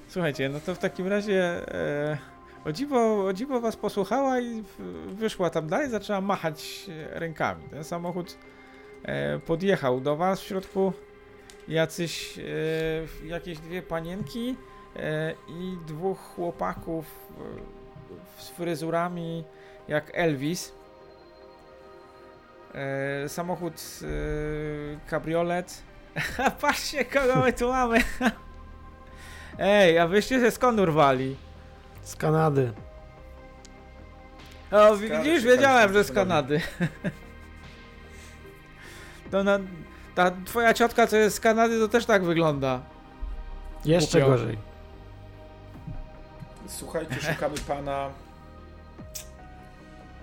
Słuchajcie, no to w takim razie e, o, dziwo, o dziwo was posłuchała i w- wyszła tam dalej, zaczęła machać e, rękami. Ten samochód e, podjechał do was w środku jacyś, e, jakieś dwie panienki e, i dwóch chłopaków e, z fryzurami jak Elvis. E, samochód, e, kabriolet. A patrzcie, kogo my tu mamy. Ej, a wyście się skąd urwali?
Z Kanady.
O,
Z
wi-
Kanady,
widzisz,
z
wiedziałem,
Kalifornii,
że z Kanady. To na, ta twoja ciotka, co jest z Kanady, to też tak wygląda.
Jeszcze
Głupio.
gorzej.
Słuchajcie, szukamy pana...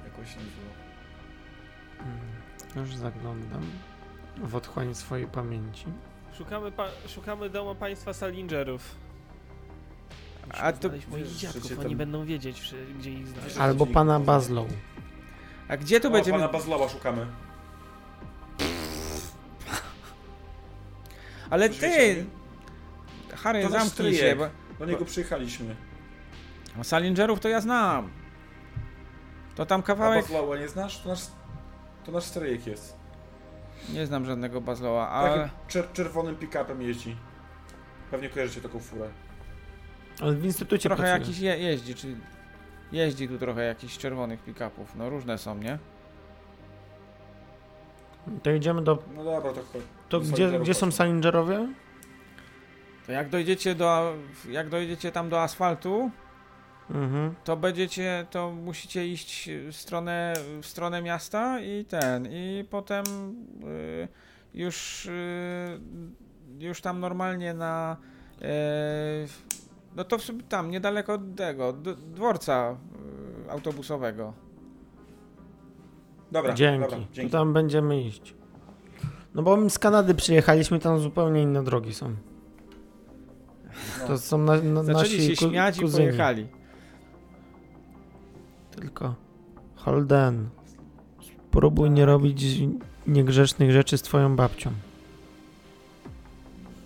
Jakoś nie było.
Mm. Już zaglądam w otchłań swojej pamięci.
Szukamy, pa- szukamy domu państwa Salingerów.
A to-
znaleźć moich
wiesz,
dziadków,
życie
oni
tam-
będą wiedzieć, czy- gdzie ich znaleźć.
Wiesz,
Albo
Dzięki.
pana Bazlow.
A gdzie tu
O,
będziemy...
pana Bazlowa szukamy.
Ale
Coś wiecie o
ty,
nim?
Harry,
To nasz
zamknij
stryjek.
się, bo...
Do niego przyjechaliśmy.
O, Salingerów to ja znam. To tam
A
kawałek...
Bazlowa nie znasz? To nasz, to nasz stryjek jest.
Nie znam żadnego Bazloa, ale...
Takim czer- czerwonym pick-upem jeździ. Pewnie kojarzycie taką furę.
Ale w instytucie
Trochę
pracuje.
jakiś je, jeździ, czy... Jeździ tu trochę jakichś czerwonych pick-upów. No różne są, nie?
To idziemy do...
No dobra, to chodź.
To
Do
gdzie,
Salingerów
gdzie są
chodźmy.
Salingerowie?
To jak dojdziecie do... Jak dojdziecie tam do asfaltu,
Mhm.
to będziecie, to musicie iść w stronę, w stronę miasta i ten, i potem y, już, y, już tam normalnie na, y, no to w sumie tam, niedaleko od tego, d- dworca y, autobusowego.
Dobra,
dzięki.
dobra, dzięki.
To tak, tam będziemy iść. No bo my z Kanady przyjechaliśmy, tam zupełnie inne drogi są.
No.
To są na, na,
Zaczęli
nasi
się
ku,
śmiać i
kuzyni.
pojechali.
Tylko Holden, spróbuj nie robić niegrzecznych rzeczy z twoją babcią.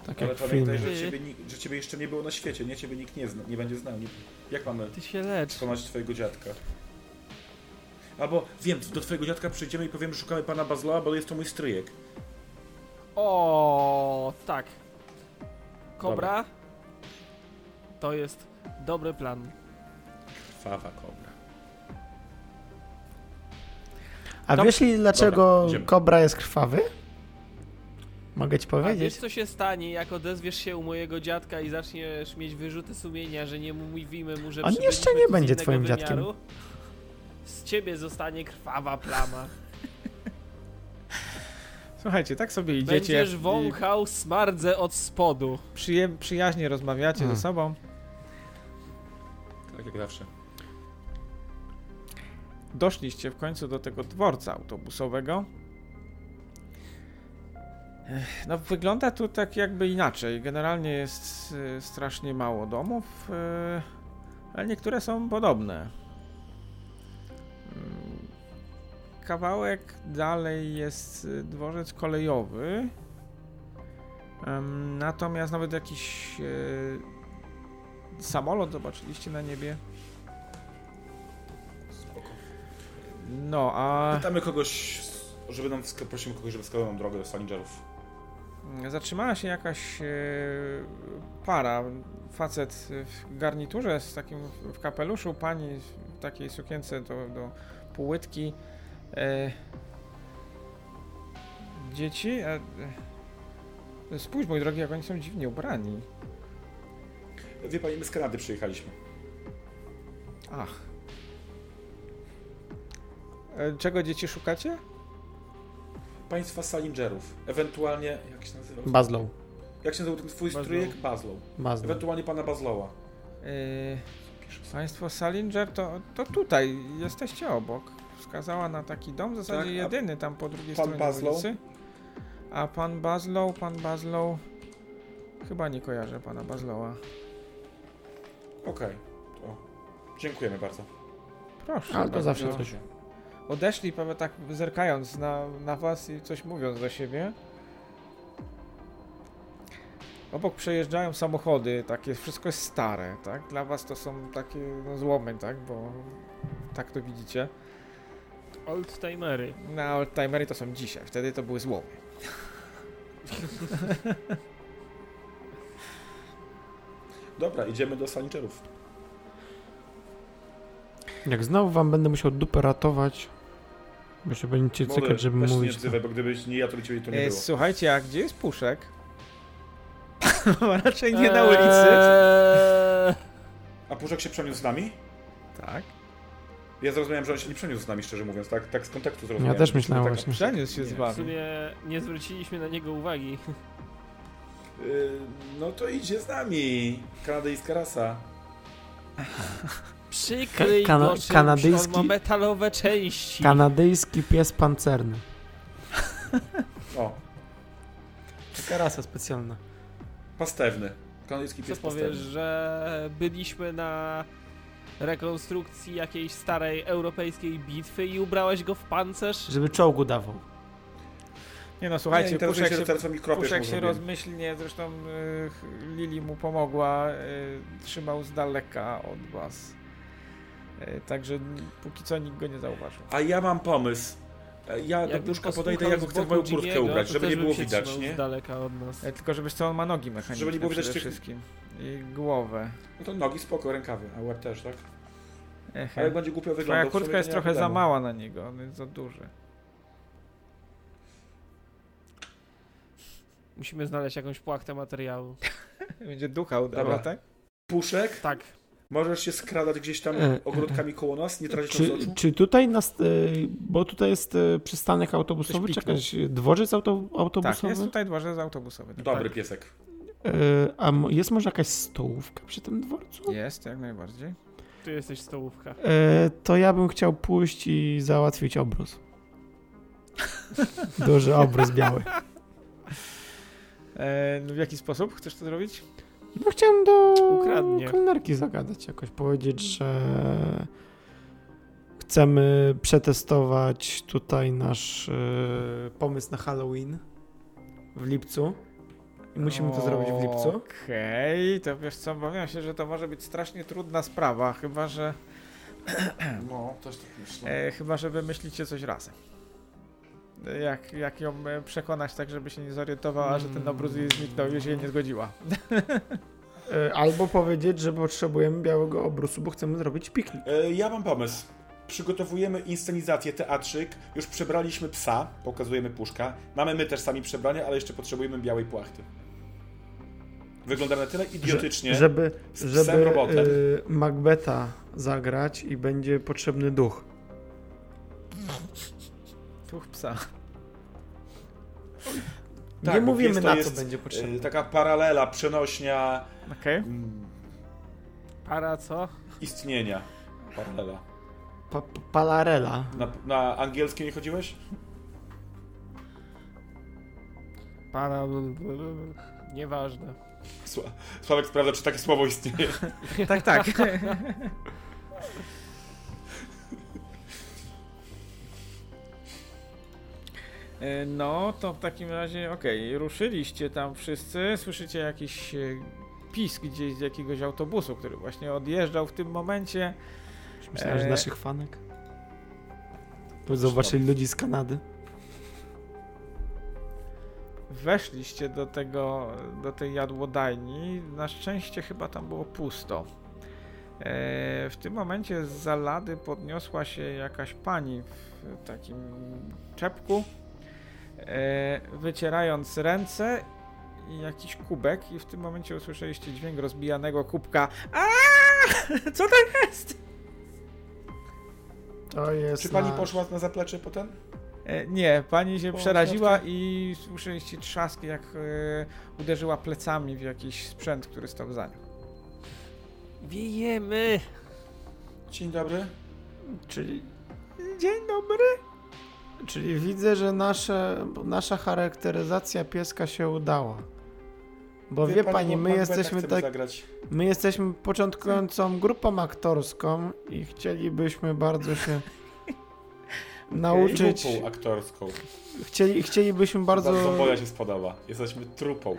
Tak
Ale
jak w filmie.
pamiętaj, że ciebie, nikt- że ciebie jeszcze nie było na świecie, nie? Ciebie nikt nie, zna, nie będzie znał. Nie, jak mamy
Ty się lecz.
przekonać twojego dziadka? Albo wiem, do twojego dziadka przyjdziemy i powiem, że szukamy pana Bazla, bo jest to mój stryjek.
O, tak. Kobra. To jest dobry plan.
Krwawa kobra.
A
Dob-
wiesz li- dlaczego
idziemy.
kobra jest krwawy? Mogę ci
A wiesz
powiedzieć?
co się stanie, jak odezwiesz się u mojego dziadka i zaczniesz mieć wyrzuty sumienia, że nie mówimy mu, że
On jeszcze
przybyliśmy
nie
tu z
będzie
innego
twoim dziadkiem.
wymiaru, Z ciebie zostanie krwawa plama.
Słuchajcie, tak sobie idziecie
Będziesz
i
wąchał smardzę od spodu.
przyjem- przyjaźnie rozmawiacie
Hmm.
ze sobą.
Tak jak zawsze.
doszliście w końcu do tego dworca autobusowego. Ech, No, wygląda tu tak jakby inaczej. Generalnie jest y, strasznie mało domów, y, ale niektóre są podobne. Mm, Kawałek dalej jest y, dworzec kolejowy. Em, Natomiast nawet jakiś y, samolot zobaczyliście na niebie.
Spoko.
No, a.
Pytamy kogoś, żeby nam, wska- prosimy kogoś, żeby wskazał nam drogę do Salingerów.
Zatrzymała się jakaś e, para, facet w garniturze z takim w kapeluszu, pani w takiej sukience do, do półłytki. E, dzieci. A... e, Spójrz, mój drogi, jak oni są dziwnie ubrani.
Wie pani, my z Kanady przyjechaliśmy.
Ach. E, Czego dzieci szukacie?
Państwa Salingerów. Ewentualnie, jak się nazywa?
Bazlow.
jak się nazywał ten twój
Bazlow.
strójek? Bazlow.
Bazlow.
Ewentualnie pana Bazlowa.
Yy, państwo Salinger, to, to tutaj, jesteście obok. Wskazała na taki dom, w zasadzie
Tak, a
jedyny tam po drugiej
pan
stronie
Baslow?
ulicy. A pan Bazlow, pan Bazlow... Chyba nie kojarzę pana Bazlowa.
Okej, to dziękujemy bardzo.
Proszę.
Ale to
bardzo.
zawsze coś.
Odeszli pewnie tak zerkając na, na was i coś mówiąc do siebie. Obok przejeżdżają samochody, takie, wszystko jest stare, tak? Dla was to są takie no, złomy, tak? Bo tak to widzicie.
Oldtimery.
Na oldtimery to są dzisiaj, wtedy to były złomy.
Dobra, idziemy do Salingerów.
Jak znowu wam będę musiał dupę ratować, bo się będziecie
Młody,
cykać, żeby
weź się nie
mówić.
odzywaj, bo gdybyś nie ja, to by ciebie to nie
E,
było.
słuchajcie, a gdzie jest puszek? Bo Raczej nie
Eee,
na ulicy.
Eee.
A Puszek się przeniósł z nami?
Tak.
Ja zrozumiałem, że on się nie przeniósł z nami, szczerze mówiąc, tak, tak z kontaktu zrozumiałem.
Ja też
Że
myślałem
tak-
właśnie.
Przeniósł się z
Nie, w
W
wami.
sumie nie zwróciliśmy na niego uwagi.
Y, no to idzie z nami. Kanadyjska rasa.
Przykryj
Ka- kana-
go czymś,
kanadyjski-
on ma metalowe części.
Kanadyjski pies pancerny.
O,
Taka rasa specjalna.
pastewny. Kanadyjski
Co
pies
powiesz,
pastewny.
że byliśmy na rekonstrukcji jakiejś starej europejskiej bitwy i ubrałeś go w pancerz?
Żeby czołgu dawał.
Nie no,
nie,
słuchajcie,
interesuje
puszek
się,
się
że teraz mi kropiesz
Puszek
mu
się
zrobiłem.
rozmyślnie, zresztą y, ch- Lili mu pomogła, y, trzymał z daleka od was. Y, także n- póki co nikt go nie zauważył.
A ja mam pomysł. E, Ja do
Jakbym
Puszka
posłuchał
podejdę, ja go
z
chcę w
boku
moją kurtkę
Jimmy'ego,
ubrać,
to
żeby
też
nie
bym
było
się
widać,
trzymał
nie?
Z daleka od nas.
Y, tylko, żebyś co on ma nogi mechaniczne
Żeby nie było widać
przede
tych-
wszystkim. I głowę.
No to nogi spoko, rękawy, a łeb też, tak? A
Echem.
jak będzie głupio wyglądał
Twoja
w sumie,
kurtka
to
jest
nie ma
trochę za
problemu.
mała na niego, on jest za duży.
Musimy znaleźć jakąś płachtę materiału.
Będzie ducha
Dobra.
udała, tak?
Puszek,
Tak,
możesz się skradać gdzieś tam
E,
ogródkami koło nas, nie tracić nam z
Czy,
oczu?
czy tutaj nas, e, bo tutaj jest e, przystanek autobusowy,
Ktoś
czy jakiś dworzec auto,
Tak,
autobusowy?
jest tutaj dworzec autobusowy. Tak.
Dobry piesek.
E, a mo- jest może jakaś stołówka przy tym dworcu?
Jest, jak najbardziej.
tu jesteś stołówka.
E, to ja bym chciał pójść i załatwić obrus. Duży obrus biały.
E, w jaki sposób chcesz to zrobić?
No chciałem do
Ukradnie.
kelnerki zagadać jakoś, powiedzieć, że chcemy przetestować tutaj nasz e, pomysł na Halloween w lipcu. I musimy to zrobić w lipcu.
Okej, to wiesz co, obawiam się, że to może być strasznie trudna sprawa, chyba że,
No, też tak myślę.
e, chyba że wymyślicie coś razem. E, Jak, jak ją e, przekonać tak, żeby się nie zorientowała, że ten obrus jej zniknął i się jej nie zgodziła.
E, Albo powiedzieć, że potrzebujemy białego obrusu, bo chcemy zrobić piknik.
E, Ja mam pomysł. Przygotowujemy inscenizację, teatrzyk. Już przebraliśmy psa, pokazujemy puszka. Mamy my też sami przebrania, ale jeszcze potrzebujemy białej płachty. Wyglądamy na tyle idiotycznie.
Żeby,
z psem
żeby
robotem.
e, Macbeta zagrać i będzie potrzebny duch.
Tuch psa.
Tak,
Nie
bo
mówimy
pies to
na co
jest,
będzie potrzebny.
e, Taka paralela, przenośnia
Okej.
mm,
Para co?
istnienia. Paralela.
Pa palarela.
Na, na angielski nie chodziłeś?
Para... Nieważne.
Sła- Sławek sprawdza, czy takie słowo istnieje.
Tak, tak. E, No, to w takim razie, okej, ruszyliście tam wszyscy, słyszycie jakiś e, pisk gdzieś z jakiegoś autobusu, który właśnie odjeżdżał w tym momencie.
Myślałem, że
E,
naszych fanek. Tu Zobaczyli ludzi z Kanady.
Weszliście do tego, do tej jadłodajni. Na szczęście chyba tam było pusto. E, W tym momencie z zalady podniosła się jakaś pani w takim czepku. e, wycierając ręce i jakiś kubek i w tym momencie usłyszeliście dźwięk rozbijanego kubka. A! Co to jest?
To jest
Czy pani
nasz-
poszła na zaplecze potem?
E, Nie, pani się
Po
przeraziła i słyszeliście trzask, jak e, uderzyła plecami w jakiś sprzęt, który stał za nią.
Wiejemy!
Dzień dobry.
Czyli,
Dzień dobry.
czyli widzę, że nasze, nasza charakteryzacja pieska się udała. Bo wie, pani, my
Macbetha
jesteśmy
chcemy
tak,
zagrać.
my jesteśmy początkującą grupą aktorską i chcielibyśmy bardzo się nauczyć.
Trupą aktorską.
Chcieli, chcielibyśmy
Bardzo...
bardzo
boja się spodoba. Jesteśmy trupą.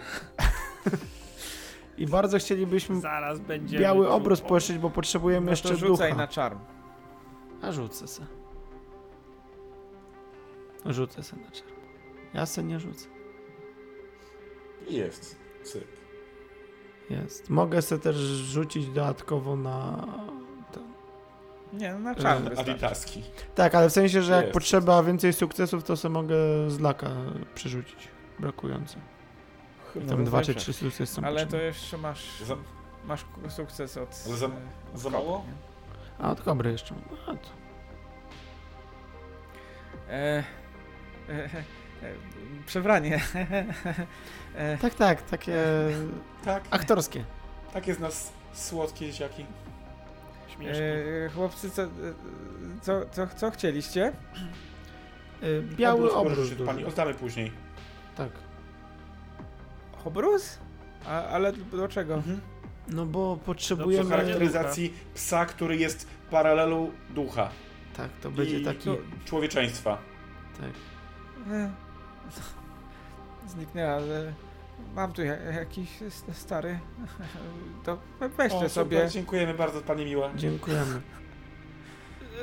i bardzo
Mm,
chcielibyśmy
Zaraz będzie.
biały obraz poeszyć, bo potrzebujemy
No
jeszcze
to rzucaj
ducha.
na czarm.
A rzucę se. Rzucę se na czerwono. Ja se nie rzucę.
I jest. Cyk.
Jest. Mogę se też rzucić dodatkowo na... To.
Nie, no
Y,
na czarm
E,
wystarczy.
Aditaski.
Tak, ale w sensie, że jak
Jest.
potrzeba więcej sukcesów, to se mogę z laka przerzucić. Brakujące. I tam
No,
dwa czy
dobrze.
trzy sukcesy są
Ale to
potrzebne.
jeszcze masz,
Za-
masz ku- sukces od...
Ale za-
e,
Za
kopy,
mało?
nie?
A od kobry jeszcze. A, to.
E, e, e, e, przebranie. E,
Tak, tak, takie
Tak.
aktorskie.
Tak jest nas słodkie dzieciaki.
Śmieszny.
e, chłopcy, co, e, co, co, co chcieliście?
Y, Biały
Obróz,
obróz.
proszę,
duży.
Pani, oddamy później.
Tak.
Obrus? A, ale do czego?
No bo
Mhm. Do
potrzebujemy...
słuchajcie.
charakteryzacji psa, który jest paralelu ducha
Tak, to będzie
I-
taki...
to- człowieczeństwa.
Tak.
E, Zniknęła, ale mam tu ja- jakiś s- stary. To we-
O,
weźcie
super,
sobie.
Dziękujemy bardzo, pani miła.
Dziękujemy. E,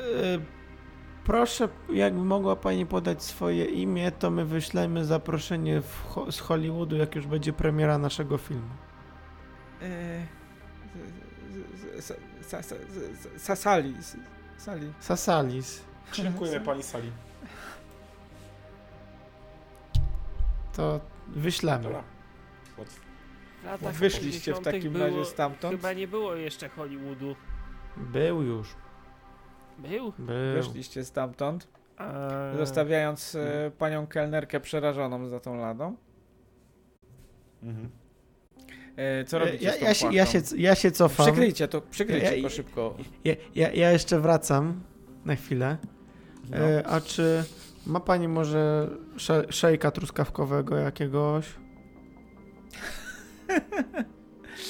Proszę, jakby mogła Pani podać swoje imię, to my wyślemy zaproszenie w, Ho- z Hollywoodu, jak już będzie premiera naszego filmu.
E, z- z- z- sa- sa- z- z- sa- Sali. s- Sali.
Sasalis.
Dziękujemy pani Sali.
To wyślemy.
Dobra. Łatwo.
W latach
Wyszliście w
80.
takim
było,
razie stamtąd.
Chyba nie było jeszcze Hollywoodu.
Był już.
Był?
Był.
Wyszliście stamtąd.
Eee,
Zostawiając e, panią kelnerkę przerażoną za tą ladą.
Mhm.
E, Co
Ja,
robicie
ja,
z tą
ja, się, ja, się, ja się cofam.
Przykryjcie to, przykryjcie
Ja- ja-
to szybko.
Ja, ja, ja jeszcze wracam na chwilę.
No.
E, a czy ma Pani może sze, szejka truskawkowego jakiegoś?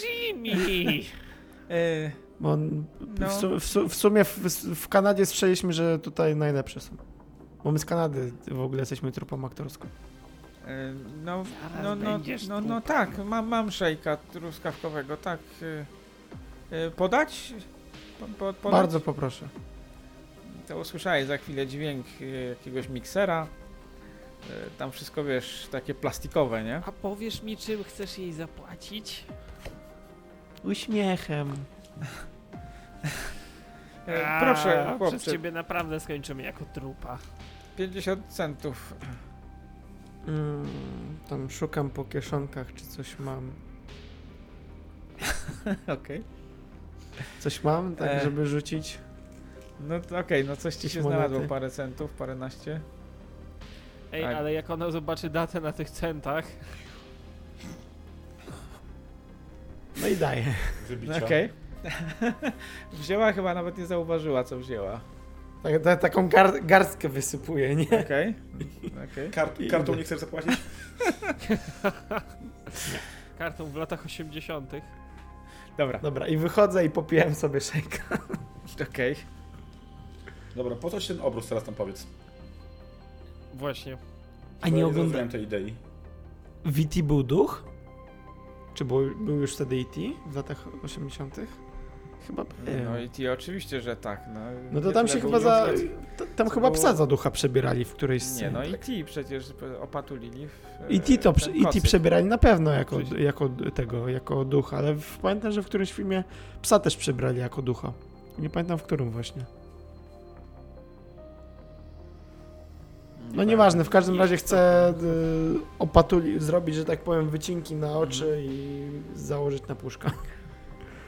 Jimmy!
E,
Bo on-
No.
w, su, w, su, w sumie w, w Kanadzie słyszeliśmy, że tutaj najlepsze są. Bo my z Kanady w ogóle jesteśmy trupą aktorską.
e, No,
Zaraz
no, no,
będziesz
no, no
trupem.
tak, mam, mam szejka truskawkowego, tak. e, e, Podać? Po- po- podać?
Bardzo poproszę.
To usłyszałeś za chwilę dźwięk e, jakiegoś miksera. E, Tam wszystko, wiesz, takie plastikowe, nie?
A powiesz mi, czym chcesz jej zapłacić?
Uśmiechem.
E,
E, A,
Y, Proszę,
Przez
chłopcze,
ciebie naprawdę skończymy jako trupa.
50 centów.
Mm, tam szukam po kieszonkach, czy coś mam.
Okej.
Coś mam, tak
E.
żeby rzucić?
No to okej, no coś ci się
Jakieś monety?
znalazło, parę centów, paręnaście.
Ej,
Tak.
ale jak ona zobaczy datę na tych centach,
No i daję.
Wybicia.
No okej. wzięła chyba, nawet nie zauważyła, co wzięła.
Tak, ta, taką gar, garstkę wysypuję, nie?
Okej. Okej.
Kart,
I
kartą
idę.
nie chcesz zapłacić?
kartą w latach 80.
Dobra,
Dobra, i wychodzę i popijam sobie szejka.
okej.
Dobra, po co ci ten obróz teraz tam powiedz?
Właśnie.
A
Bo
nie
ja
oglądam.
zrozumiałem tej idei.
VT był duch? Czy był, był już wtedy IT w latach 80.? Chyba był.
No i ty oczywiście, że tak. No,
No to
Nie
tam
tyle
się
był
chyba za.
niezbyt.
t- Tam
co
chyba
było-
psa za ducha przebierali w którejś scenie.
Nie, no i
tak.
ty przecież opatulili w... e,
I ti to
ten
prze- i ti
kocyk.
przebierali na pewno jako,
Przecież-
jako d- tego, jako ducha, ale w, pamiętam, że w którymś filmie psa też przebrali jako ducha. No Nie pamiętam w którym właśnie. No nieważne, w każdym razie chcę y, opatuli, zrobić, że tak powiem, wycinki na oczy i założyć na puszka.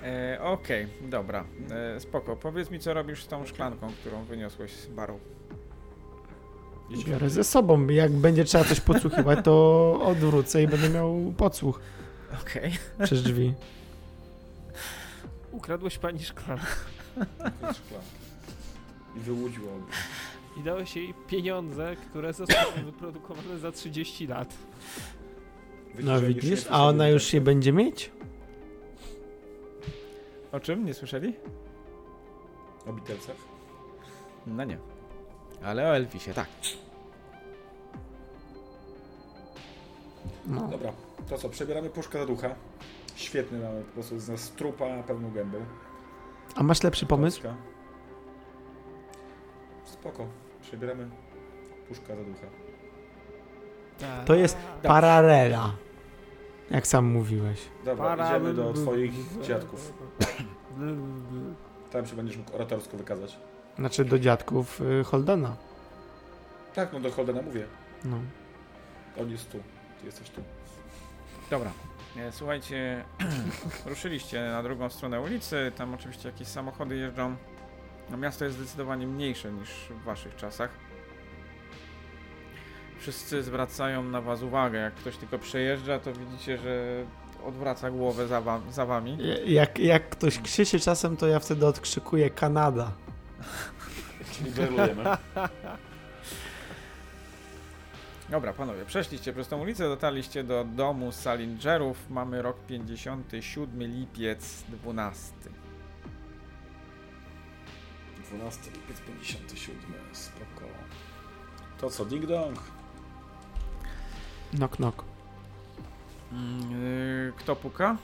E, Okej, dobra, e, spoko. Powiedz mi, co robisz z tą szklanką, którą wyniosłeś z baru.
Biorę ze sobą. Jak będzie trzeba coś podsłuchiwać, to odwrócę i będę miał podsłuch
Okej.
przez drzwi.
Ukradłeś pani szklankę
Koniec szklanki. I wyłudził obie.
i dałeś jej pieniądze, które zostaną wyprodukowane za 30 lat.
Wiecie,
No
że już nie
widzisz,
chcę
a ona
sobie
już się będzie mieć?
O czym? Nie słyszeli?
myśleć O Beatlesach?
No nie. Ale o Elvisie, tak.
No.
Dobra, to co, przebieramy puszkę za ducha. Świetny mamy po prostu z nas trupa na pełną gębę.
A masz lepszy pomysł?
Kocka. Spoko, przebieramy puszka za ducha.
Tak.
To jest pararela. Jak sam mówiłeś.
Dobra,
Para-
idziemy do twoich dziadków. Tam się będziesz mógł oratorsko wykazać.
Znaczy do dziadków y, Holdena.
Tak, no do Holdena mówię.
No.
On jest tu, ty jesteś tu.
Dobra. E, Słuchajcie, ruszyliście na drugą stronę ulicy, tam oczywiście jakieś samochody jeżdżą. No, miasto jest zdecydowanie mniejsze niż w waszych czasach. Wszyscy zwracają na was uwagę. Jak ktoś tylko przejeżdża, to widzicie, że odwraca głowę za, wa- za wami.
Ja- Jak, jak ktoś krzyczy czasem, to ja wtedy odkrzykuję Kanada.
Czyli berlujemy.
Dobra, panowie, przeszliście przez tą ulicę, dotarliście do domu Salingerów. Mamy rok 57, lipiec 12.
12 lipiec 57, spoko. To co, ding dong?
Knock, knock.
Mm, yy, Kto puka?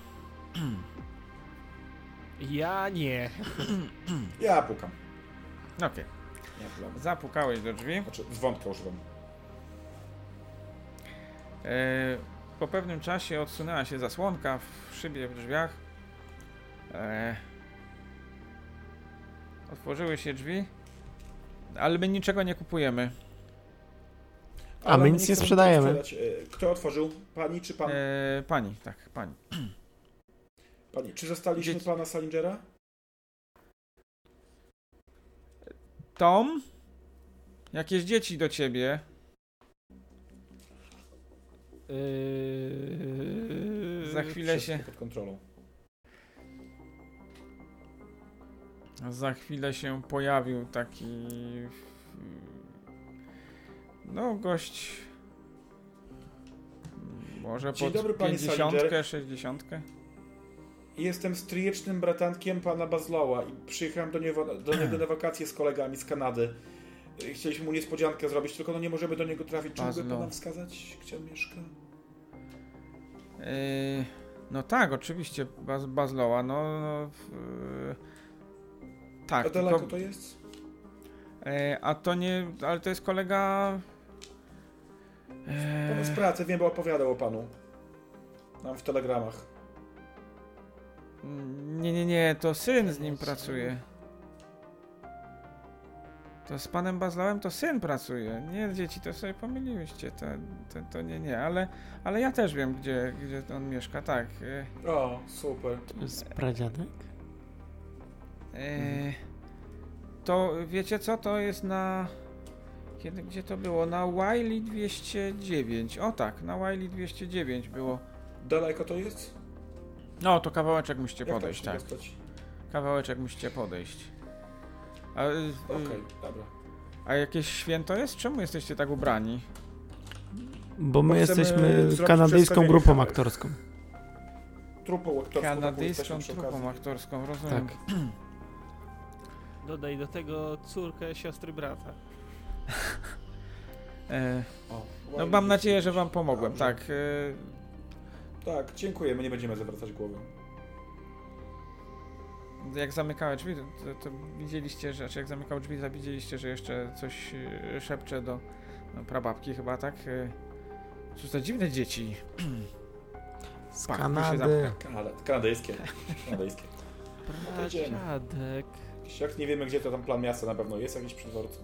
Ja nie.
Ja pukam.
Okej,
Ja pukam.
zapukałeś do drzwi. Y,
Znaczy, dzwonka używam.
E, Po pewnym czasie odsunęła się zasłonka w szybie w drzwiach. E, Otworzyły się drzwi, ale my niczego nie kupujemy.
A my nic nie
chcemy
sprzedajemy.
sprzedać. E, Kto otworzył? Pani czy pan?
E, Pani, tak, pani.
Pani. Czy zastaliśmy
dzieci-
pana Salingera?
Tom? Jakieś dzieci do ciebie?
Yy,
Za chwilę
Wszystko
się,
pod kontrolą.
za chwilę się pojawił taki... No, gość... Może
Dzień
pod
dobry, panie
pięćdziesiątkę,
Salinger.
sześćdziesiątkę?
Jestem stryjecznym bratankiem pana Bazloła i przyjechałem do niego, do niego na wakacje z kolegami z Kanady. E, Chcieliśmy mu niespodziankę zrobić, tylko no nie możemy do niego trafić. Czy mógłby
Bazlo.
pan nam wskazać, gdzie on mieszka?
Yy, No tak, oczywiście, Baz, Bazloła, no... no w- yy, tak,
A daleko
tylko,
to jest?
yy, a to nie, ale to jest kolega...
Pan z
Yy,
pracy, wiem, bo opowiadał o panu. Nam w telegramach.
nie, nie, nie, to syn z nim pracuje. To z panem Bazlałem to syn pracuje. Nie, dzieci, to sobie pomyliłyście, to, to, to nie, nie, ale, ale ja też wiem, gdzie, gdzie on mieszka, tak. Yy.
O, super.
To jest pradziadek?
E, To wiecie co? To jest na. Kiedy, gdzie to było? Na Wiley 209. O tak, na Wiley 209 było.
Daleko to jest?
No, to kawałeczek musicie
Jak tam
podejść,
się
tak.
dostać?
Kawałeczek musicie podejść. A, y, y,
Okej, dobra.
a jakieś święto jest? Czemu jesteście tak ubrani?
Bo my
Bo chcemy
jesteśmy
zrobić
kanadyjską
przedstawienie
grupą
całych.
aktorską.
Trupą aktorską. taką
Kanadyjską
jesteśmy przy
trupą
okazji.
aktorską,
Tak.
rozumiem.
Dodaj do tego córkę siostry brata.
E,
O,
no
ładnie.
mam nadzieję, że wam pomogłem,
Dobrze.
tak. e,
Tak, dziękujemy, nie będziemy zawracać głowy.
Jak zamykałem drzwi, to, to, to widzieliście, że znaczy jak zamykał drzwi, to widzieliście, że jeszcze coś y, szepcze do no, prababki chyba, tak? Y, Cóż za dziwne dzieci.
Z
Tak, tu się
Kanady.
zamknę.
Kanada, kanadyjskie. Kanadyjskie. Idziemy.
Pradziadek.
Jak nie wiemy, gdzie to tam plan miasta na pewno jest, jakiś przywórcy.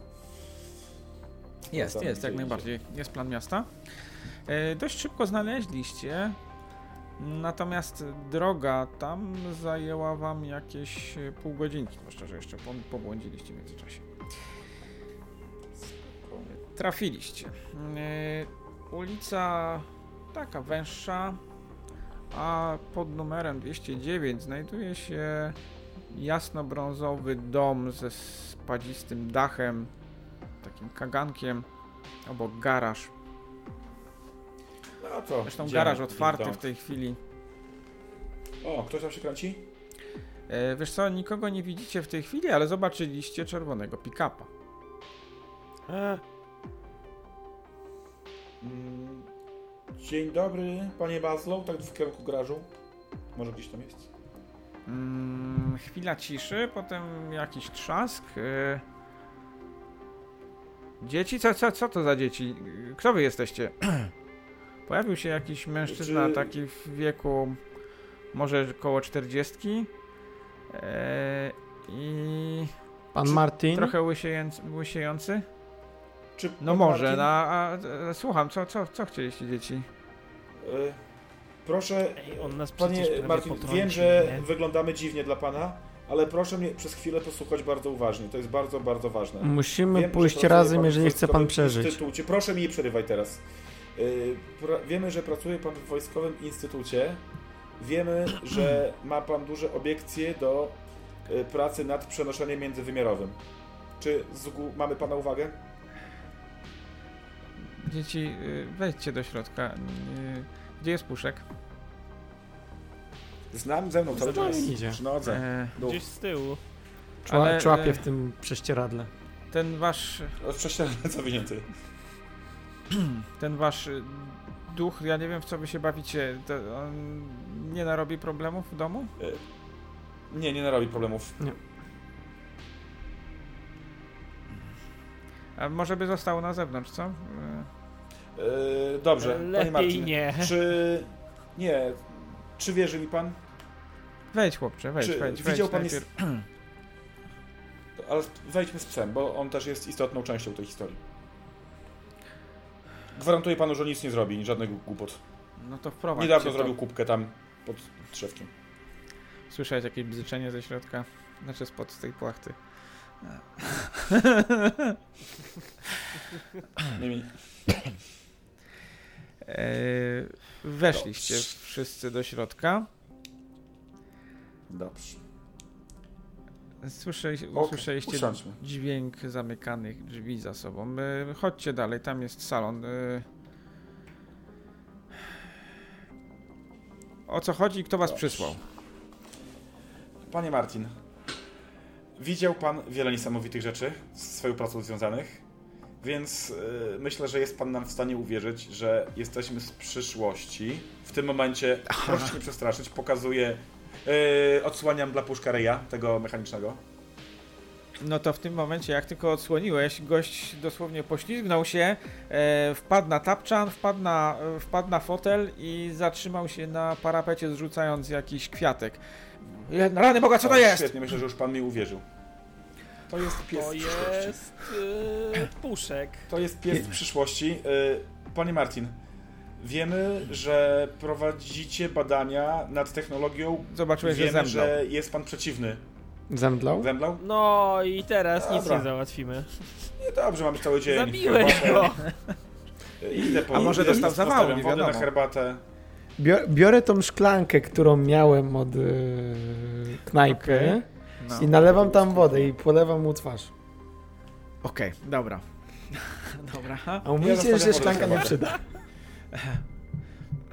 Jest,
tam,
jest,
gdzie
jak
idzie.
najbardziej. Jest plan miasta. E, Dość szybko znaleźliście, natomiast droga tam zajęła wam jakieś e, pół godzinki, zwłaszcza, że jeszcze pon- pobłądziliście w międzyczasie. Trafiliście. E, Ulica taka węższa, a pod numerem 209 znajduje się jasnobrązowy dom ze spadzistym dachem, takim kagankiem, obok garaż.
No to.
Zresztą
idziemy
garaż
gdzieś
otwarty
tam.
w tej chwili.
O, ktoś tam się kręci?
E, wiesz co, nikogo nie widzicie w tej chwili, ale zobaczyliście czerwonego pick-upa.
E,
Mm, Dzień dobry, panie Baslow, tak w kierunku garażu. Może gdzieś tam jest?
Mm, chwila ciszy, potem jakiś trzask. E, dzieci? Co, co, co to za dzieci? Kto wy jesteście? Pojawił się jakiś mężczyzna
Czy-
taki w wieku może koło 40. E, I
Pan Martin?
trochę łysiejący. łysiejący.
Czy
No
pan
może,
Martin?
no, a, a, słucham, co, co, co chcieliście dzieci?
Y, Proszę,
Ej, on nas
panie
przecież prawie
Martin,
potrąci,
wiem, że
nie?
wyglądamy dziwnie dla pana, ale proszę mnie przez chwilę posłuchać bardzo uważnie. To jest bardzo, bardzo ważne.
Musimy
Wiem, że
pójść
pracuje
razem,
pan
jeżeli
w
chce pan
wojskowym
przeżyć.
Instytucie. Proszę mi nie przerywaj teraz. Y, pra- Wiemy, że pracuje pan w Wojskowym Instytucie. Wiemy, że ma pan duże obiekcje do y, pracy nad przenoszeniem międzywymiarowym. Czy zgu- mamy pana uwagę?
Dzieci, y, wejdźcie do środka. Y, Gdzie jest puszek?
Znam ze mną cały
Z nami
czas.
idzie.
Przy nodze.
E,
Dół.
Gdzieś z tyłu.
ale,
Czła, człapie
e,
w tym prześcieradle.
Ten wasz,
Od prześcieradła zawinięty.
ten wasz y, duch, ja nie wiem w co wy się bawicie. To on nie narobi problemów w domu?
Nie, nie narobi problemów.
A może by został na zewnątrz, co? Y,
Y, dobrze, panie
Lepiej
Martin.
nie.
Czy... Nie. Czy wierzy mi pan?
Wejdź chłopcze, wejdź,
Czy
wejdź, wejdź.
widział pan
najpierw.
Ale wejdźmy z psem, bo on też jest istotną częścią tej historii. Gwarantuję panu, że nic nie zrobi, żadnych głupot.
No to wprowadź.
Niedawno zrobił kubkę tam pod drzewkiem.
Słyszałeś jakieś bzyczenie ze środka? Znaczy spod tej płachty.
Nie, mi-
E,
No.
weszliście wszyscy do środka.
Dobrze.
Słyszeliście,
Okej,
usłyszeliście
usiądźmy.
dźwięk zamykanych drzwi za sobą. E, Chodźcie dalej, tam jest salon. E, O co chodzi i kto was
Dobrze.
przysłał?
Panie Martin, widział pan wiele niesamowitych rzeczy z swoją pracą związanych, więc y, myślę, że jest pan nam w stanie uwierzyć, że jesteśmy z przyszłości. W tym momencie, proszę się nie przestraszyć, pokazuję, y, odsłaniam dla puszka Reja, tego mechanicznego.
No to w tym momencie, jak tylko odsłoniłeś, gość dosłownie poślizgnął się, e, wpadł na tapczan, wpadł na, e, wpadł na fotel i zatrzymał się na parapecie, zrzucając jakiś kwiatek. Je- Rany Boga, co to
O,
jest?
Świetnie, myślę, że już pan mi uwierzył. To jest pies
To
z przyszłości.
jest e, puszek.
To jest pies z przyszłości. Y, Panie Martin, wiemy, że prowadzicie badania nad technologią.
Zobaczyłeś, że
wiemy,
zemdlał.
że jest pan przeciwny.
Zemdlał?
Zemdlał?
No i teraz nic
Dobra.
nie załatwimy.
Nie, dobrze, mamy cały dzień.
Zabiłeś
Herbatę.
go!
Y, Idę po
A może
idę
dostał
z
zawału,
nastawiam
nie
wody na
wiadomo.
herbatę.
Biorę, biorę tą szklankę, którą miałem od yy, knajpy
Okej. No.
i nalewam tam wodę i polewam mu twarz.
Okej, dobra. dobra.
A
Ja
mówicie,
zostawiam
że
wodę
szklanka nie
herbatę.
przyda.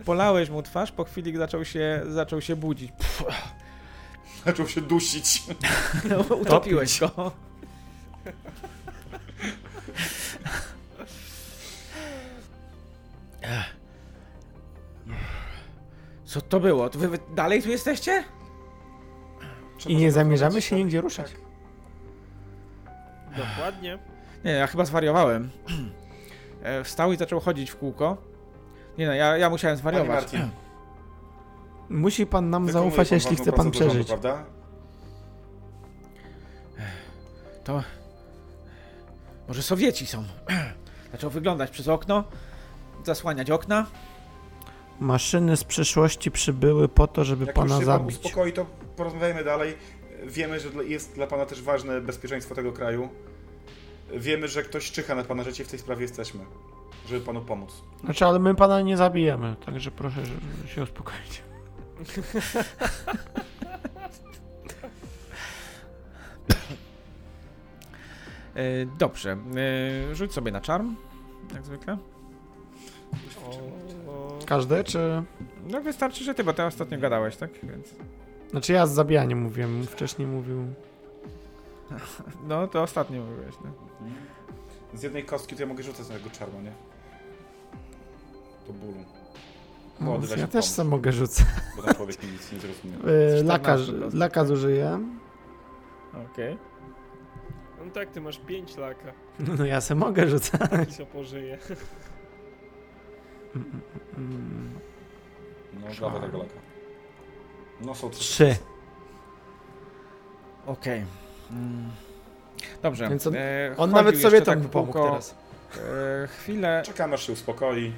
Polałeś mu twarz, po chwili zaczął się, zaczął się budzić.
Zaczął się dusić.
No, Utopiłeś go. Co to było? Wy, wy dalej tu jesteście?
I nie zamierzamy się nigdzie ruszać.
Dokładnie.
Nie, ja chyba zwariowałem. E, Wstał i zaczął chodzić w kółko. Nie no, ja, ja musiałem
Panie
zwariować.
Martin,
Musi pan nam
wykonuje
zaufać,
pan
jeśli
ważną
chce pan
pracę do
przeżyć.
Rządu, prawda?
Może Sowieci są. Zaczął wyglądać przez okno, zasłaniać okna.
Maszyny z przeszłości przybyły po to, żeby
Jak
pana
już się pan
zabić.
uspokoi, to porozmawiajmy dalej. Wiemy, że dla- jest dla pana też ważne bezpieczeństwo tego kraju. Wiemy, że ktoś czyha na pana życie, w tej sprawie jesteśmy, żeby panu pomóc.
Znaczy, ale my pana nie zabijemy, także proszę żeby się uspokoić.
E, dobrze, e, rzuć sobie na czarm, jak zwykle.
O,
Każde, czy...
No wystarczy, że ty, bo ty ostatnio gadałeś, tak? Więc...
Znaczy ja z zabijaniem mówiłem, wcześniej mówił...
No to ostatnio mówiłeś, no.
Z jednej kostki to ja mogę rzucać na tego czarno, nie? To bólu, Młody
Mów,
weź
No, Ja
pomóż.
też sam mogę rzucać.
bo ten człowiek mi nic nie zrozumiał.
Yy,
14
Lakarz,
po prostu.
laka zużyję.
Okej.
No tak, ty masz pięć laka,
No ja se mogę rzucać.
taki się pożyje.
Mm, mm,
No, dawaj tego laka. No są trzy.
Trzy.
Okej. Mm. Dobrze.
Więc on-
e,
On
chodził
nawet sobie
jeszcze
tam
tak w
pomógł
kółko,
teraz.
E, chwilę,
Czekamy aż się uspokoi.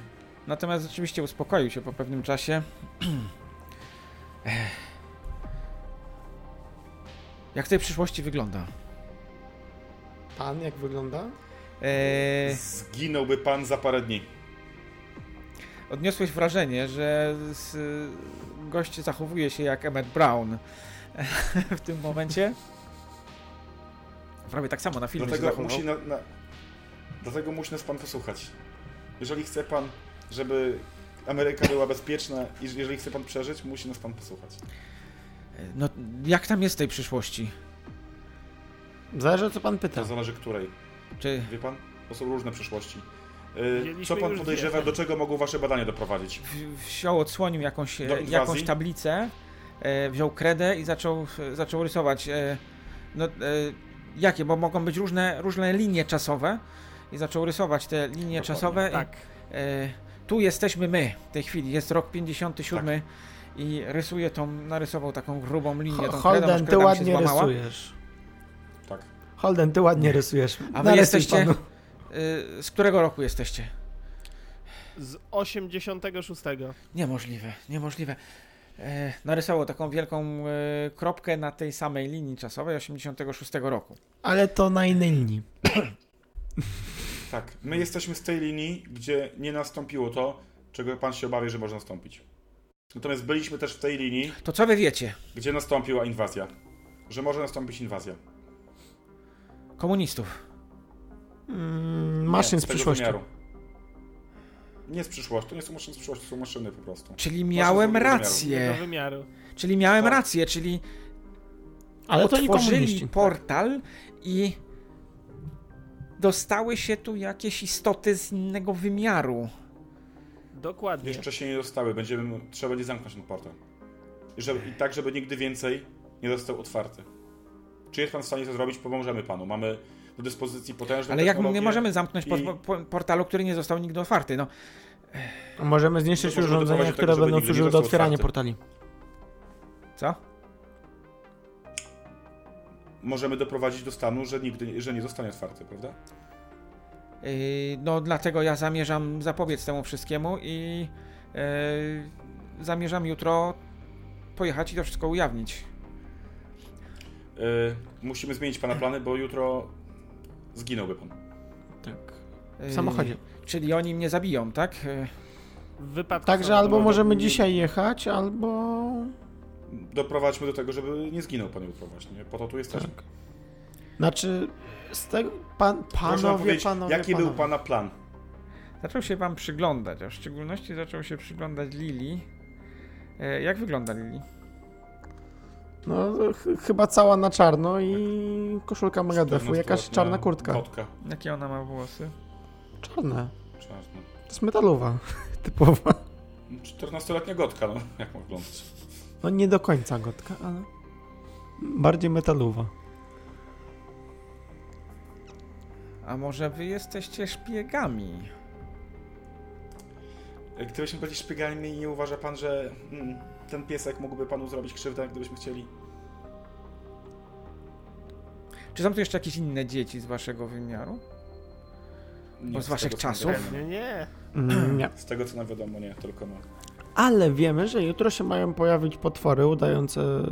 natomiast rzeczywiście uspokoił się po pewnym czasie. Ech. Jak w tej przyszłości wygląda?
Pan jak wygląda?
E,
Zginąłby pan za parę dni.
odniosłeś wrażenie, że s- gość zachowuje się jak Emmett Brown w tym momencie. Prawie tak samo na filmie się
Dlatego
zachował.
musi, na, na, dlatego musi nas pan wysłuchać. Jeżeli chce pan, żeby Ameryka była bezpieczna i ż- jeżeli chce pan przeżyć, musi nas pan posłuchać.
No, jak tam jest w tej przyszłości?
Zależy o co pan
To
pyta.
zależy której.
Czy
Wie pan? To są różne przyszłości. Yy, co
Mieliśmy
pan
już
podejrzewa,
wiedzę.
do czego mogą wasze badania doprowadzić?
w- wziął, odsłonił jakąś,
Do
e,
inwazji?
jakąś tablicę, e, wziął kredę i zaczął, e, zaczął rysować. e, No, e, jakie? Bo mogą być różne, różne linie czasowe. I zaczął rysować te linie
Dokładnie,
czasowe. i,
Tak.
E, tu jesteśmy my w tej chwili. Jest rok 57 i rysuje tą, narysował taką grubą linię. Tą kredą, aż
Tak. Holden, ty
kreda mi się
ładnie
złamała.
rysujesz.
Tak.
Holden, ty ładnie rysujesz.
A wy
Narysuj
jesteście?
panu.
E, z którego roku jesteście?
Z 86.
Niemożliwe, niemożliwe. E, narysował taką wielką e, kropkę na tej samej linii czasowej 86 roku.
Ale to na innej linii.
Tak. My jesteśmy z tej linii, gdzie nie nastąpiło to, czego pan się obawia, że może nastąpić. Natomiast byliśmy też w tej linii,
To co wy wiecie?
gdzie nastąpiła inwazja. Że może nastąpić inwazja.
Komunistów.
Mm, maszyn
Nie,
z
tego
przyszłości.
wymiaru. Nie z przyszłości, to nie są maszyny z przyszłości, to są maszyny po prostu.
Czyli miałem
zrobić wymiaru.
Do
rację.
wymiaru.
Czyli miałem
Tak.
rację, czyli
Ale to nie komuniści.
otworzyli portal i dostały się tu jakieś istoty z innego wymiaru.
Dokładnie.
Jeszcze się nie dostały, będziemy, trzeba będzie zamknąć ten portal. I, żeby, I tak, żeby nigdy więcej nie został otwarty. Czy jest pan w stanie to zrobić? Pomożemy panu. Mamy do dyspozycji potężne
Ale jak my
technologie.
nie możemy zamknąć po,
i-
po, portalu, który nie został nigdy otwarty? No,
A Możemy zniszczyć
Możemy doprowadzić
urządzenia,
do tego,
które
żeby
będą
nigdy nie
służyły do
został
otwierania
otwarty.
portali.
co?
Możemy doprowadzić do stanu, że nigdy, że nie zostanie otwarty, prawda?
Yy, No, dlatego ja zamierzam zapobiec temu wszystkiemu i yy, zamierzam jutro pojechać i to wszystko ujawnić.
Yy, musimy zmienić pana plany, bo jutro zginąłby pan.
Tak.
Yy,
W samochodzie.
Czyli oni mnie zabiją, tak? Yy,
W wypadku
Także
samolotu.
albo możemy
nie-
dzisiaj jechać, albo...
Doprowadźmy do tego, żeby nie zginął pan jutro właśnie. Po to tu jesteśmy.
Tak. Znaczy, z tego... Pan,
Proszę nam
panowie,
powiedzieć,
panowie,
jaki
panowie.
był pana plan?
Zaczął się wam przyglądać, a w szczególności zaczął się przyglądać Lili. Yy, Jak wygląda Lili?
No, ch- chyba cała na czarno i koszulka mega defu, jakaś czarna kurtka.
Kotka.
Jakie ona ma włosy?
Czarne.
Czarna.
To jest metalowa. Typowa.
14-letnia gotka, no jak ma wyglądać?
No nie do końca gotka, ale... Bardziej metalowa.
A może wy jesteście szpiegami?
Gdybyśmy byli szpiegami, nie uważa pan, że mm, ten piesek mógłby panu zrobić krzywdę, gdybyśmy chcieli?
Czy są tu jeszcze jakieś inne dzieci z waszego wymiaru?
Nie,
z waszych
tego, co nam
czasów?
wiadomo, nie.
Nie, nie.
Mm, Nie.
Z tego co nam wiadomo, nie, tylko no.
Ale wiemy, że jutro się mają pojawić potwory udające.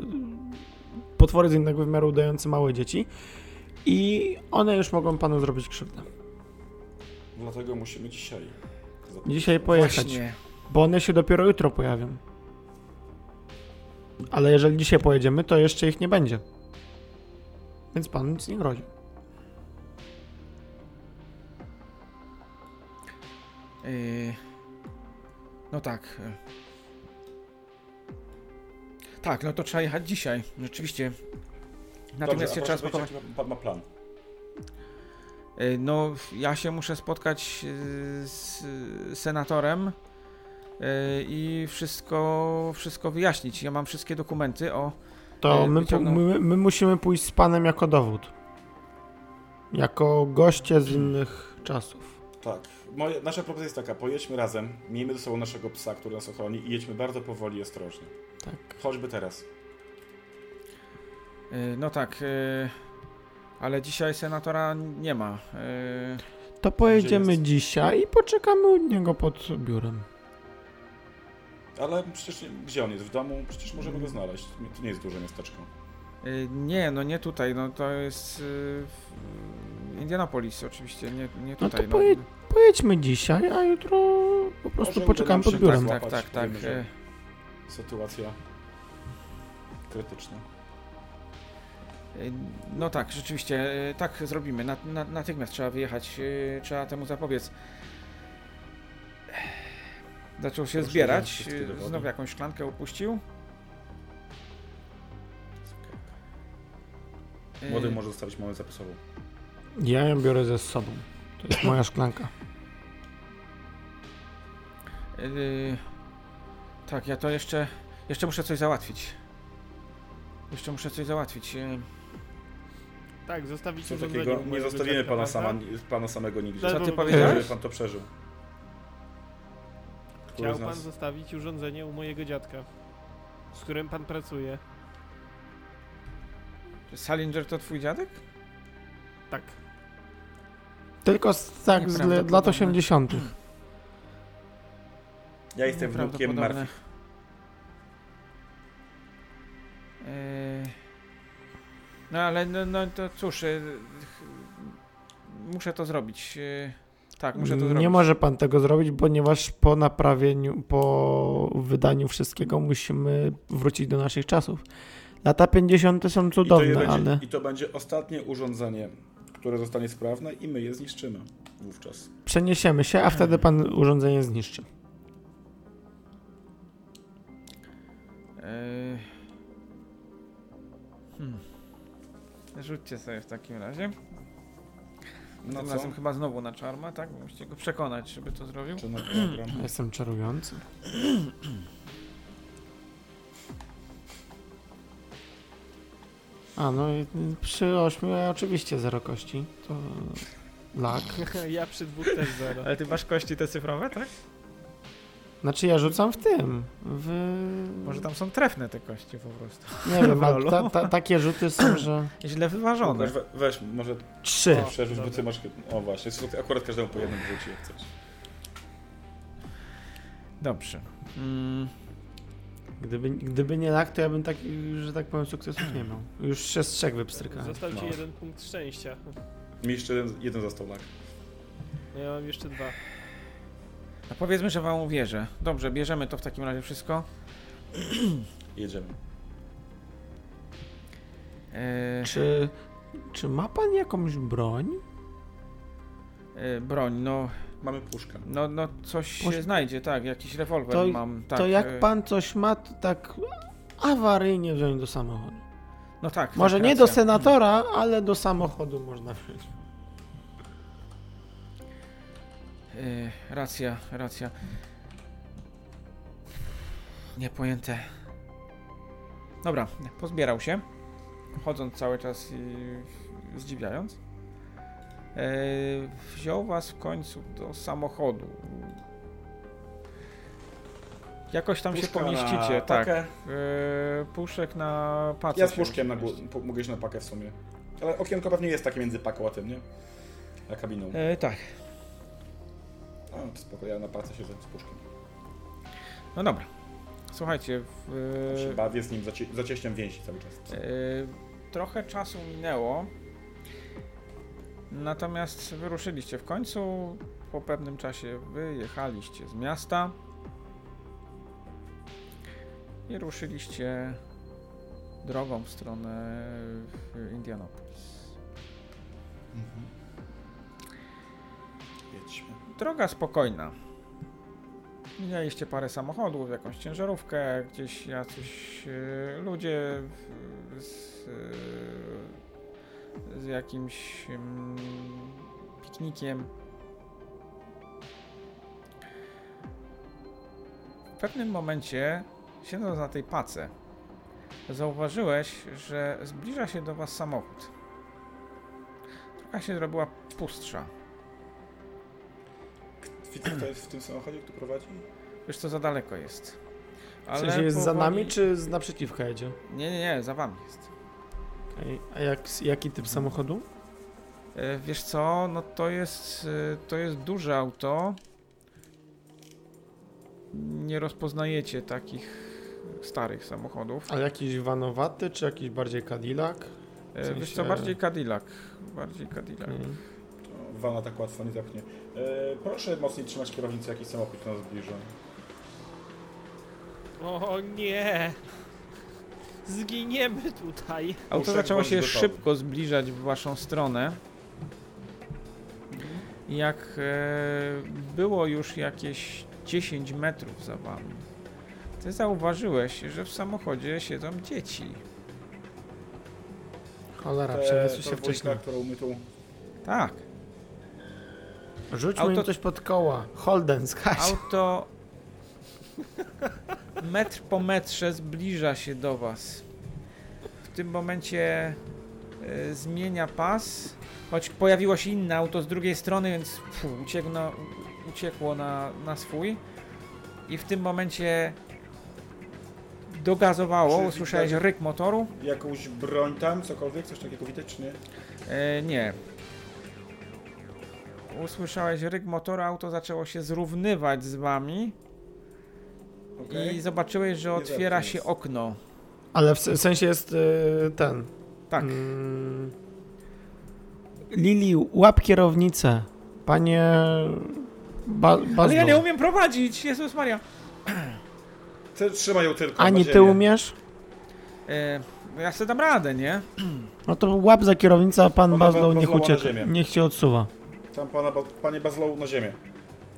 Potwory z innego wymiaru udające małe dzieci. I one już mogą panu zrobić krzywdę.
Dlatego musimy dzisiaj. zapoznać.
Dzisiaj pojechać.
Właśnie.
Bo one się dopiero jutro pojawią. Ale jeżeli dzisiaj pojedziemy, to jeszcze ich nie będzie. Więc pan nic nie grozi.
Y, No tak. Tak, no to trzeba jechać dzisiaj, rzeczywiście. Natomiast się
Dobrze, a
trzeba
proszę
spakować.
powiedzieć, jaki Pan ma plan.
Y, No, ja się muszę spotkać y, z senatorem y, i wszystko, wszystko wyjaśnić. Ja mam wszystkie dokumenty o.
To
E,
my, po,
wyciągnął-
my, my musimy pójść z panem jako dowód. Jako goście z innych czasów.
Tak. Moje, nasza propozycja jest taka, pojedźmy razem, miejmy ze sobą naszego psa, który nas ochroni i jedźmy bardzo powoli i ostrożnie.
Tak.
Choćby teraz.
y, No tak, y, ale dzisiaj senatora nie ma. y,
To pojedziemy
jest?
dzisiaj i poczekamy u niego pod biurem.
Ale przecież nie, gdzie on jest? W domu? Przecież możemy go znaleźć. Nie- To nie jest duże miasteczko.
Y, Nie, no nie tutaj, no to jest y, w- Indianapolis oczywiście, nie, nie
No to
tutaj. no. Tak,
pojedź Pojedźmy dzisiaj, a jutro po prostu
Może uda
poczekamy
nam się
pod biurem.
tak
Tak, tak, tak.
Powiemy, że-
y,
Sytuacja krytyczna.
y, No tak, rzeczywiście, y, tak zrobimy. Nat, nat, natychmiast trzeba wyjechać, y, trzeba temu zapobiec. Zaczął się
Proszę wziąć
zbierać,
wszystkie
y,
dowody.
znowu jakąś szklankę upuścił. Y,
Młody może zostawić mamy zapisową.
Ja ją biorę ze sobą. To jest moja szklanka.
Yy, tak, ja to jeszcze. Jeszcze muszę coś załatwić. Jeszcze muszę coś załatwić. Yy,
Tak, zostawić
Co takiego? Nie zostawimy pana, sama, pana samego nigdzie.
Co
Co
ty
ty
powiedziałeś?
Żeby
Wiesz?
pan to przeżył. Który
Chciał
z
pan
nas?
zostawić urządzenie u mojego dziadka, z którym pan pracuje.
Salinger to twój dziadek?
Tak.
Tylko z, tak z le- lat
Nieprawdopodobne.
80.
Ja jestem wnukiem
Nieprawdopodobne.
Murphy.
Yy, no ale no, no to cóż. Yy, ch- muszę to zrobić. Yy, tak, muszę to zrobić.
Nie może pan tego zrobić, ponieważ po naprawieniu, po wydaniu wszystkiego musimy wrócić do naszych czasów. Lata 50. są
I to, je
cudowne,
będzie,
ale
I to będzie ostatnie urządzenie, które zostanie sprawne i my je zniszczymy wówczas.
przeniesiemy się, a wtedy pan urządzenie zniszczy.
Yy, hmm. Rzućcie sobie w takim razie.
No
Tym
co?
razem chyba znowu na czarma, tak? Bo Musicie go przekonać, żeby to zrobił.
Czy na program?
Jestem czarujący. A no i przy 8 oczywiście zero kości. To lak.
ja przy dwóch też zero.
Ale ty masz kości te cyfrowe, tak?
Znaczy ja rzucam w tym. W...
Może tam są trefne te kości po prostu.
Nie wiem,
w
a
lolu?
ta, ta, takie rzuty są, że.
Źle wyważone.
Łukasz, we, weź, może
Trzy.
O,
przerzuć, bo
dobra.
ty masz... O właśnie, akurat każdemu po jednym wrzuci, jak chcesz.
Dobrze. Mm,
Gdyby, gdyby nie lak, to ja bym tak, że tak powiem, sukcesów nie miał. Już się z trzech wypstrykałem.
Został ci
No.
jeden punkt szczęścia.
Mi jeszcze jeden, jeden został lak.
Ja mam jeszcze dwa.
a No powiedzmy, że wam uwierzę. Dobrze, bierzemy to w takim razie wszystko.
Jedziemy.
E,
Czy, czy ma pan jakąś broń?
e, broń, no,
Mamy puszkę.
no, no coś
Poś-
się znajdzie, tak, jakiś rewolwer
To-
mam. Tak,
to
e,
jak pan coś ma, to tak awaryjnie wziąć do samochodu.
No tak.
Może
tak,
nie
racja.
do senatora, ale do samochodu można wziąć.
E, racja, racja. Niepojęte. Dobra, pozbierał się. Chodząc cały czas i zdziwiając. E, wziął was w końcu do samochodu. Jakoś tam się
Puszka na
pomieścicie, tak.
pakę.
E, puszek na pacę.
Ja z
się
puszkiem na górę,
mieści.
mogę iść na pakę w sumie. Ale okienko pewnie jest takie między paką a tym, nie? A kabiną.
E, tak.
No, to spoko, ja na palce siedzę z puszkiem.
No dobra. Słuchajcie, w,
Ja się
e,
bawię z nim, zacie- zacieśniam więzi cały czas.
Yy, Trochę czasu minęło, natomiast wyruszyliście w końcu. Po pewnym czasie wyjechaliście z miasta i ruszyliście drogą w stronę yy, Indianapolis.
Mhm. Jedźmy.
Droga spokojna. Mijaliście parę samochodów, jakąś ciężarówkę, gdzieś jacyś e, ludzie w- z, e, z jakimś mm, piknikiem. W pewnym momencie, siedząc na tej pace, zauważyłeś, że zbliża się do was samochód. Droga się zrobiła pustsza.
Widzę, kto jest w tym samochodzie, kto prowadzi?
Wiesz co, za daleko jest.
W sensie jest za
powoli-
nami, czy z naprzeciwka jedzie?
Nie, nie, nie, za wami jest.
Okej. A jak, jaki typ samochodu?
E, wiesz co, no to jest, e, to jest duże auto. Nie rozpoznajecie takich starych samochodów.
A jakiś vanowaty, czy jakiś bardziej Cadillac?
E,
W sensie-
Wiesz co, bardziej Cadillac. Bardziej Cadillac.
Nie.
To Wana tak łatwo nie zapchnie. E, proszę mocniej trzymać kierownicę, jakiś samochód nas zbliża.
O nie! Zginiemy tutaj!
Auto
Puszek
zaczęło się
bądź gotowy.
szybko zbliżać w waszą stronę. Jak e, było już jakieś 10 metrów za wami, ty zauważyłeś, że w samochodzie siedzą dzieci.
Cholera,
Te-
przeniosły
ta
się
dwójka,
wcześniej.
którą my tu...
Tak,
Rzućmy
Auto-
im coś pod koła. Holden, skaś.
auto metr po metrze zbliża się do was. W tym momencie e, zmienia pas, choć pojawiło się inne auto z drugiej strony, więc fu, uciekło, uciekło na, na swój. I w tym momencie dogazowało,
Czy
usłyszałeś
widać-
ryk motoru.
Jakąś broń tam, cokolwiek, coś takiego widać, czy nie?
E, nie. Usłyszałeś ryk motora, auto zaczęło się zrównywać z wami
Okej.
i zobaczyłeś, że
Nie
otwiera
zepnij.
się okno.
Ale w se- sensie jest y, ten.
Tak.
Mm. Lili, łap kierownicę. Panie. Ba,
Ale ja
Bazdą.
nie umiem prowadzić, Jezus Maria.
Ty Trzymaj ją tylko, na
Ani ty
ziemię.
umiesz?
E, no ja sobie dam radę, nie?
No to łap za kierownicę, a pan
Ona ba-
Bazdą niech
Bazlą na
ucieka.
ziemię.
Niech się odsuwa.
Tam pana, ba- panie Bazlow na ziemię.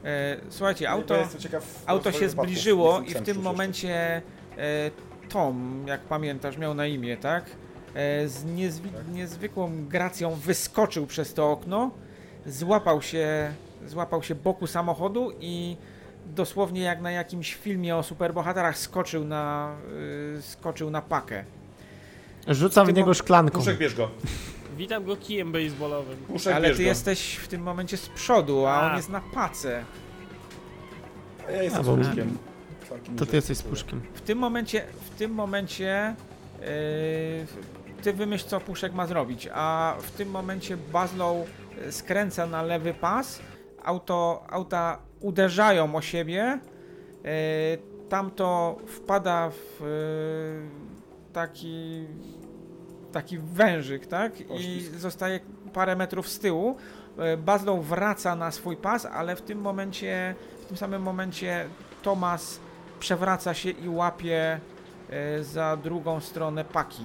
E, słuchajcie,
Ja
auto,
jestem ciekaw
auto
rozwoju
się
wypadków.
zbliżyło
Jestem
i w
sam
tym
przecież.
momencie e, Tom, jak pamiętasz, miał na imię, tak? E, z
Tak.
niezwi- niezwykłą gracją wyskoczył przez to okno, złapał się, złapał się boku samochodu i dosłownie jak na jakimś filmie o superbohaterach skoczył na, y, skoczył na pakę.
Rzucam
Ty
w niego
mo-
szklanką.
Puszek, bierz go.
Witam go kijem baseballowym.
Puszek,
Ale
bierz
ty
go.
jesteś w tym momencie z przodu, a, on
A.
jest na pace.
A Ja jestem
A,
z
bo-
puszkiem.
To ty jesteś z puszkiem.
W tym momencie, w tym momencie yy, ty wymyśl co Puszek ma zrobić, a w tym momencie Bazlow y, skręca na lewy pas, auto, auta uderzają o siebie, yy, tamto wpada w y, taki taki wężyk, tak? I
Poślizg.
zostaje parę metrów z tyłu. Y, Bazlow wraca na swój pas, ale w tym momencie, w tym samym momencie Tomas przewraca się i łapie y, za drugą stronę paki.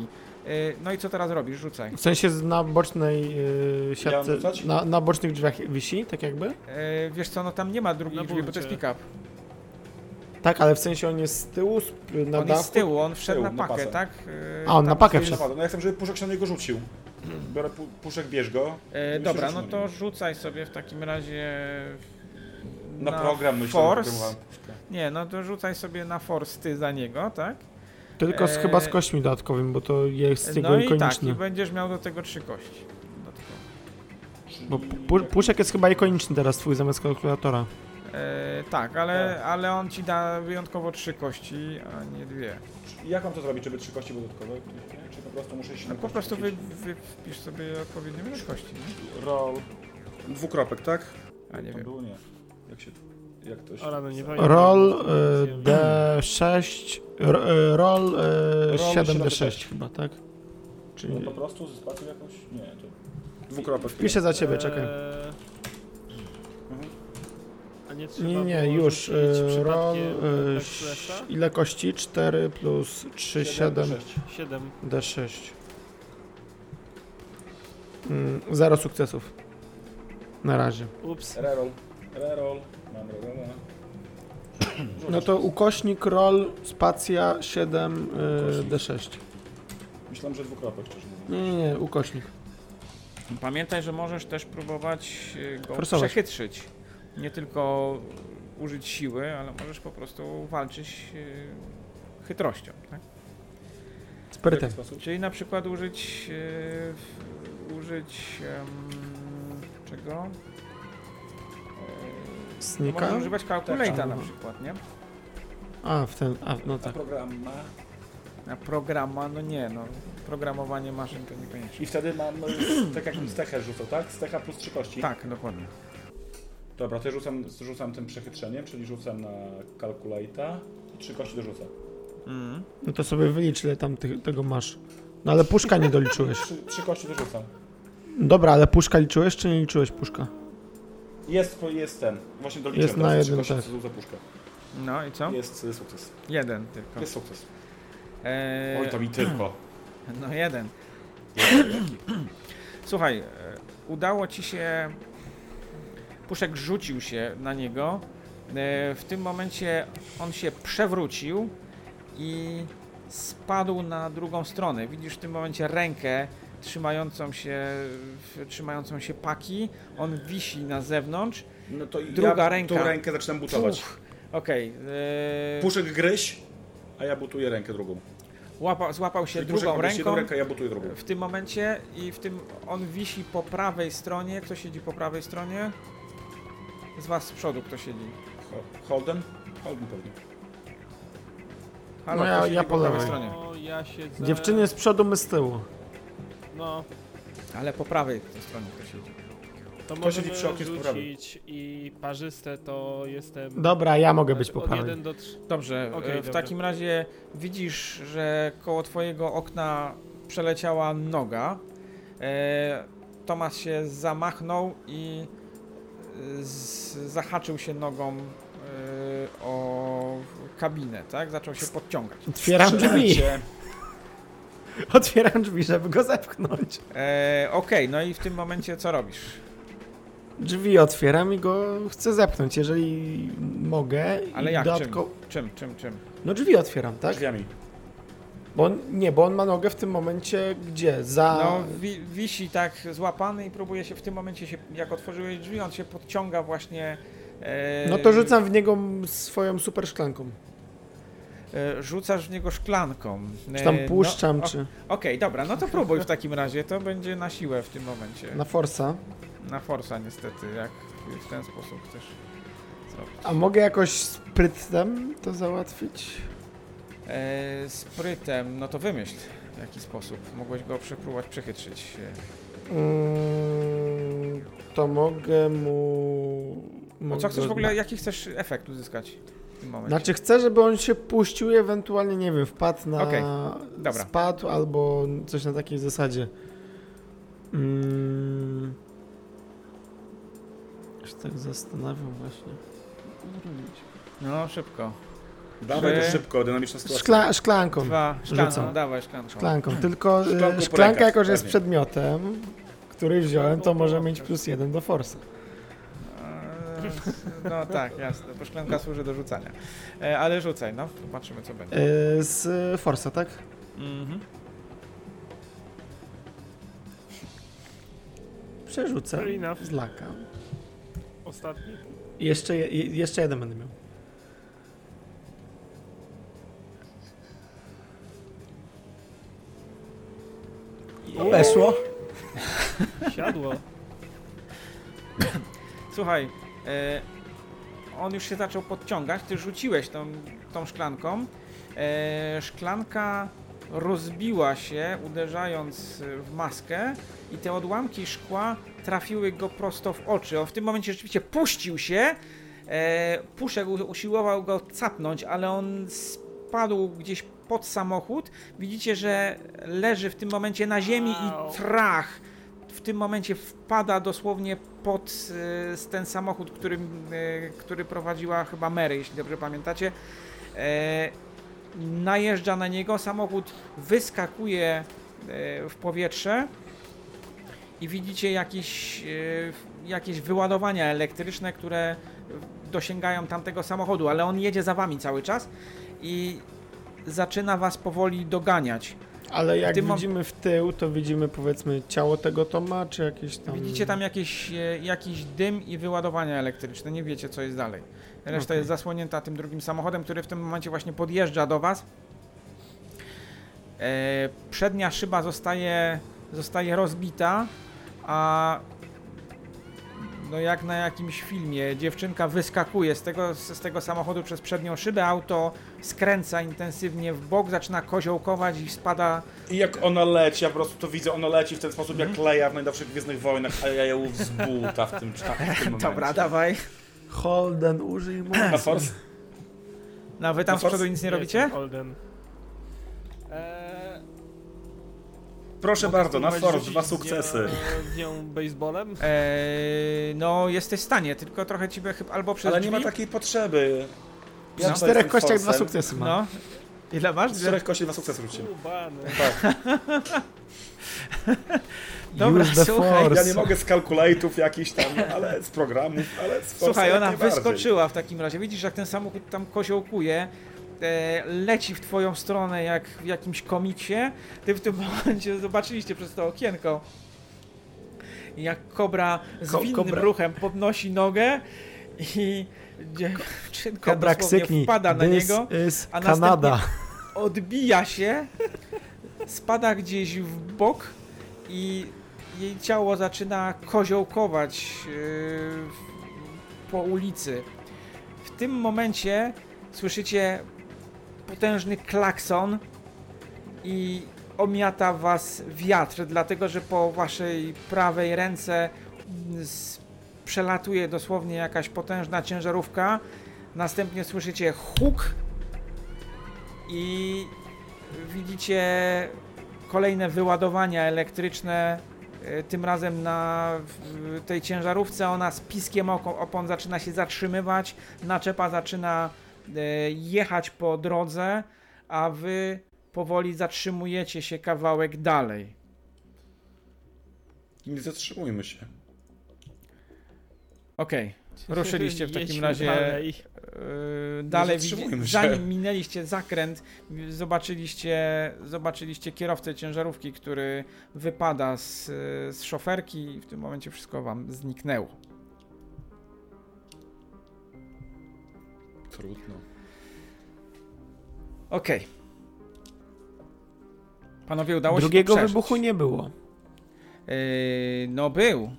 Y, No i co teraz robisz? Rzucaj.
W sensie z- na bocznej yy,
Ja mam
siatce,
rzucać?
na, na bocznych drzwiach wisi, tak jakby?
Y, Wiesz co, no tam nie ma drugiej
Na
drzwi, bo to jest
burcie.
pick-up.
Tak, ale w sensie on jest z tyłu, z, na
On
dachu.
jest z tyłu, on wszedł
tyłu,
na
na
pakę,
pasę.
tak? Y,
A, on
tam
na pakę
stoi-
wszedł.
Napadł. No ja chcę, żeby puszek się na niego rzucił.
Hmm.
Biorę pu puszek, bierz go.
E,
Myślę,
dobra,
że
no
nie.
to rzucaj sobie w takim razie
Na, program myślę, że
force.
programowałem puszkę.
Nie, no to rzucaj sobie na force ty za niego, tak?
Tylko z,
Eee,
chyba z kośćmi dodatkowymi, bo to jest jego
No i tak,
ikoniczny.
i będziesz miał do tego trzy kości. dodatkowo.
Bo pu puszek jest chyba ikoniczny teraz twój zamiast kalkulatora.
E, tak, ale, ale on ci da wyjątkowo trzy kości, a nie dwie.
Jak mam to zrobić, żeby trzy kości dodatkowe? Czy- Czy po prostu muszę się...
No po
na kości
prostu wy,
rzucić?
wy wpisz sobie odpowiednią ilość kości, nie?
Roll. Dwukropek, tak?
A nie
To
wiem.
było nie. Jak się... Jak to się... No
O rano, no nie pamiętam.
Roll e, D6, ro- e, roll e,
Roll
7D6 chyba, tak?
No
Czyli
po prostu ze spacją jakąś? Nie, to... Dwukropek.
piszę za ciebie, czekaj.
Eee,
Mhm.
A nie trzeba
Nie, nie,
było
już.
rzucić
E, roll
przypadkiem
e,
Black
sz-
Flasha?
ile kości? 4 plus 3, 7,
Siedem, sześć.
Siedem.
D6. Mm, zero sukcesów. Na razie.
Ups.
Reroll. Reroll. Mam rerolla.
No to ukośnik, roll, spacja, 7, e,
Ukośnik.
D6.
Myślałem, że dwukropek, szczerze mówiąc.
Nie, nie, nie, ukośnik.
Pamiętaj, że możesz też próbować y, go
Forsować.
przechytrzyć. Nie tylko użyć siły, ale możesz po prostu walczyć y, chytrością. Tak?
Sprytem.
W jaki sposób?
Czyli na przykład użyć. y, w- użyć. em, czego? No,
Snika?
można używać kalkulatora na
Tak.
przykład, nie?
A, w ten, a, no
A
tak.
program ma...
A programa, no nie, no. Programowanie maszyn to niekoniecznie.
I wtedy mam, e, tak jak mi stechę rzucał, tak? Stecha plus trzy kości.
Tak, dokładnie.
Dobra, to ja rzucam, rzucam tym przechytrzeniem, czyli rzucam na kalkulajta i trzy kości dorzucę.
Mhm.
No to sobie wylicz, ile tam ty, tego masz. No ale puszka nie doliczyłeś.
Trzy, trzy kości dorzucam.
Dobra, ale puszka liczyłeś, czy nie liczyłeś puszka?
Jest, jest ten. Właśnie doliczyłem.
Jest na
teraz te
jednym,
trzy
tak.
kości za puszkę.
No Tak. i co?
Jest e, sukces.
Jeden tylko.
Jest sukces.
Eee,
Oj, to mi tylko.
No jeden. Słuchaj, e, udało ci się. Puszek rzucił się na niego. E, W tym momencie on się przewrócił i spadł na drugą stronę. Widzisz w tym momencie rękę trzymającą się, w- trzymającą się paki. On wisi na zewnątrz.
No to i
Druga
ja
ręka.
tą rękę zaczynam butować.
Puch. Okej. e,
Puszek gryź, a ja butuję rękę drugą.
łapa- Złapał się
Czyli puszek
drugą
ma gryźć jedną
ręką.
rękę, ja butuję drugą.
w tym momencie i w tym on wisi po prawej stronie. Kto siedzi po prawej stronie? Z was z przodu kto siedzi?
Ho- Holden? Holden pewnie.
Halo,
No ja-
kto siedzi
ja po
prawej
lewej.
stronie.
O, ja siedzę...
Dziewczyny z przodu, my z tyłu.
No,
Ale po prawej stronie kto siedzi.
to
siedzi
możemy
przy oknie z poprawy?
rzucić i parzyste to jestem...
Dobra, ja mogę być
od
po prawej.
jeden do trz-
Dobrze,
Okej,
e, w
dobra.
takim razie widzisz, że koło twojego okna przeleciała noga. E, Tomasz się zamachnął i e, z, zahaczył się nogą e, o kabinę, tak? Zaczął się podciągać.
Otwieram drzwi.
Strzelajcie.
Otwieram drzwi, żeby go zepchnąć.
E, Okej, no i w tym momencie co robisz?
Drzwi otwieram i go chcę zepchnąć, jeżeli mogę. i
Ale jak,
dodatko-
Czym, czym, czym?
No drzwi otwieram, tak?
Drzwiami.
Bo on, nie, bo on ma nogę w tym momencie gdzie? Za...
No, wi- wisi tak złapany i próbuje się w tym momencie, się, jak otworzyłeś drzwi, on się podciąga właśnie. e,
No to rzucam w niego swoją super szklanką.
E, rzucasz w niego szklanką. E,
Czy tam
no,
puszczam,
o-
czy
Okej, dobra, no to próbuj w takim razie. To będzie na siłę w tym momencie.
na forsa.
Na forsa niestety, jak w ten sposób chcesz zrobić.
A mogę jakoś sprytem to załatwić?
E, sprytem, no to wymyśl w jaki sposób. Mogłeś go przepróbować przechytrzyć. E,
Mm, to mogę mu...
No co
mogę-
chcesz w ogóle, jaki chcesz efekt uzyskać w tym momencie?
Znaczy chcę, żeby on się puścił i ewentualnie, nie wiem, wpadł na...
Okej, dobra.
Spadł albo coś na takiej zasadzie. Mm. Aż tak zastanawiam właśnie.
No szybko.
Dawaj
Trzy.
to szybko, dynamiczna sytuacja.
Szkla, szklanką.
Dwa, szklanką,
Rzucam.
dawaj szklanką.
Szklanką, tylko
Szklanką
Szklanką
po
szklanka
rękach,
jako, że jest
pewnie.
przedmiotem, który wziąłem,
No,
to może mieć plus jeden do forsa.
Eee, No tak, jasne, bo szklanka służy do rzucania. E, Ale rzucaj, no, zobaczymy co będzie.
E, Z e, forsa, tak?
Mhm.
Przerzucę
Fair enough.
z laka.
Ostatni.
Jeszcze, je- jeszcze jeden będę miał. Weszło.
Siadło.
Słuchaj, e, on już się zaczął podciągać, ty rzuciłeś tą, tą szklanką. E, Szklanka rozbiła się, uderzając w maskę i te odłamki szkła trafiły go prosto w oczy. On w tym momencie rzeczywiście puścił się, E, Puszek u- usiłował go capnąć, ale on spadł gdzieś pod samochód. Widzicie, że leży w tym momencie na ziemi
Au.
i trach w tym momencie wpada dosłownie pod e, ten samochód, którym, e, który prowadziła chyba Mary, jeśli dobrze pamiętacie. E, najeżdża na niego, samochód wyskakuje e, w powietrze i widzicie jakieś, e, jakieś wyładowania elektryczne, które dosięgają tamtego samochodu, ale on jedzie za wami cały czas i zaczyna was powoli doganiać.
Ale jak
Ty mam-
widzimy w tył, to widzimy powiedzmy ciało tego Toma, czy jakieś tam...
Widzicie tam jakieś, e, jakiś dym i wyładowania elektryczne, nie wiecie co jest dalej. Reszta
Okej.
jest zasłonięta tym drugim samochodem, który w tym momencie właśnie podjeżdża do was. E, przednia szyba zostaje, zostaje rozbita, a no jak na jakimś filmie, dziewczynka wyskakuje z tego, z tego samochodu przez przednią szybę, auto skręca intensywnie w bok, zaczyna koziołkować i spada
I jak ona leci, ja po prostu to widzę, ona leci w ten sposób
Mhm.
jak Leia w najnowszych Gwiezdnych Wojnach, a ja ją z buta w tym czasie. W tym
Dobra,
momencie.
dawaj.
Holden, użyj mocy.
Na force?
No a wy tam
No
z
to
przodu nic nie robicie?
Olden. Eee,
Proszę
mogę
bardzo, na
spróbować
force, dwa
rzucić
sukcesy.
Z nią, z nią baseballem?
Eee, no, jesteś w stanie, tylko trochę ci by chyba albo przez
Ale nie
drzwi...
tak-
ma takiej potrzeby.
Na
tutaj
czterech
jestem
kościach dwa
forsem.
sukcesy ma.
No. Ile masz?
Z czterech kości dwa sukcesy rzuciłem.
Kubany.
Tak.
Dobra,
Use the
słuchaj.
force.
Ja nie mogę z kalkulatów jakichś tam, ale z programów, ale z force
Słuchaj,
jak
ona
najbardziej.
wyskoczyła w takim razie. Widzisz, jak ten samochód tam koziołkuje, e, leci w twoją stronę jak w jakimś komiksie. Ty w tym momencie zobaczyliście przez to okienko, jak kobra z
Ko-
winnym
kobra.
ruchem podnosi nogę i dziewczynka
Kobra
dosłownie
krzyknij,
wpada na
this
niego.
is
a następnie-
Kanada.
odbija się, spada gdzieś w bok i jej ciało zaczyna koziołkować yy, w- po ulicy. W tym momencie słyszycie potężny klakson i omiata was wiatr, dlatego że po waszej prawej ręce mm, s- przelatuje dosłownie jakaś potężna ciężarówka. Następnie słyszycie huk i widzicie kolejne wyładowania elektryczne. y, Tym razem na w- tej ciężarówce ona z piskiem oko- opon zaczyna się zatrzymywać, naczepa zaczyna y, jechać po drodze, a wy powoli zatrzymujecie się kawałek dalej.
Nie zatrzymujmy się.
Okej, ruszyliście w takim
Jedźmy
razie
Dalej.
Yy, dalej
zatrzymujmy
widzi-
się.
zanim minęliście zakręt, yy, zobaczyliście, zobaczyliście kierowcę ciężarówki, który wypada z, yy, z szoferki i w tym momencie wszystko wam zniknęło.
Trudno.
Okej. Panowie, udało
Drugiego
się to
wybuchu
przeżyć.
nie było.
Yy, no był,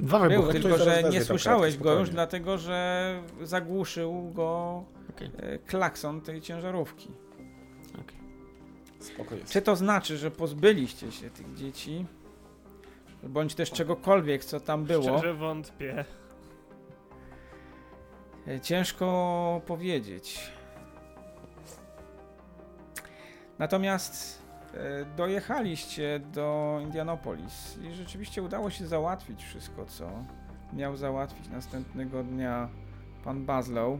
Dwa
był,
wybuchy.
ktoś
tylko
zaraz
że nie
wezwie tam
słyszałeś
kartę,
go już,
spokojnie.
dlatego że zagłuszył go
Okej.
yy, klakson tej ciężarówki.
Spoko jest.
Czy to znaczy, że pozbyliście się tych dzieci? Bądź też czegokolwiek, co tam było.
Szczerze wątpię.
E, Ciężko powiedzieć. Natomiast e, dojechaliście do Indianapolis i rzeczywiście udało się załatwić wszystko, co miał załatwić następnego dnia pan Baslow.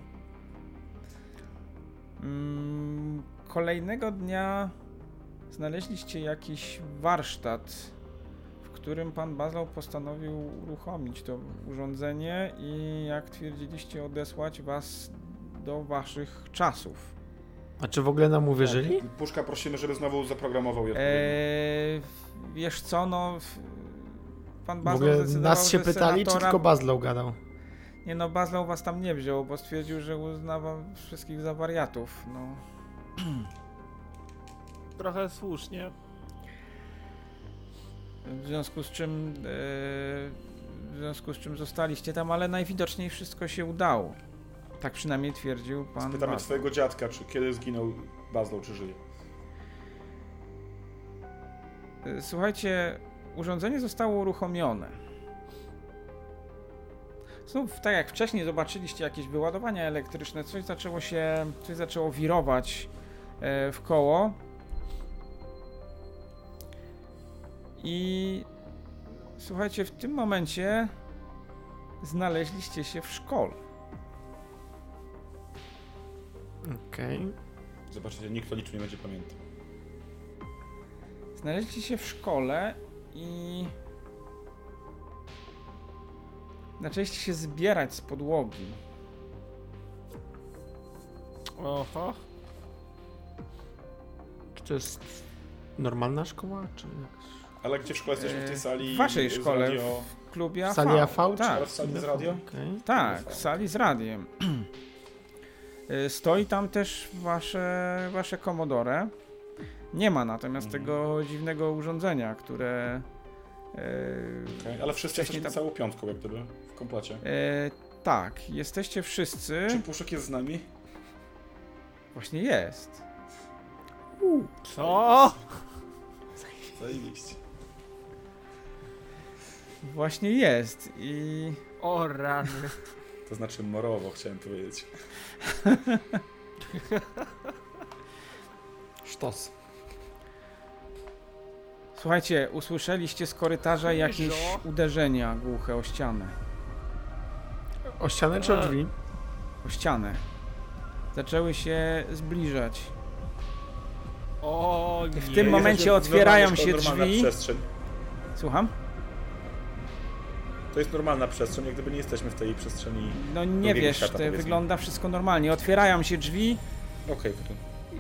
Mm, Kolejnego dnia znaleźliście jakiś warsztat, w którym pan Baslow postanowił uruchomić to urządzenie i, jak twierdziliście, odesłać was do waszych czasów.
A czy w ogóle nam
Tak.
uwierzyli?
Puszka prosimy, żeby znowu zaprogramował je.
Eee, wiesz co, no... w- Pan
W
Baslow
ogóle
zdecydował,
nas się
że
pytali, czy
senatora-
tylko Bazlow gadał?
Nie no, Baslow was tam nie wziął, bo stwierdził, że uzna wam wszystkich za wariatów, no.
Trochę słusznie.
W związku z czym, e, w związku z czym zostaliście tam, ale najwidoczniej wszystko się udało. Tak przynajmniej twierdził pan.
Spytamy
Bas.
twojego dziadka, czy kiedy zginął Bazlow, czy żyje.
E, Słuchajcie, urządzenie zostało uruchomione. Znów, tak jak wcześniej zobaczyliście jakieś wyładowania elektryczne, coś zaczęło się, coś zaczęło wirować e, w koło. I słuchajcie, w tym momencie znaleźliście się w szkole.
Okej.
Zobaczycie, nikt o niczym nie będzie pamiętał.
Znaleźliście się w szkole i zaczęliście się zbierać z podłogi.
Oho.
Czy to jest normalna szkoła, czy jakaś...
Ale gdzie w szkole jesteśmy? W tej
E,
sali
w waszej
z
szkole,
Radio...
W klubie AV.
Sali AV, czy-
Tak,
Teraz w sali z radio?
Okej.
tak, w sali z radiem. Y, Stoi tam też wasze, wasze Commodore. Nie ma natomiast
Mhm.
tego dziwnego urządzenia, które... y,
Okej, Ale wszyscy
Wcześniej
jesteśmy
tam-
całą piątką jak gdyby w komplecie.
y, tak, jesteście wszyscy.
Czy Puszek jest z nami?
Właśnie jest.
Co?
Zajebiście.
Właśnie jest i...
O rany.
To znaczy morowo chciałem powiedzieć.
Sztos.
Słuchajcie, usłyszeliście z korytarza jakieś
Krzyżo.
uderzenia głuche o ścianę.
O ścianę czy o drzwi?
O ścianę. Zaczęły się zbliżać.
O nie.
W tym momencie
Eee, Jesteśmy-
otwierają
normalna
się
szkoła, normalna
drzwi.
Przestrzeń.
Słucham?
To jest normalna przestrzeń, jak gdyby nie jesteśmy w tej przestrzeni.
No nie
Drugiego
wiesz,
świata,
to
powiedzmy.
wygląda wszystko normalnie. Otwierają się drzwi
Okej, to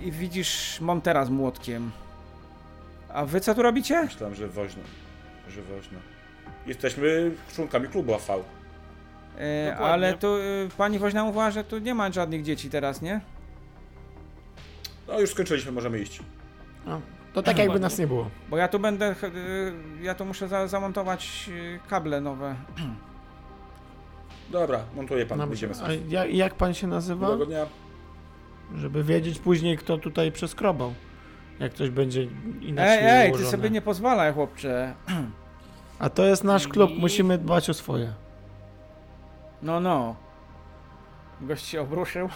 i widzisz Montera z młotkiem. A wy co tu robicie?
myślałem, że woźno. Że woźno. Jesteśmy członkami klubu AV.
E,
Dokładnie.
ale tu e, pani woźna mówiła, że tu nie ma żadnych dzieci teraz, nie?
No już skończyliśmy, możemy iść.
To tak jakby nas nie było.
Bo ja tu będę, ch- e, ja tu muszę za, zamontować e, kable nowe.
Dobra, montuje pan,
Nam-
będziemy
A
sobie.
jak, jak pan się nazywa?
Dobrego dnia.
Żeby wiedzieć później, kto tutaj przeskrobał. Jak ktoś będzie inaczej
Ej, ej, ty
ułożone.
sobie nie pozwalaj, chłopcze.
A to jest nasz klub, musimy dbać o swoje.
No, no. Gość się obruszył.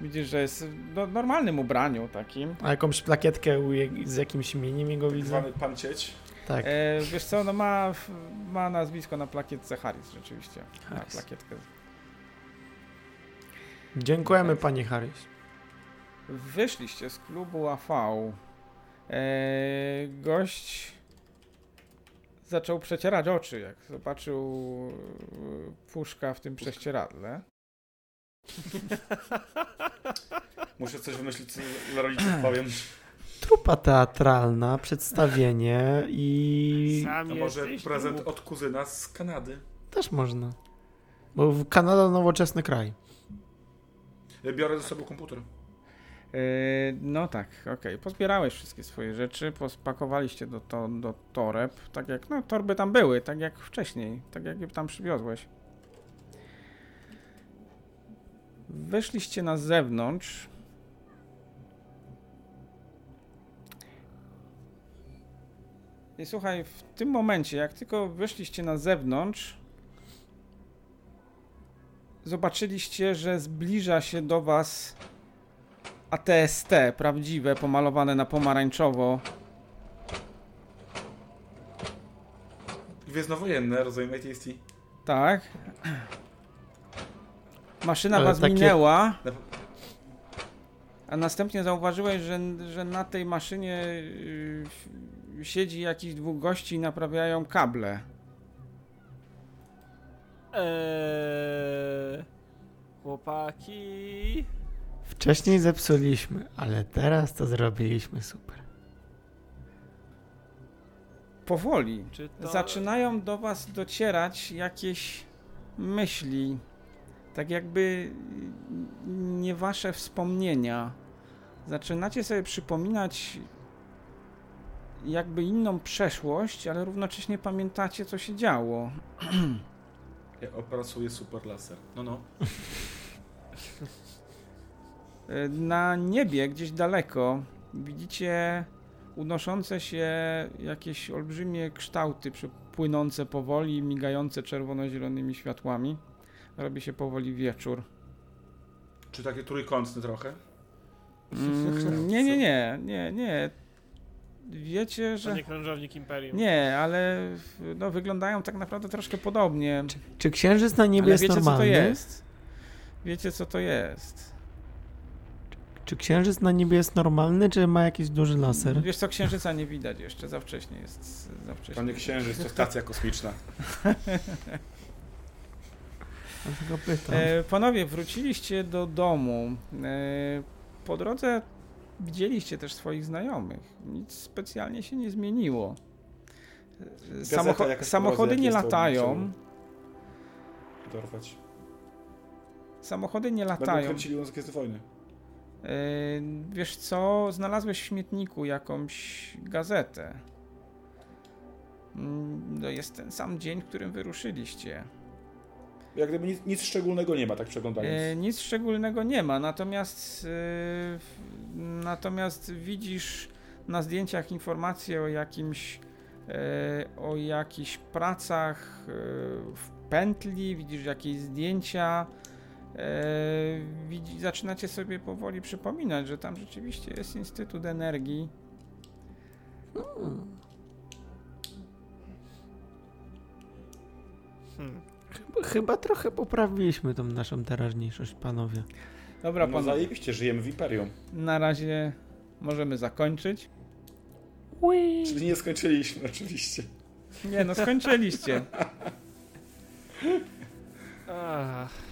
Widzisz, że jest w no, normalnym ubraniu takim.
A jakąś plakietkę u je- z jakimś imieniem jego widzę?
Tak Zwany pan Cieć.
Tak.
E, wiesz co, no ma, ma nazwisko na plakietce Harris rzeczywiście. Ma
Harris.
plakietkę.
Dziękujemy panie Harris.
Wyszliście z klubu AV. E, gość zaczął przecierać oczy, jak zobaczył e, puszka w tym prześcieradle.
Muszę coś wymyślić, co dla rodziców powiem.
Trupa teatralna, przedstawienie i
Sam
To może
jesteś
prezent
tu.
od kuzyna z Kanady.
też można. Bo w- Kanada nowoczesny kraj.
Biorę ze sobą komputer.
Yy, No tak, okej. Pozbierałeś wszystkie swoje rzeczy, pospakowaliście do, to, do toreb, tak jak, no torby tam były, tak jak wcześniej, tak jak je tam przywiozłeś. Wyszliście na zewnątrz. I słuchaj, w tym momencie, jak tylko wyszliście na zewnątrz, zobaczyliście, że zbliża się do was ATST, prawdziwe, pomalowane na pomarańczowo.
Gwiezdnowojenne, rozumiem, ATST.
Tak. Maszyna
Ale
was
takie-
minęła. A następnie zauważyłeś, że, że na tej maszynie yy, siedzi jakiś dwóch gości i naprawiają kable.
Eee, chłopaki.
Wcześniej zepsuliśmy, ale teraz to zrobiliśmy super.
Powoli.
Czy to...
Zaczynają do was docierać jakieś myśli. Tak jakby yy, nie wasze wspomnienia. Zaczynacie sobie przypominać jakby inną przeszłość, ale równocześnie pamiętacie, co się działo.
Ja opracuję super laser. No, no.
Y, Na niebie, gdzieś daleko, widzicie unoszące się jakieś olbrzymie kształty, przypływ- płynące powoli, migające czerwono-zielonymi światłami. Robi się powoli wieczór.
Czy takie trójkątne trochę?
Mm, nie, nie, nie, nie, nie. Wiecie,
To
że.
nie krążownik Imperium.
Nie, ale no, wyglądają tak naprawdę troszkę podobnie.
Czy księżyc na niebie
ale
jest
wiecie, co to
normalny?
jest. Wiecie, co to jest.
Czy księżyc na niebie jest normalny, czy ma jakiś duży laser?
Wiesz co, księżyca nie widać jeszcze, za wcześnie jest. Za
To
wcześnie.
nie księżyc, to stacja kosmiczna.
Dlatego pytam.
E, panowie, wróciliście do domu. E, po drodze widzieliście też swoich znajomych. Nic specjalnie się nie zmieniło. E, samocho-
jakaś
samochody
prowadzi,
nie
jak jest, to
latają.
musimy Dorwać.
Samochody nie
Będą
latają.
kręcili muzykę z wojny.
E, wiesz co? Znalazłeś w śmietniku jakąś gazetę. Mm, To jest ten sam dzień, w którym wyruszyliście.
Jak gdyby nic, nic szczególnego nie ma, tak przeglądając.
E, nic szczególnego nie ma, natomiast, e, w- natomiast widzisz na zdjęciach informacje o jakimś e, o jakichś pracach e, w pętli, widzisz jakieś zdjęcia. E, widzi, zaczynacie sobie powoli przypominać, że tam rzeczywiście jest Instytut Energii.
Hmm.
Chyba trochę poprawiliśmy tą naszą teraźniejszość, panowie.
Dobra,
no
panowie,
zajebiście, żyjemy w imperium.
na razie możemy zakończyć.
Czyli nie skończyliśmy, oczywiście.
Nie, no skończyliście.
Ach,